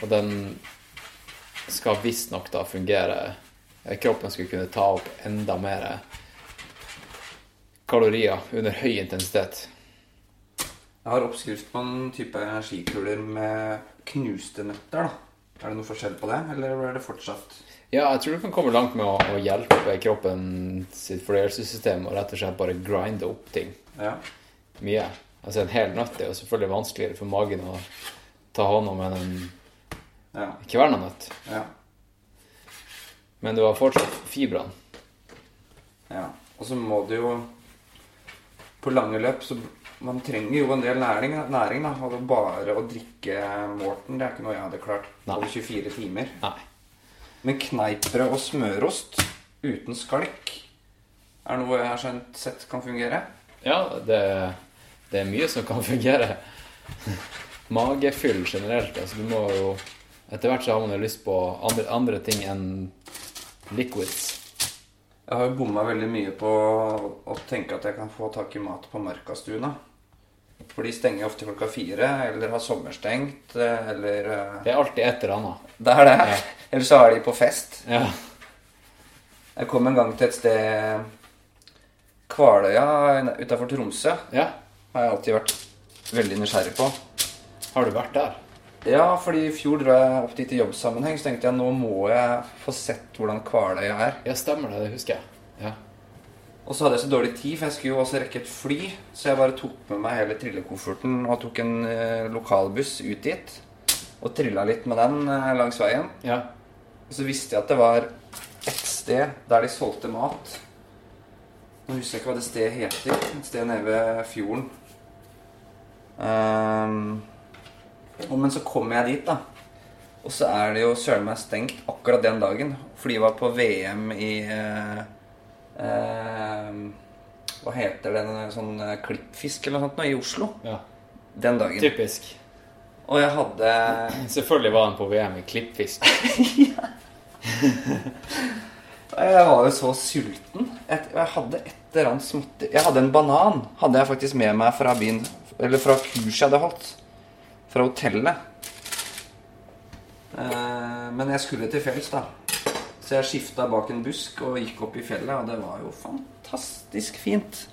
B: Og den skal visstnok da fungere eh, Kroppen skulle kunne ta opp enda mer kalorier under høy intensitet.
D: Jeg har oppskrift på en type energikuler med knuste nøtter, da. Er det noe forskjell på det, eller er det fortsatt
B: Ja, jeg tror du kan komme langt med å, å hjelpe kroppen sitt fordøyelsessystem og rett og slett bare grinde opp ting
D: Ja.
B: mye. Altså En hel nøtt er jo selvfølgelig vanskeligere for magen å ta hånd om enn en
D: Ja.
B: kverna nøtt.
D: Ja.
B: Men du har fortsatt fibrene.
D: Ja, og så må du jo På lange løp så Man trenger jo en del næring, næring da. Og det bare å drikke Morten, det er ikke noe jeg hadde klart
B: Nei.
D: over 24 timer.
B: Nei.
D: Men kneippbrød og smørost uten skalk er noe jeg har skjønt sett kan fungere.
B: Ja, det, det er mye som kan fungere. Magefyll generelt. Altså, du må jo Etter hvert så har man jo lyst på andre, andre ting enn
E: Liquids.
D: Jeg har jo bomma veldig mye på å tenke at jeg kan få tak i mat på Markastuna. For de stenger ofte klokka fire, eller har sommerstengt, eller eh,
E: Det er alltid et eller annet.
D: Det er det. Eller så er de på fest.
E: Ja.
D: Jeg kom en gang til et sted Kvaløya utafor Tromsø.
E: ja.
D: Har jeg alltid vært veldig nysgjerrig på.
E: Har du vært der?
D: Ja, fordi i fjor dro jeg opp dit i jobbsammenheng, så tenkte jeg nå må jeg få sett hvordan Kvaløya er.
E: Ja, stemmer det. Det husker jeg. Ja.
D: Og så hadde jeg så dårlig tid, for jeg skulle jo også rekke et fly. Så jeg bare tok med meg hele trillekofferten og tok en eh, lokalbuss ut dit. Og trilla litt med den eh, langs veien.
E: ja.
D: Og så visste jeg at det var et sted der de solgte mat. Nå husker jeg ikke hva det stedet heter. Et sted nede ved fjorden. Ehm, og men så kommer jeg dit, da. Og så er det jo søren meg stengt akkurat den dagen. For de var på VM i eh, ehm, Hva heter den sånn eh, klippfisk eller noe sånt nå, i Oslo?
E: ja.
D: Den dagen.
E: Typisk.
D: Og jeg hadde
E: Selvfølgelig var han på VM i klippfisk.
D: Jeg var jo så sulten. Jeg, jeg hadde et eller annet småtteri. Jeg hadde en banan hadde jeg faktisk med meg fra byen, eller fra kurset jeg hadde holdt. Fra hotellet. Eh, men jeg skulle til fjells, da. Så jeg skifta bak en busk og gikk opp i fjellet, og det var jo fantastisk fint.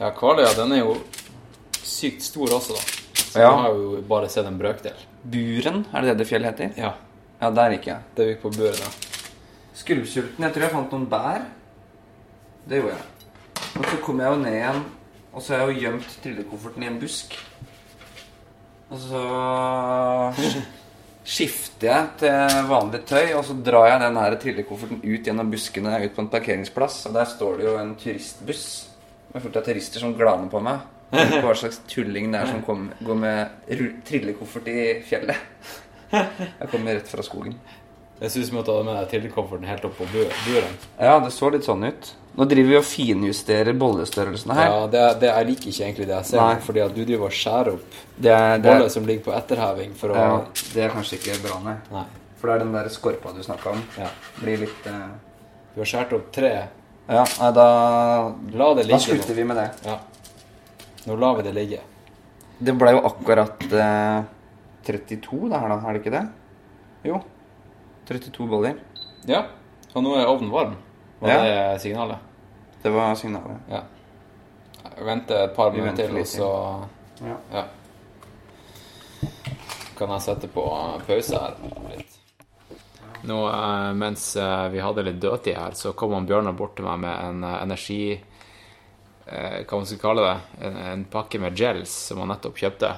E: Ja, Kvaløya den er jo sykt stor også, da. Så
D: Ja.
E: jeg har jo bare sett en brøkdel.
D: Buren, er det det det fjellet heter?
E: Ja.
D: Ja, der gikk jeg.
E: Det vi gikk på buret da.
D: Skrubbsulten. Jeg tror jeg fant noen bær. Det gjorde jeg. Og så kom jeg jo ned igjen, og så har jeg jo gjemt trillekofferten i en busk. Og så skifter jeg til vanlig tøy, og så drar jeg den her trillekofferten ut gjennom buskene ut på en parkeringsplass. Og der står det jo en turistbuss med fullt av turister som glaner på meg. Jeg vet ikke Hva slags tulling det er som kom, går med rull- trillekoffert i fjellet. Jeg kommer rett fra skogen.
E: Jeg synes vi må ta med deg trillekofferten helt opp på bu- buren.
D: Ja, det så litt sånn ut. Nå driver vi og finjusterer bollestørrelsene her.
E: Ja, det, det, jeg liker ikke egentlig det jeg ser,
D: Nei.
E: fordi at du driver og skjærer opp
D: Det, er, det,
E: boller
D: er,
E: som ligger på etterheving for å
D: ja, det er kanskje ikke bra, nei.
E: Nei.
D: For det er den der skorpa du snakka om.
E: Ja.
D: Blir litt eh,
E: Du har skåret opp tre.
D: Ja, nei, da
E: La det
D: Da
E: ligge.
D: slutter vi med det.
E: nå. Ja. Nå lar vi det ligge.
D: Det ble jo akkurat eh, 32 det her, da. Er det ikke det? Jo. 32 boller.
E: Ja. Og nå er ovnen varm. Var
D: Ja.
E: det signalet?
D: Det var signalet.
E: Ja. Jeg venter et par
D: Vi
E: minutter
D: venter
E: til, og
D: litt
E: så
D: Ja.
E: ja. Kan jeg sette på pause her litt?
B: Nå, eh, mens eh, vi hadde litt dødtid her, så kom han Bjørnar bort til meg med en eh, energi... Eh, hva man skal kalle det? En, en pakke med gels som han nettopp kjøpte.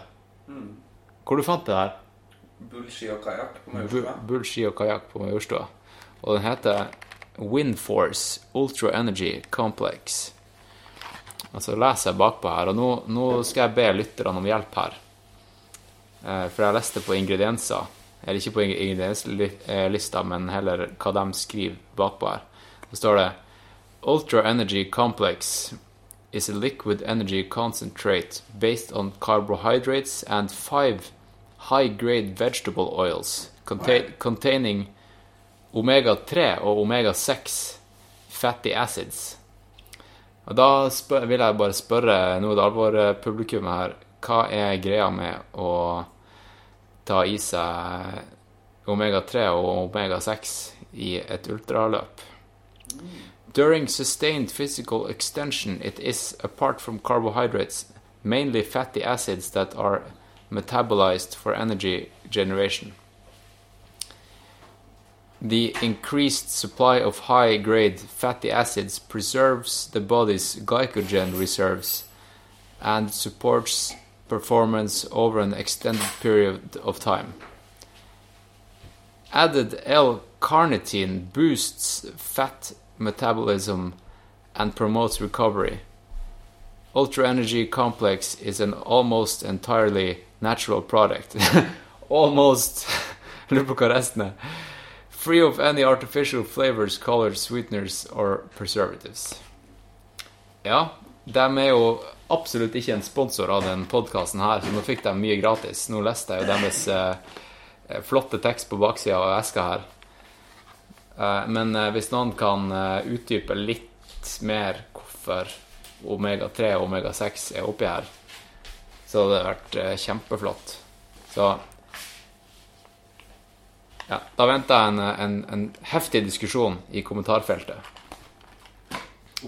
D: Mm.
B: Hvor du fant det der?
D: Bull, ski og kajakk på
B: Bu- Bull ski og kajakk på Majorstua. Og den heter Windforce Ultra Energy Complex. Altså leser jeg bakpå her, og nå, nå skal jeg be lytterne om hjelp her. Eh, For jeg leste på ingredienser, eller ikke på ing- ingredienslista, men heller hva de skriver bakpå her. Så står det Ultra Energy Complex is a liquid energy concentrate based on carbohydrates and five high-grade vegetable oils contain, containing omega-3 og omega-6 fatty acids. Og da spør, vil jeg bare spørre noe av det alvorlige publikummet eh, her. Hva er greia med å ta i seg omega-3 og omega-6 i et ultraløp? During sustained physical extension, it is, apart from carbohydrates, mainly fatty acids that are metabolized for energy generation. The increased supply of high grade fatty acids preserves the body's glycogen reserves and supports performance over an extended period of time. Added L carnitine boosts fat metabolism and promotes recovery. Ultra Energy Complex is an almost entirely natural product. almost. Lurer på hva resten er. Free of any artificial flavors, colors, sweeteners or preservatives. Ja, de er jo absolutt ikke en sponsor av den podkasten her, så nå fikk de mye gratis. Nå Eh, leste jeg jo deres eh, flotte tekst på baksida av eska her. Eh, Men eh, hvis noen kan eh, utdype litt mer hvorfor omega-3 og omega-6 er oppi her, så hadde det vært eh, kjempeflott. Så ja, da venter jeg en, eh, en, en heftig diskusjon i kommentarfeltet.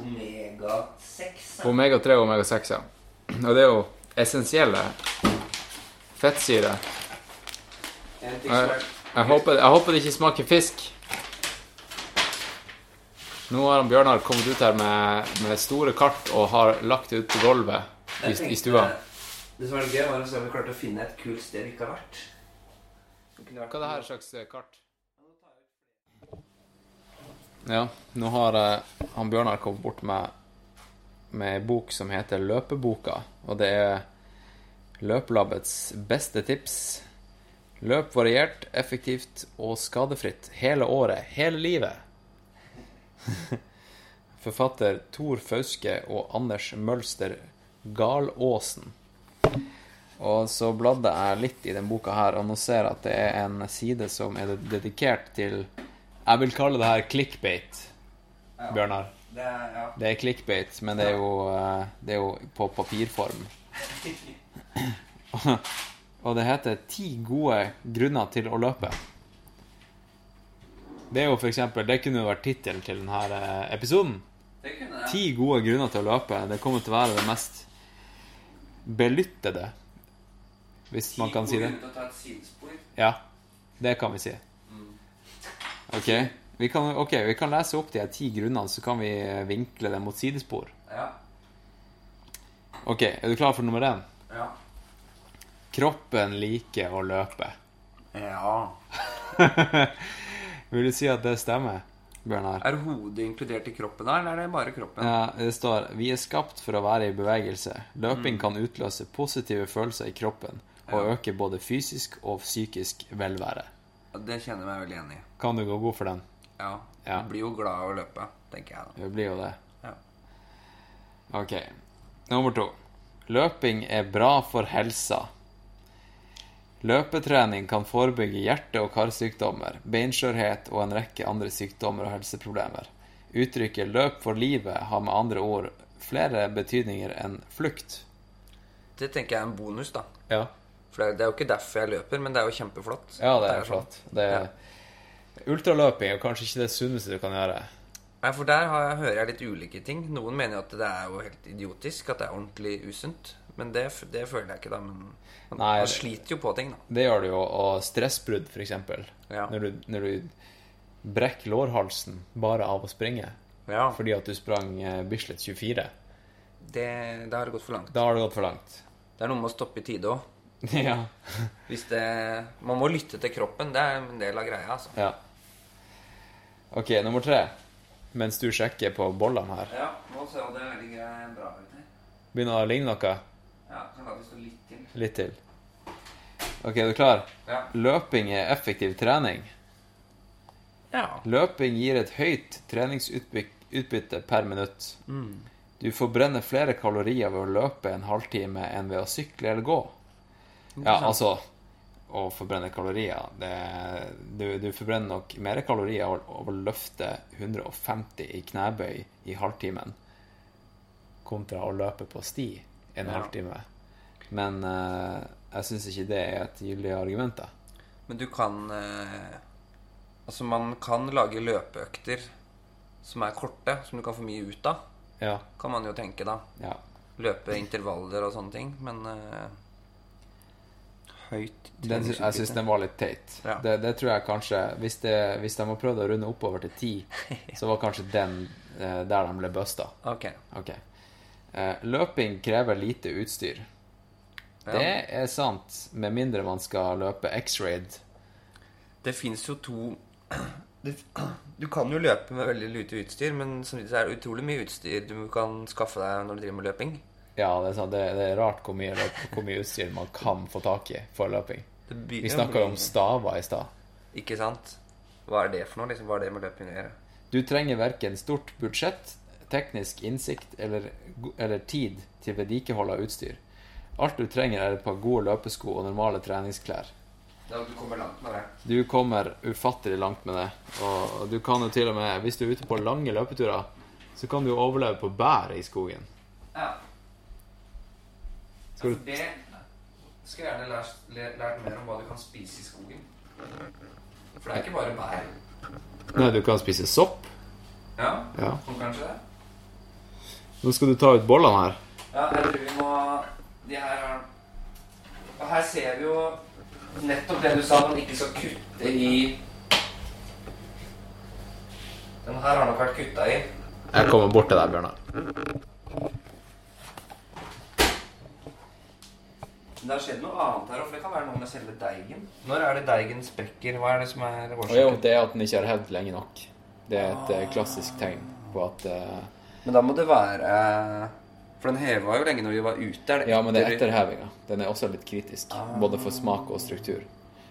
F: Omega 6.
B: Omega-3 og omega-6, ja. Og det er jo essensielle fettsyre.
D: En ting som
B: Jeg,
D: er-
B: jeg, håper, jeg håper det ikke smaker fisk. Nå har han Bjørnar kommet ut her med, med store kart og har lagt det ut på gulvet i, i
D: Jeg tenkte-
B: stua.
D: Det som var litt gøy, var å se om vi klarte å finne et kult sted vi ikke har vært. Det kunne vært
B: Hva er det her slags eh, kart? Ja, nå har eh, han Bjørnar kommet bort med med ei bok som heter Løpeboka, og det er Løplabbets beste tips. Løp variert, effektivt og skadefritt hele året, hele livet. Forfatter Tor Fauske og Anders Mølster Galåsen. Og så bladde jeg litt i den boka her, og nå ser jeg at det er en side som er dedikert til Jeg vil kalle det her clickbait, Bjørnar.
D: Det er, ja.
B: Det er clickbait, men det er jo, eh, det er jo på papirform. Og det heter 'Ti gode grunner til å løpe'. Det er jo for eksempel, det kunne jo vært tittelen til denne eh, episoden.
D: Det kunne jeg.
B: Ti gode grunner til å løpe. Det kommer til å være det mest belyttede, hvis man kan si det.
D: Å ta et sidespor.
B: Ja, det kan vi si. Ok, vi kan, ok, vi kan lese opp de her ti grunnene, så kan vi eh, vinkle det mot sidespor.
D: Ja.
B: Ok, er du klar for nummer én?
D: Ja.
B: Kroppen liker å løpe.
D: ja.
B: Vil du si at det stemmer, Bjørnar?
D: Er hodet inkludert i kroppen da, eller er det bare kroppen?
B: Ja, det står Vi er skapt for å være i bevegelse. Løping kan utløse positive følelser i kroppen og øke både fysisk og psykisk velvære.
D: Det kjenner jeg meg veldig enig i.
B: Kan du gå god for den?
D: Ja.
B: Ja.
D: Du blir jo glad av å løpe, tenker jeg da.
B: Det blir jo det.
D: Ja.
B: Ok. Nummer to. Løping er bra for helsa. Løpetrening kan forebygge hjerte- og karsykdommer, beinskjørhet og en rekke andre sykdommer og helseproblemer. Uttrykket 'løp for livet' har med andre ord flere betydninger enn flukt.
D: Det tenker jeg er en bonus, da.
B: Ja.
D: For det er- det er jo ikke derfor jeg løper, men det er jo kjempeflott.
B: Ja, det
D: At
B: er
D: sånn.
B: flott. Det er... Ultraløping er kanskje ikke det sunneste du kan gjøre.
D: Nei, for der har jeg, hører jeg litt ulike ting. Noen mener jo at det er jo helt idiotisk, at det er ordentlig usunt. Men det, f- det føler jeg ikke, da. Men man,
B: Nei,
D: man
B: det-
D: sliter jo på ting, da.
B: Det gjør du jo, og stressbrudd, for eksempel.
D: Ja.
B: Når, du, når du brekker lårhalsen bare av å springe
D: Ja,
B: fordi at du sprang eh, Bislett 24.
D: det, det har gått for langt.
B: Da har det gått for langt.
D: Det er noe med å stoppe i tide òg.
B: ja.
D: Hvis det Man må lytte til kroppen. Det er en del av greia, altså.
B: ja. OK, nummer tre. Mens du sjekker på bollene her.
D: Ja, nå ser det veldig bra ut her.
B: Begynner det å ligne noe?
D: Ja, kan la det stå litt til.
B: Litt til. OK, er du klar?
D: Ja.
B: Løping er effektiv trening.
D: ja.
B: Løping gir et høyt treningsutbytte per minutt. Du forbrenner flere kalorier ved å løpe en halvtime enn ved å sykle eller gå. Ja, altså Å forbrenne kalorier det, du, du forbrenner nok mer kalorier av av å løfte 150 i knebøy i halvtimen kontra å løpe på sti en halvtime. Men eh, jeg syns ikke det er et gyldig argument, da.
D: Men du kan eh, Altså, man kan lage løpeøkter som er korte, som du kan få mye ut av.
B: Ja.
D: Kan man jo tenke, da.
B: ja.
D: løpe intervaller og sånne ting, men eh, høyt
B: Den, sy- jeg syns den var litt teit.
D: Ja.
B: Det, det tror jeg kanskje hvis, det, hvis de har prøvd å runde oppover til ti, så var kanskje den eh, der de ble busta.
D: Ok.
B: Ok. Eh, løping krever lite utstyr.
D: Ja.
B: Det
D: Det,
B: er sant, med mindre man skal løpe X-raid.
D: fins jo to det, Du kan jo løpe med veldig lite utstyr, men samtidig så er det utrolig mye utstyr du kan skaffe deg når du driver med løping.
B: Ja, det er, sant, det, det er rart hvor mye, løp- hvor mye utstyr man kan få tak i for løping.
D: Det begynner-
B: Vi snakka jo om staver i stad.
D: Ikke sant? Hva er det for noe? liksom? Hva er det med løping å gjøre?
B: Du trenger verken stort budsjett, teknisk innsikt eller, eller tid til vedlikehold av utstyr. Alt du trenger, er et par gode løpesko og normale treningsklær.
D: Ja, du kommer langt med det.
B: Du kommer ufattelig langt med det. Og du kan jo til og med, hvis du er ute på lange løpeturer, så kan du jo overleve på bær i skogen.
D: Ja.
B: Skal du-
D: for det skal jeg gjerne lært, lært mer om hva du kan spise i skogen. For det er ikke bare bær.
B: Nei, du kan spise sopp.
D: Ja,
B: Ja.
D: sånn kanskje det?
B: Nå skal du ta ut bollene her.
D: Ja, jeg tror vi må De her har Og her ser vi jo nettopp det du sa, at man ikke skal kutte i Den her har nok vært kutta i.
B: Jeg kommer bort til deg, Bjørnar.
D: Men det har skjedd noe annet her òg, for det kan være noe med selve deigen. Når er det deigen sprekker? Hva er det som er
B: Jo,
D: årsaken?
B: det er at den ikke har hevd lenge nok. Det er et eh, klassisk tegn på at eh,
D: Men da må det være For den heva jo lenge når vi var ute. Er det
B: Ja, men det er etterhevinga. Den er også litt kritisk, både for smak og struktur.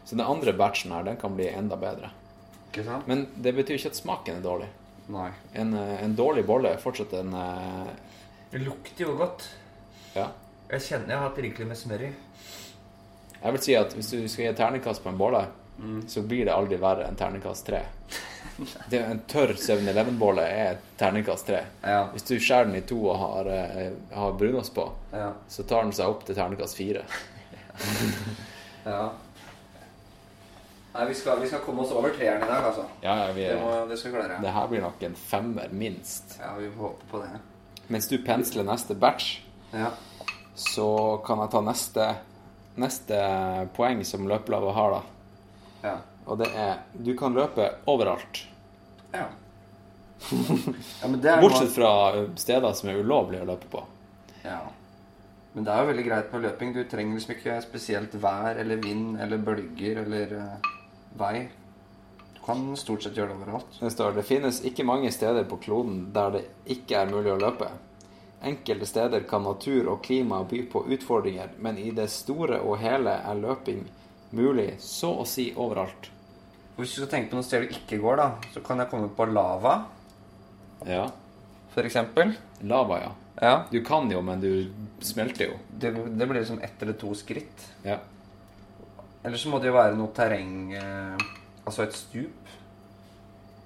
B: Så den andre batchen her, den kan bli enda bedre.
D: Ikke sant?
B: Men det betyr ikke at smaken er dårlig.
D: Nei.
B: En, eh, en dårlig bolle er fortsatt en eh,
D: Det lukter jo godt.
B: Ja.
D: Jeg kjenner jeg har hatt rikelig med smør i.
B: Jeg vil si at hvis du skal gi et terningkast på en bolle, så blir det aldri verre enn terningkast tre. Det er en tørr 7-Eleven-bolle er terningkast tre.
D: Ja.
B: Hvis du skjærer den i to og har, eh, har brunost på,
D: Ja.
B: så tar den seg opp til terningkast fire.
D: ja. Nei, vi skal, vi skal komme oss over treeren i dag, altså.
B: Ja, ja, vi
D: Det, må,
B: er,
D: det skal vi klare.
B: det her blir nok en femmer, minst.
D: Ja, vi får håpe på det.
B: Mens du pensler neste batch,
D: Ja.
B: så kan jeg ta neste, neste poeng som løpelava har, da.
D: Ja.
B: Og det er du kan løpe overalt.
D: ja. ja men det er noe-
B: Bortsett fra steder som er ulovlige å løpe på.
D: Ja. Men det er jo veldig greit med løping. Du trenger liksom ikke spesielt vær eller vind eller bølger eller eh, vei. Du kan stort sett gjøre det overalt.
B: Det står det finnes ikke mange steder på kloden der det ikke er mulig å løpe. Enkelte steder kan natur og klima by på utfordringer, men i det store og hele er løping mulig så å si overalt.
D: Og hvis du skal tenke på noen steder du ikke går, da, så kan jeg komme på lava,
B: Ja.
D: for eksempel.
B: Lava, ja.
D: Ja.
B: Du kan jo, men du smelter jo.
D: Det, det blir liksom ett eller to skritt.
B: Ja.
D: Eller så må det jo være noe terreng eh, Altså et stup.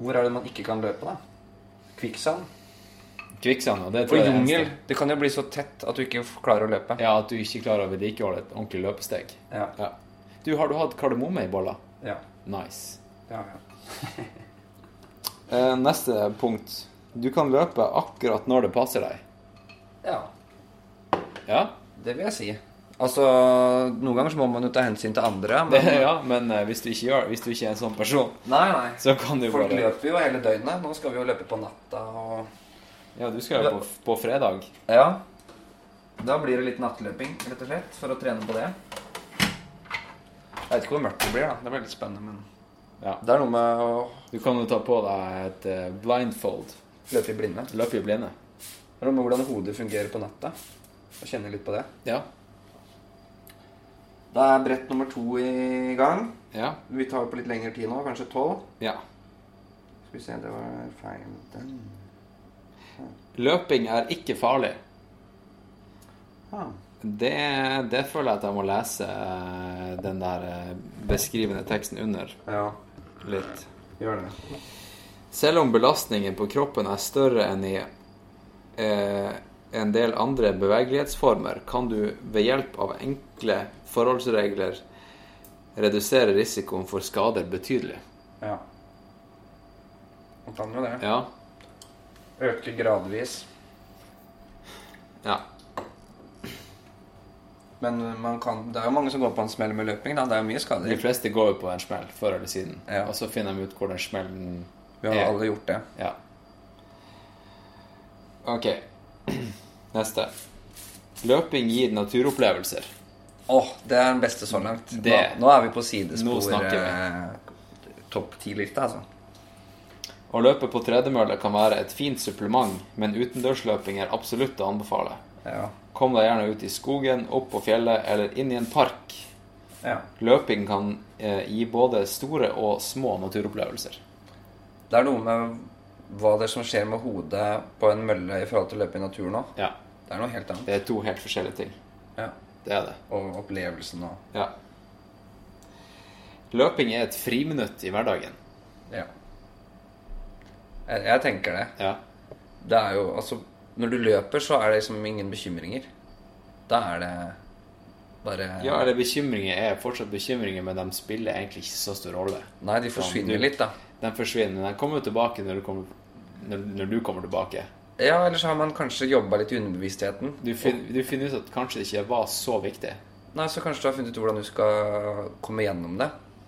D: Hvor er det man ikke kan løpe, da? Kvikksand?
B: Kvikksand, og det
D: Og
B: tror jeg er
D: jungel.
B: eneste-
D: Det kan jo bli så tett at du ikke f- klarer å løpe.
B: Ja, at du ikke klarer å vedlikeholde et ordentlig løpesteg.
D: Ja.
B: Ja. Du, har du hatt kardemomme i bolla?
D: Ja.
B: Nice.
D: ja, ja.
B: Eh, neste punkt. Du kan løpe akkurat når det passer deg.
D: ja.
B: Ja?
D: Det vil jeg si. Altså, noen ganger så må man jo ta hensyn til andre.
B: Det,
D: Men...
B: ja, men eh, hvis du ikke gjør Hvis du ikke er en sånn person,
D: Nei, nei.
B: så kan du
D: Folk
B: bare
D: løper jo hele døgnet. Nå skal vi jo løpe på natta og
B: Ja, du skal jo på, på fredag.
D: Ja. Da blir det litt nattløping, rett og slett, for å trene på det. Jeg vet ikke hvor mørkt det blir, da. Det blir litt spennende, men
B: Ja.
D: Det er noe med å
B: Du kan jo ta på deg et eh, blindfold.
D: løpe i blinde.
B: Løpe i blinde.
D: Det er noe med hvordan hodet fungerer på natta. Og kjenne litt på det.
B: Ja.
D: Da er brett nummer to i gang.
B: Ja.
D: Vi tar på litt lengre tid nå, kanskje tolv.
B: ja.
D: Skal vi se, det var feil den.
B: Løping er ikke farlig.
D: Ah.
B: Det, det føler jeg at jeg må lese eh, den der eh, beskrivende teksten under
D: Ja,
B: litt.
D: gjør det.
B: Selv om belastningen på kroppen er større enn i eh, en del andre bevegelighetsformer, kan du ved hjelp av enkle forholdsregler redusere risikoen for skader betydelig.
D: Ja. Man kan jo det.
B: Ja.
D: Øke gradvis.
B: ja.
D: Men man kan, det er jo mange som går på en smell med løping, da. Det er jo mye
B: De
D: skader.
B: fleste går jo på en smell før eller siden,
D: Ja.
B: og så finner de ut hvor den smellen
D: Vi har alle gjort det.
B: Ja. Ok. Neste. Løping gir naturopplevelser.
D: Åh, det er den beste så langt. Nå,
B: Det-
D: nå er vi på
B: Nå
D: sidespor
B: snakker
D: eh, topp ti-lista, altså.
B: Å løpe på tredemølle kan være et fint supplement, men utendørsløping er absolutt å anbefale.
D: Ja.
B: Kom deg gjerne ut i skogen, opp på fjellet eller inn i en park.
D: ja.
B: Løping kan eh, gi både store og små naturopplevelser.
D: Det er noe med hva det er som skjer med hodet på en mølle i forhold til å løpe i naturen òg.
B: Ja.
D: Det er noe helt annet.
B: Det er to helt forskjellige ting.
D: Ja.
B: Det er det.
D: Og opplevelsen og
B: Ja. Løping er et friminutt i hverdagen.
D: Ja. Jeg, jeg tenker det.
B: Ja.
D: Det er jo Altså, når du løper, så er det liksom ingen bekymringer. Da er det bare
B: ja, eller bekymringer er fortsatt bekymringer, men de spiller egentlig ikke så stor rolle.
D: Nei, de forsvinner
B: Sånn, du-
D: litt, da.
B: De forsvinner, men de kommer jo tilbake når du kommer, når, når du kommer tilbake.
D: Ja, eller så har man kanskje jobba litt i underbevisstheten.
B: Du, fin, du finner ut at kanskje det ikke var så viktig.
D: Nei, så kanskje du har funnet ut hvordan du skal komme gjennom det.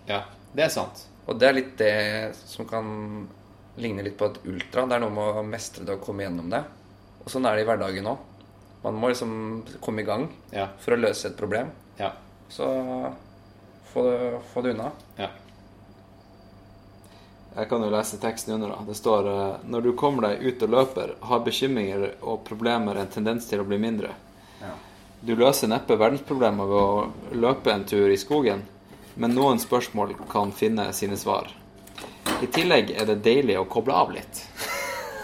B: Ja, det er sant.
D: Og det er litt det som kan ligne litt på et ultra. Det er noe med å mestre det og komme gjennom det. Og sånn er det i hverdagen òg. Man må liksom komme i gang
B: Ja,
D: for å løse et problem.
B: ja,
D: Så få det, få det unna.
B: ja. Jeg kan jo lese teksten under, da. Det står eh, Når du kommer deg ut og løper, har bekymringer og problemer en tendens til å bli mindre. Du løser neppe verdensproblemer ved å løpe en tur i skogen, men noen spørsmål kan finne sine svar. I tillegg er det deilig å koble av litt.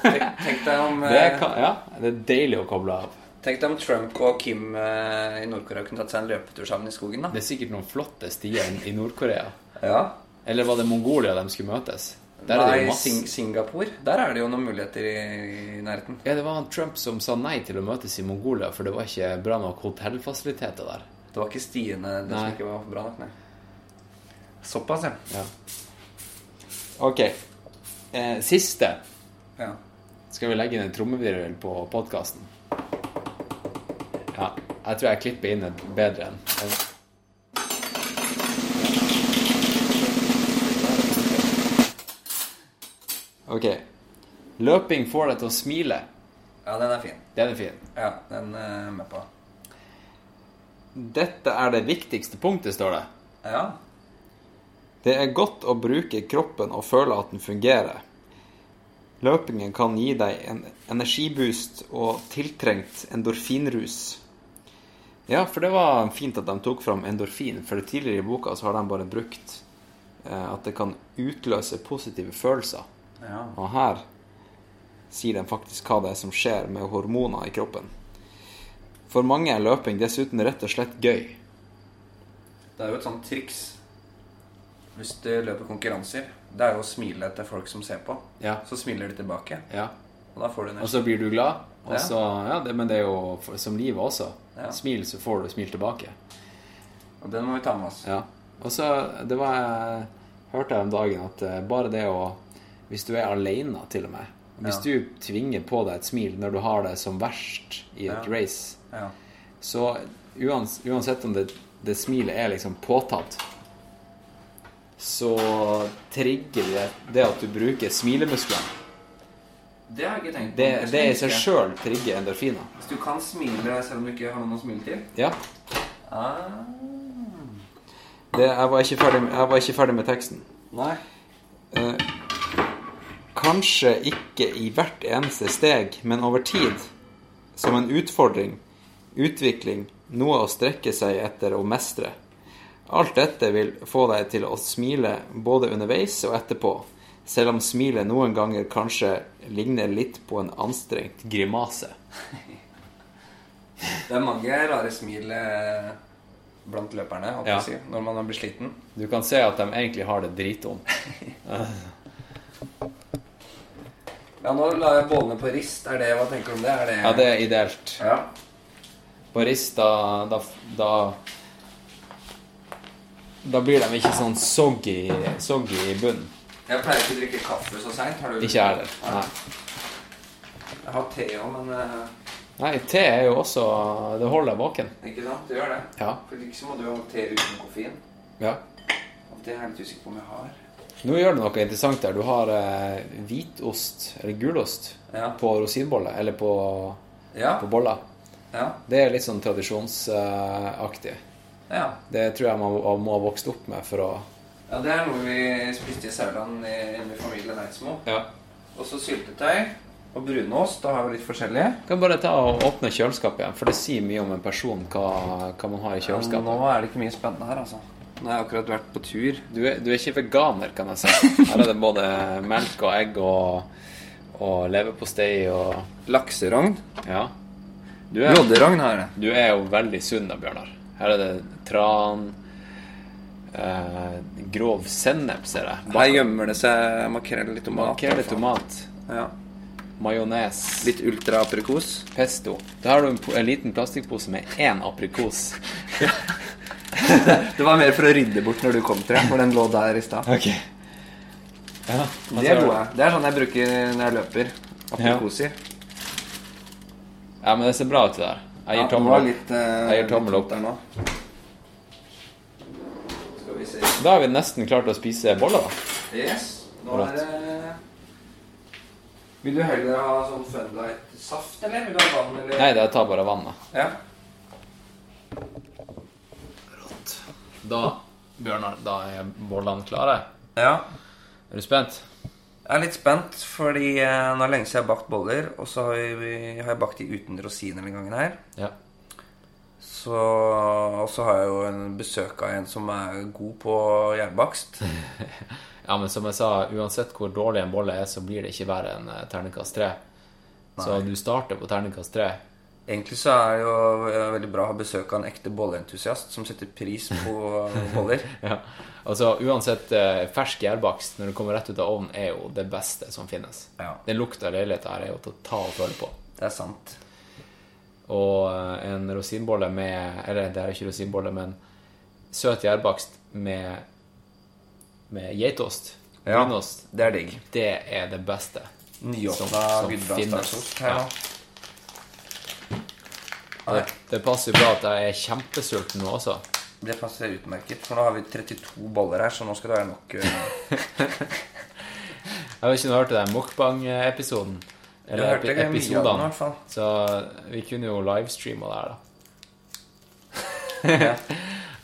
D: Tenk deg om,
B: Det
D: eh,
B: kan, ja, det er deilig å koble av.
D: tenk deg om Trump og Kim eh, i Nord-Korea kunne tatt seg en løpetur sammen i skogen, da.
B: Det er sikkert noen flotte stier i Nord-Korea.
D: Ja.
B: Eller var det Mongolia de skulle møtes? Der er det
D: Nei,
B: jo masse
D: Sing Singapore. Der er det jo noen muligheter i, i nærheten.
B: Ja, det var han Trump som sa nei til å møtes i Mongolia, for det var ikke bra nok hotellfasiliteter der.
D: Det var ikke stiene det
B: Nei.
D: som ikke var bra nok, nei. Såpass, ja.
B: Ok. Eh, siste
D: ja.
B: skal vi legge inn en trommevirvel på podkasten. Ja. Jeg tror jeg klipper inn et bedre enn Ok. Løping får deg til å smile.
D: Ja, den er fin.
B: Den er fin.
D: Ja, den eh, er jeg med på.
B: Dette er det viktigste punktet, står det.
D: Ja.
B: Det er godt å bruke kroppen og føle at den fungerer. Løpingen kan gi deg en energiboost og tiltrengt endorfinrus. Ja, for det var fint at de tok fram endorfin, for tidligere i boka så har de bare brukt eh, at det kan utløse positive følelser.
D: ja.
B: Og her sier de faktisk hva det er som skjer med hormoner i kroppen. For mange er løping dessuten rett og slett gøy.
D: Det er jo et sånt triks hvis du løper konkurranser. Det er jo å smile til folk som ser på.
B: Ja.
D: Så smiler de tilbake.
B: Ja.
D: Og da får du en
B: Og så blir du glad. Og
D: Ja.
B: så, ja, det, men det er jo for, som livet også.
D: Ja.
B: Smil, så får du smil tilbake.
D: Og den må vi ta med oss.
B: Altså- Ja. Og så det var jeg hørte jeg om dagen at eh, bare det å Hvis du er aleine, til og med Hvis
D: Ja.
B: du tvinger på deg et smil når du har det som verst i et
D: Ja.
B: race,
D: Ja.
B: så uans, uansett om det, det smilet er liksom påtatt, så trigger det det at du bruker smilemusklene.
D: Det har jeg ikke tenkt på.
B: Det,
D: Jeg
B: det i seg
D: skulle ønske-
B: sjøl trigger endorfiner.
D: Hvis du kan smile selv om du ikke har noen å smile til
B: Ja.
D: ah.
B: Det, jeg, var ikke ferdig, med- jeg var ikke ferdig med teksten.
D: Nei.
B: Kanskje ikke i hvert eneste steg, men over tid. Som en utfordring, utvikling, noe å strekke seg etter og mestre. Alt dette vil få deg til å smile både underveis og etterpå, selv om smilet noen ganger kanskje ligner litt på en anstrengt grimase.
D: Det er mange rare smil eh, blant løperne holdt jeg
B: Ja.
D: på å si, når man blir sliten.
B: Du kan se at de egentlig har det dritvondt.
D: Ja, nå la jeg bålene på rist. Er det, Hva tenker du om det? Er det,
B: Ja, det er ideelt.
D: Ja.
B: På rist, da, da, da Da blir de ikke sånn soggy, soggy i bunnen.
D: Jeg pleier ikke å drikke kaffe så seint. Har du
B: Ikke jeg heller. Nei.
D: Jeg har te òg, men eh,
B: Nei, te er jo også Det holder deg våken.
D: Ikke sant? Du gjør det.
B: Ja.
D: For ikke så må du ha te uten koffein.
B: ja.
D: Og det er jeg litt usikker på om jeg har.
B: Nå gjør du noe interessant der. Du har eh, hvitost, eller gulost,
D: Ja.
B: på rosinboller. Eller på,
D: Ja.
B: på boller.
D: Ja.
B: Det er litt sånn tradisjonsaktig.
D: ja.
B: Det tror jeg man må- må ha vokst opp med for å
D: ja det er noe vi spiste i Sauland i med familien Eidsmo.
B: Ja.
D: Og så syltetøy og brunost. Da har vi litt forskjellige.
B: Kan bare ta og åpne kjøleskapet igjen, for det sier mye om en person hva, hva man har i
D: Ja,
B: kjøleskapet.
D: Nå er det ikke mye spennende her, altså. Nå har jeg akkurat vært på tur.
B: Du er, du er ikke veganer, kan jeg si. Her er det både melk og egg og, og leverpostei og
D: Lakserogn.
B: Ja. Du er,
D: Lodderogn har jeg.
B: du er jo veldig sunn da, Bjørnar. Her er det tran, eh, grov sennep, ser jeg.
D: Her gjemmer det seg makrell i tomat.
B: Makrell i tomat.
D: Ja.
B: Majones.
D: Litt ultra-aprikos.
B: pesto. Da har du en, po- en liten plastikkpose med én aprikos.
D: Det var mer for å rydde bort når du kom, tror jeg, for den lå der i stad.
B: Ok. Ja,
D: De
B: Altså,
D: er gode. Det er sånn jeg bruker når jeg løper. Aprikoser.
B: Ja, men det ser bra ut, det der. Jeg
D: Ja,
B: gir
D: det
B: tommel
D: var
B: opp.
D: litt, eh,
B: Jeg gir tommel
D: litt
B: opp.
D: der nå. Skal vi se.
B: Da har vi nesten klart å spise boller, da.
D: Yes. Nå er det Vil du heller ha sånn Funlight-saft, eller? Vil du ha vann, eller?
B: Nei, det tar bare vannet.
D: Ja.
B: Da, Bjørnar, da er bollene klare.
D: ja.
B: Er du spent?
D: Jeg er litt spent, fordi eh, nå er det lenge siden jeg har bakt boller. Og så har, vi, har jeg bakt de uten rosiner denne gangen her.
B: Ja.
D: Så, og så har jeg jo en besøk av en som er god på jernbakst.
B: Ja, men som jeg sa, uansett hvor dårlig en bolle er, så blir det ikke verre enn eh, terningkast tre. Så du starter på terningkast tre.
D: Egentlig så er det jo eh, veldig bra å ha besøk av en ekte bolleentusiast som setter pris på boller.
B: Ja. Altså, uansett, eh, fersk gjærbakst når det kommer rett ut av ovnen, er jo det beste som finnes.
D: Ja.
B: Den lukta av leilighet her er jo til å ta og føle på.
D: Det er sant.
B: Og eh, en rosinbolle med Eller det er jo ikke rosinbolle, men søt gjærbakst med, med geitost,
D: Ja.
B: brunost,
D: Det er digg.
B: det er det beste.
D: Nyåpna
B: Som- som finnes.
D: gudbrandsdalsost her
B: Ja.
D: nå.
B: Det, det passer jo bra at jeg er kjempesulten nå også.
D: Det passer utmerket, for nå har vi 32 boller her, så nå skal det være nok. eh,
B: Jeg vet ikke om du hørte den mukbang-episoden.
D: Jeg
B: Eller
D: hørte
B: epi
D: ikke mye av den, i
B: episodene.
D: hvert fall.
B: Så vi kunne jo livestreama det her, da.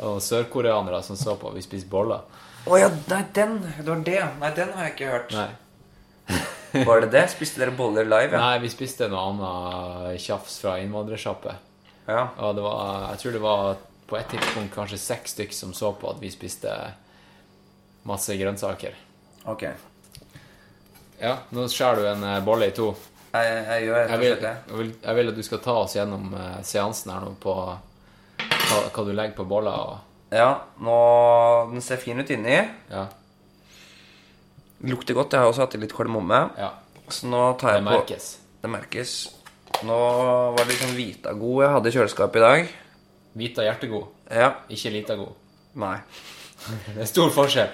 B: Og sørkoreanere som så på. Vi spiste boller.
D: Å ja, nei, den! Det var det. Nei, den har jeg ikke hørt.
B: Nei.
D: Var det det? Spiste dere boller live? Ja.
B: Nei, vi spiste noe annet tjafs fra innvandrersjappe.
D: ja.
B: Og det var Jeg tror det var på et tidspunkt kanskje seks stykk som så på at vi spiste masse grønnsaker.
D: Ok.
B: Ja, nå skjærer du en eh, bolle i to.
D: Jeg, jeg gjør rett
B: Jeg
D: og
B: vil,
D: slett det.
B: jeg, vil, jeg vil at du skal ta oss gjennom eh, seansen her nå på hva, hva du legger på boller og
D: Ja, nå, den ser fin ut inni.
B: Ja.
D: Lukter godt. Jeg har også hatt i litt kardemomme.
B: ja.
D: Så nå tar
B: Det
D: jeg på
B: merkes.
D: Det merkes. Nå var det litt sånn Vitagod jeg hadde i kjøleskapet i dag.
B: Vita hjertegod,
D: Ja.
B: ikke lita god.
D: Nei.
B: Det er stor forskjell.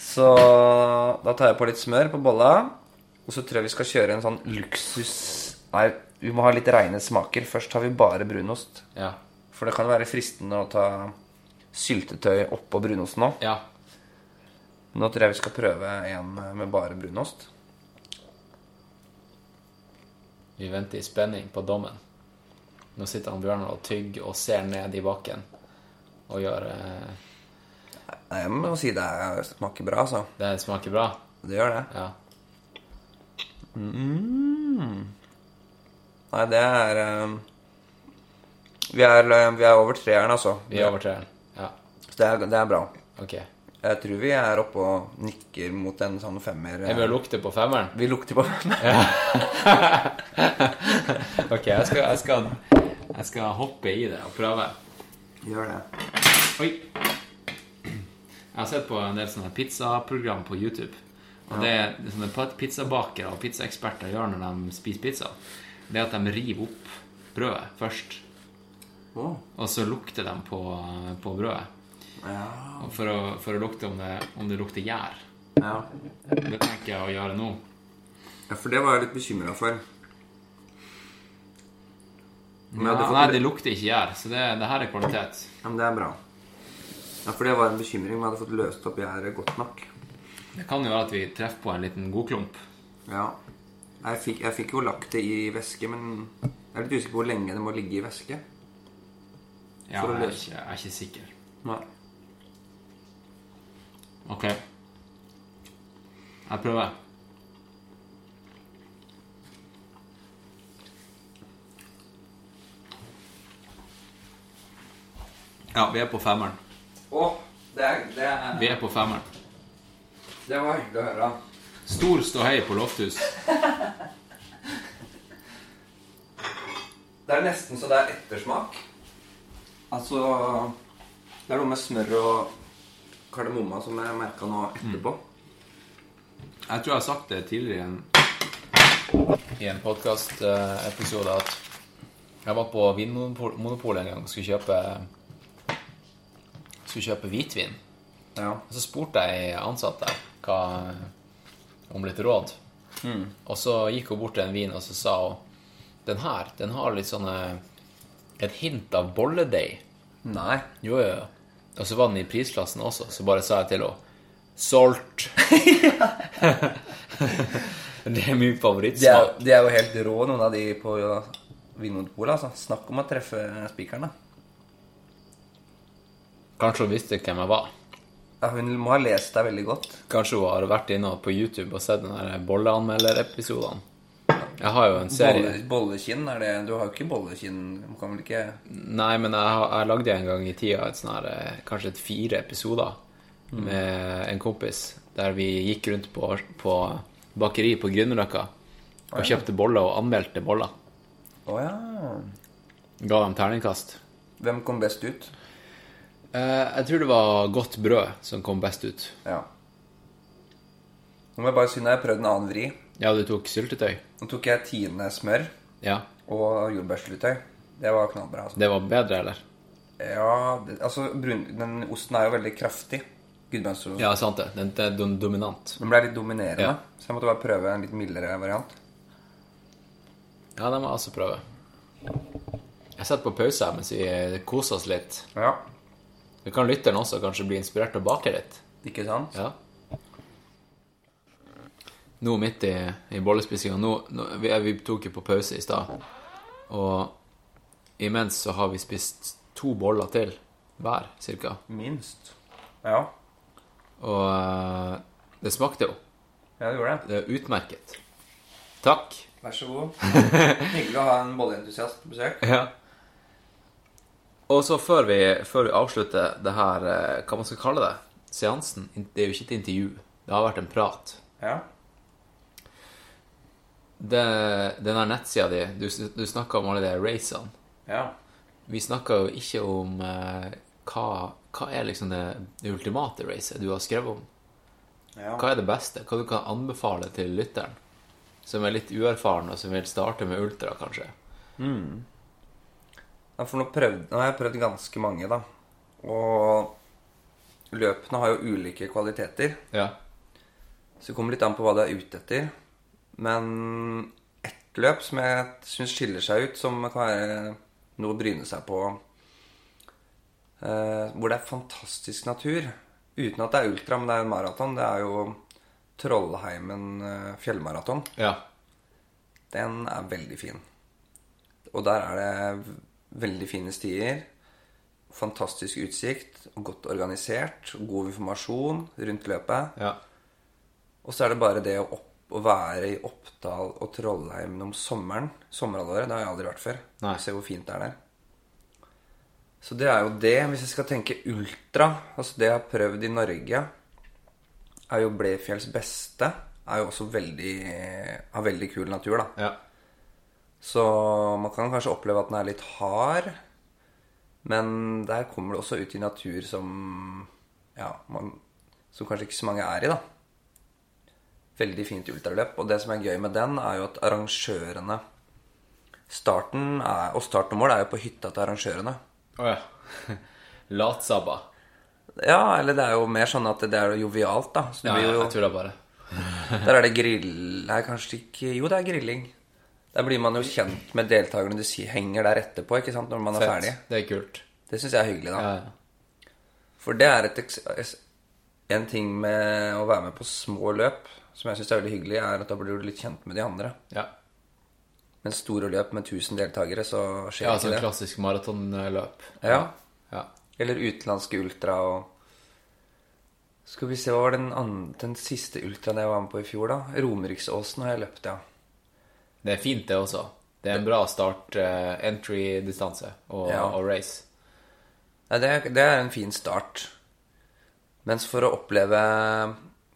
D: Så da tar jeg på litt smør på bolla. Og så tror jeg vi skal kjøre en sånn luksus Nei, vi må ha litt reine smaker. Først har vi bare brunost.
B: Ja.
D: For det kan være fristende å ta syltetøy oppå brunosten òg.
B: ja.
D: Nå tror jeg vi skal prøve en med bare brunost.
B: Vi venter i spenning på dommen. Nå sitter han Bjørnar og tygger og ser ned i bakken og gjør eh,
D: Nei, Jeg må si det er- smaker bra, altså.
B: Det smaker bra.
D: Det gjør det.
B: Ja.
D: Nei, det er eh, Vi er, eh, vi er over treeren, altså.
B: Vi overtrer den. Ja.
D: Så det er, det er bra.
B: OK.
D: Jeg tror vi er oppe og nikker mot en sånn femmer.
B: Jeg vil lukte på femmeren.
D: Vi lukter på
B: OK, jeg skal, jeg skal, jeg skal hoppe i det og prøve.
D: Gjør det.
B: Oi. Jeg har sett på en del sånne pizzaprogram på YouTube. Og det er sånne pa- pizzabakere og pizzaeksperter gjør når de spiser pizza, det er at de river opp brødet først. Og så lukter de på, på brødet. Og for, å, for å lukte om det, om det lukter gjær.
D: Ja.
B: Det tenker jeg å gjøre nå.
D: ja, for det var jeg litt bekymra for. Men jeg
B: Ja,
D: hadde fått-
B: nei, det lukter ikke gjær, så det, det her er kvalitet.
D: Ja, men det er bra. Ja, for det var en bekymring. Men jeg hadde fått løst opp gjerdet godt nok.
B: Det kan jo være at vi treffer på en liten godklump.
D: Ja. Jeg fikk, jeg fikk jo lagt det i væske, men jeg er litt usikker på hvor lenge det må ligge i væske.
B: Ja,
D: For å
B: jeg er
D: løse-
B: ikke, jeg er ikke sikker.
D: Nei.
B: Ok. Jeg prøver. Ja, vi er på femmeren.
D: Å, det, er, det, er,
B: Vi er på femmeren.
D: det var hyggelig å høre.
B: Stor ståhei på Lofthus.
D: Det er nesten så det er ettersmak. Altså Det er noe med smør og kardemomma som jeg merka nå etterpå.
B: Jeg tror jeg har sagt det tidligere i en, i en podkastepisode at jeg var på Vinmonopolet en gang og skulle kjøpe, skulle kjøpe hvitvin.
D: Ja.
B: Og så spurte jeg ansatt der hva, om litt råd.
D: Mm.
B: Og så gikk hun bort til en vin, og så sa hun den her, den har litt sånne et hint av bolledeig.
D: Nei.
B: Jo, jo, jo. Og så var den i prisklassen også, så bare sa jeg til henne Solgt! det er min
D: De er,
B: favorittsmak.
D: de er jo helt rå, noen av de på ja, Vinmonopolet. Altså. Snakk om å treffe spikeren, da.
B: Kanskje hun visste hvem jeg var.
D: Ja, hun må ha lest deg veldig godt.
B: Kanskje hun har vært inne på YouTube og sett den der bolleanmelderepisodene. Jeg har jo en serie
D: Bolle, bollekinn er det Du har jo ikke bollekinn Du kan vel ikke
B: Nei, men jeg, har- jeg lagde en gang i tida et sånn her, eh, kanskje et fire episoder med en kompis, der vi gikk rundt på, på bakeri på Grünerløkka og kjøpte boller og anmeldte boller.
D: Å ja.
B: Ga dem terningkast.
D: Hvem kom best ut?
B: Eh, jeg tror det var Godt brød som kom best ut.
D: Ja. Nå må jeg bare si når jeg har prøvd en annen vri.
B: Ja, du tok syltetøy?
D: Nå tok jeg Tine smør
B: Ja.
D: og jordbærsyltetøy. Det var knallbra. Altså.
B: Det var bedre, eller?
D: Ja, det, altså brun, Den osten er jo veldig kraftig. Gudbrandsdalen.
B: Ja, sant det. Den, den, den dominant.
D: Den ble litt dominerende,
B: Ja.
D: så jeg måtte bare prøve en litt mildere variant.
B: Ja, den må jeg også prøve. Jeg setter på pause her mens vi koser oss litt.
D: Ja,
B: Vi kan lytteren også kanskje bli inspirert til å bake litt.
D: ikke sant?
B: Ja. Nå midt i, i bollespisinga nå, nå, vi, vi tok jo på pause i stad. Og imens så har vi spist to boller til hver, cirka.
D: Minst. Ja,
B: Og eh, det smakte jo.
D: ja, det gjorde det.
B: Det er utmerket. Takk.
D: Vær så god. Hyggelig å ha en bolleentusiast på besøk.
B: Ja. Og så før vi, før vi avslutter det her, eh, hva man skal kalle det, seansen Det er jo ikke et intervju. Det har vært en prat.
D: Ja.
B: det, den her nettsida di Du, du snakka om alle de racene.
D: ja.
B: Vi snakka jo ikke om eh, hva, hva er liksom det, det ultimate racet du har skrevet om.
D: ja.
B: Hva er det beste? Hva du kan anbefale til lytteren? Som er litt uerfaren, og som vil starte med ultra, kanskje.
D: Ja, for nå, prøvd, nå har jeg prøvd ganske mange, da. Og løpene har jo ulike kvaliteter.
B: Ja.
D: Så det kommer litt an på hva du er ute etter. Men ett løp som jeg syns skiller seg ut, som kan være noe å bryne seg på eh, Hvor det er fantastisk natur. Uten at det er ultra, men det er en maraton. Det er jo Trollheimen eh, fjellmaraton.
B: ja.
D: Den er veldig fin. Og der er det v- veldig fine stier. Fantastisk utsikt, og godt organisert, og god informasjon rundt løpet.
B: Ja.
D: Og så er det bare det å, opp, å være i Oppdal og Trollheimen om sommeren. Sommerhalvåret. Det har jeg aldri vært før.
B: Nei.
D: Se hvor fint det er der. Så det er jo det. Hvis jeg skal tenke ultra, altså det jeg har prøvd i Norge, er jo Blefjells beste. Er jo også veldig Har veldig kul natur, da.
B: ja.
D: Så man kan kanskje oppleve at den er litt hard. Men der kommer det også ut i natur som Ja, man, som kanskje ikke så mange er i, da. Veldig fint ultraløp. Og det som er gøy med den, er jo at arrangørene Starten er, og start og mål er jo på hytta til arrangørene.
B: Å ja. Latsabba.
D: Ja, eller det er jo mer sånn at det er jo jovialt, da. Så det
B: Ja,
D: blir
B: ja,
D: jo,
B: jeg tuller bare.
D: Der er det grill... Nei, kanskje ikke Jo, det er grilling. Der blir man jo kjent med deltakerne du sier henger der etterpå, ikke sant, når man er ferdig.
B: Det er kult.
D: Det syns jeg er hyggelig, da.
B: Ja, ja.
D: For det er et eks- es- en ting med å være med på små løp som jeg syns er veldig hyggelig, er at da blir du litt kjent med de andre.
B: ja.
D: Men store løp med 1000 deltakere, så skjer
B: ja
D: ikke
B: sånn
D: det.
B: klassisk maratonløp.
D: Ja.
B: Ja.
D: Eller utenlandske ultra og Skal vi se, hva var den, an- den siste ultraen jeg var med på i fjor, da? Romeriksåsen har jeg løpt, ja.
B: Det er fint, det også. Det er en bra start, eh, entry-distanse og,
D: Ja.
B: og race.
D: Nei, det, er- det er en fin start. Mens for å oppleve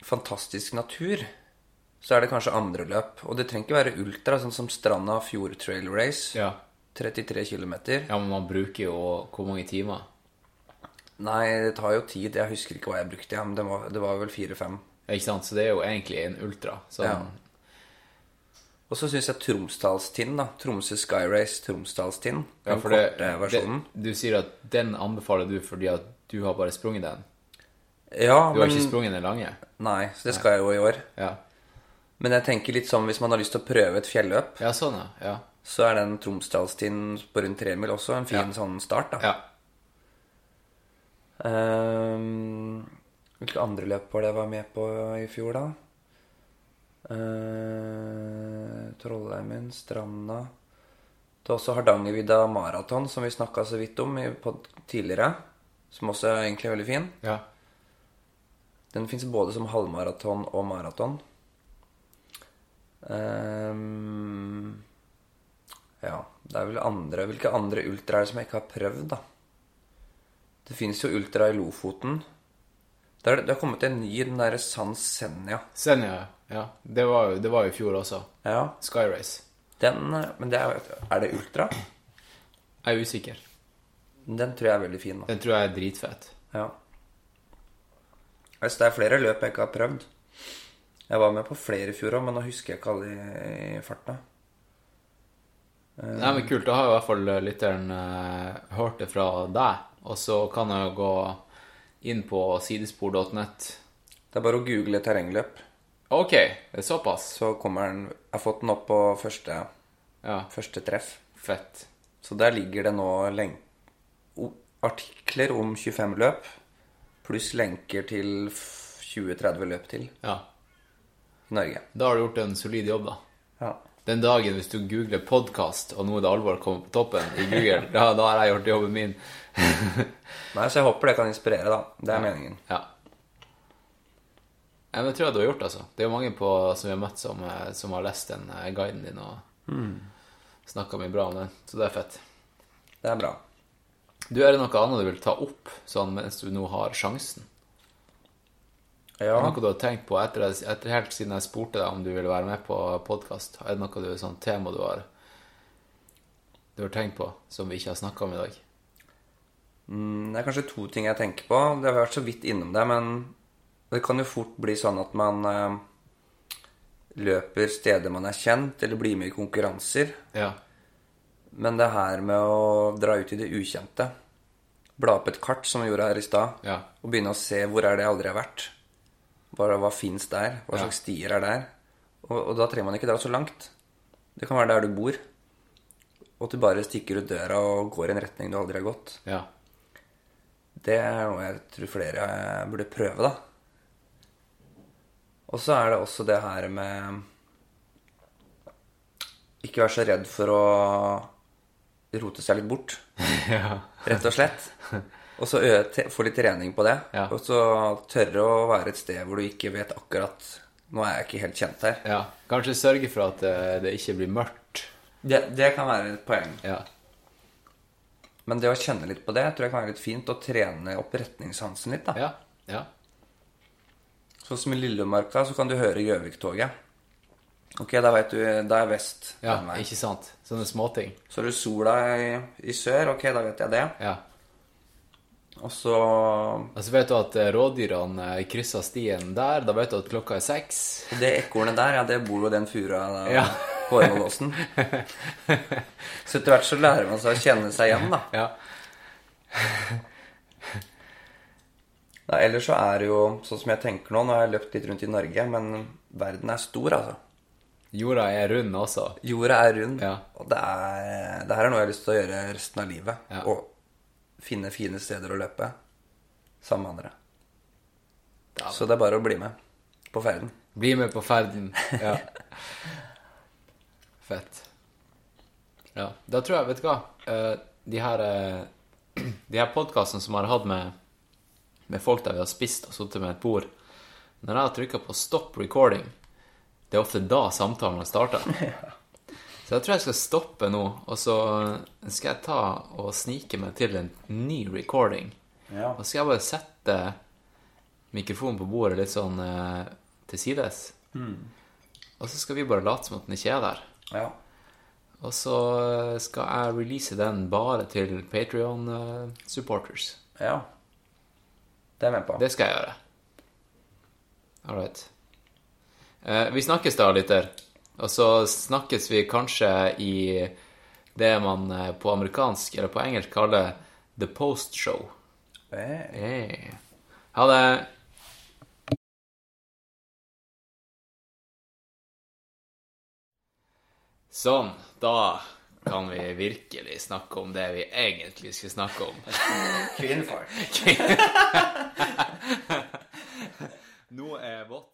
D: fantastisk natur, så er det kanskje andre løp. Og det trenger ikke være ultra, sånn som Stranda Fjord Trail Race.
B: Ja.
D: 33 km.
B: Ja, men man bruker jo hvor mange timer?
D: Nei, det tar jo tid. Jeg husker ikke hva jeg brukte, ja, men det var, det var vel fire-fem.
B: Ikke sant? Så det er jo egentlig en ultra. Sånn,
D: Ja. Og så syns jeg Tromsdalstind, da. Tromsø Skyrace Tromsdalstind. Den
B: for det-
D: korte versjonen.
B: Det, du sier at den anbefaler du fordi at du har bare sprunget den.
D: ja,
B: Du har
D: men
B: ikke sprunget den lange.
D: Nei, så det skal jeg jo i år.
B: Ja,
D: Men jeg tenker litt sånn hvis man har lyst til å prøve et fjelløp,
B: ja sånn, ja. ja.
D: så er den Tromsdalstind på rundt tre mil også en fin
B: Ja.
D: sånn start, da.
B: Ja.
D: Ehm, hvilke andre løp var det jeg var med på i fjor, da? Uh, Trollheimen, Stranda Det er også Hardangervidda maraton, som vi snakka så vidt om i pod tidligere. Som også er egentlig veldig fin.
B: ja.
D: Den fins både som halvmaraton og maraton. Ehm, ja, det er vel andre Hvilke andre ultra er det som jeg ikke har prøvd, da? Det fins jo ultra i Lofoten. Det er, det har kommet en ny, den derre San Senja.
B: Senja, Sånn, ja. Det var, jo- det var jo i fjor også.
D: Ja,
B: Skyrace.
D: den Men det er, er det ultra?
B: Jeg er usikker.
D: Den tror jeg er veldig fin. da
B: Den tror jeg er dritfett.
D: Ja. Altså, det er flere løp jeg ikke har prøvd. Jeg var med på flere i fjor òg, men nå husker jeg ikke alle i, i farta.
B: Nei, men kult. Da har i hvert fall lytteren eh, hørt det fra deg. Og så kan jeg jo gå inn på sidespor.net.
D: Det er bare å google terrengløp,
B: OK, det er såpass.
D: så kommer den Jeg har fått den opp på første,
B: Ja,
D: første treff.
B: fett.
D: Så der ligger det nå len- o- artikler om 25 løp, pluss lenker til f- 20-30 løp til i
B: Ja.
D: Norge.
B: Da har du gjort en solid jobb, da.
D: Ja.
B: Den dagen hvis du googler 'podkast', og nå er det alvor kommer på toppen i Google, da, da har jeg gjort jobben min.
D: Nei, så jeg håper det kan inspirere, da. Det er meningen.
B: Ja. Nei, men Det tror jeg du har gjort, altså. Det er jo mange på, som vi har møtt, som, eh, som har lest den eh, guiden din og snakket snakka mye bra om den, så det er fett.
D: Det er bra.
B: Du, Er det noe annet du vil ta opp sånn mens du nå har sjansen? Er
D: Ja.
B: det noe du har tenkt på etter, etter helt siden jeg spurte deg om du ville være med på podkast? Er det noe du, sånn tema du har, du har tenkt på, som vi ikke har snakka om i dag?
D: Det er kanskje to ting jeg tenker på. Det har vært så vidt innom det, men det kan jo fort bli sånn at man eh, løper steder man er kjent, eller blir med i konkurranser.
B: Ja.
D: Men det her med å dra ut i det ukjente, bla opp et kart som vi gjorde her i stad,
B: Ja.
D: og begynne å se hvor er det jeg aldri har vært, hva, hva fins der, hva slags stier er der, og, og da trenger man ikke dra så langt. Det kan være der du bor, og at du bare stikker ut døra og går i en retning du aldri har gått.
B: ja.
D: Det er noe jeg tror flere eh, burde prøve, da. Og så er det også det her med Ikke være så redd for å rote seg litt bort,
B: ja.
D: rett og slett. Og så ø- te- få litt trening på det.
B: Ja.
D: Og så tørre å være et sted hvor du ikke vet akkurat Nå er jeg ikke helt kjent her.
B: ja. Kanskje sørge for at det, det ikke blir mørkt.
D: Det, det kan være et poeng.
B: Ja.
D: Men det å kjenne litt på det tror jeg kan være litt fint. Å trene opp retningssansen litt. da.
B: Ja. ja.
D: Sånn som i Lillemarka, så kan du høre Gjøvik-toget. Ok, da vet du, da er vest
B: Ja,
D: den veien.
B: ikke sant? Sånne småting.
D: Så har du sola i, i sør, ok, da vet jeg det.
B: Ja.
D: Og så
B: Altså, vet du at eh, rådyrene eh, krysser stien der, da vet du at klokka er seks.
D: Det ekornet der, ja, det bor jo den fura da,
B: Ja.
D: på Ormålåsen. Så etter hvert så lærer man seg å kjenne seg igjen, da.
B: Ja.
D: Nei, ellers så er det jo sånn som jeg tenker nå, nå har jeg løpt litt rundt i Norge, men verden er stor, altså.
B: Jorda er rund også.
D: Jorda er rund,
B: Ja.
D: og det, er, det her er noe jeg har lyst til å gjøre resten av livet.
B: Ja.
D: Og finne fine steder å løpe sammen med andre. Så det er bare å bli med på ferden.
B: Bli med på ferden. Ja. Fett. Ja, da tror jeg, vet du hva, eh, de her, eh, de her podcastene som har hatt med, med folk der vi har spist og suttet med et bord, når jeg har trykket på stop recording, det er ofte da samtalen har startet. Så jeg tror jeg skal stoppe nå, og så skal jeg ta og snike meg til en ny recording. Og så skal jeg bare sette mikrofonen på bordet litt sånn eh, til sides. Og så skal vi bare late som at den ikke er der.
D: Ja.
B: Og så eh, eh, skal jeg release den bare til Patrion-supporters.
D: ja.
G: Det er jeg med på.
B: Det skal jeg gjøre. All right. Eh, vi snakkes da, lytter. Og så snakkes vi kanskje i det man eh, på amerikansk eller på engelsk kaller the post show.
G: Eh.
B: Hey. Ha det. Sånn, da kan vi virkelig snakke om det vi egentlig skulle snakke om. Kvinnfolk. Nå er vått.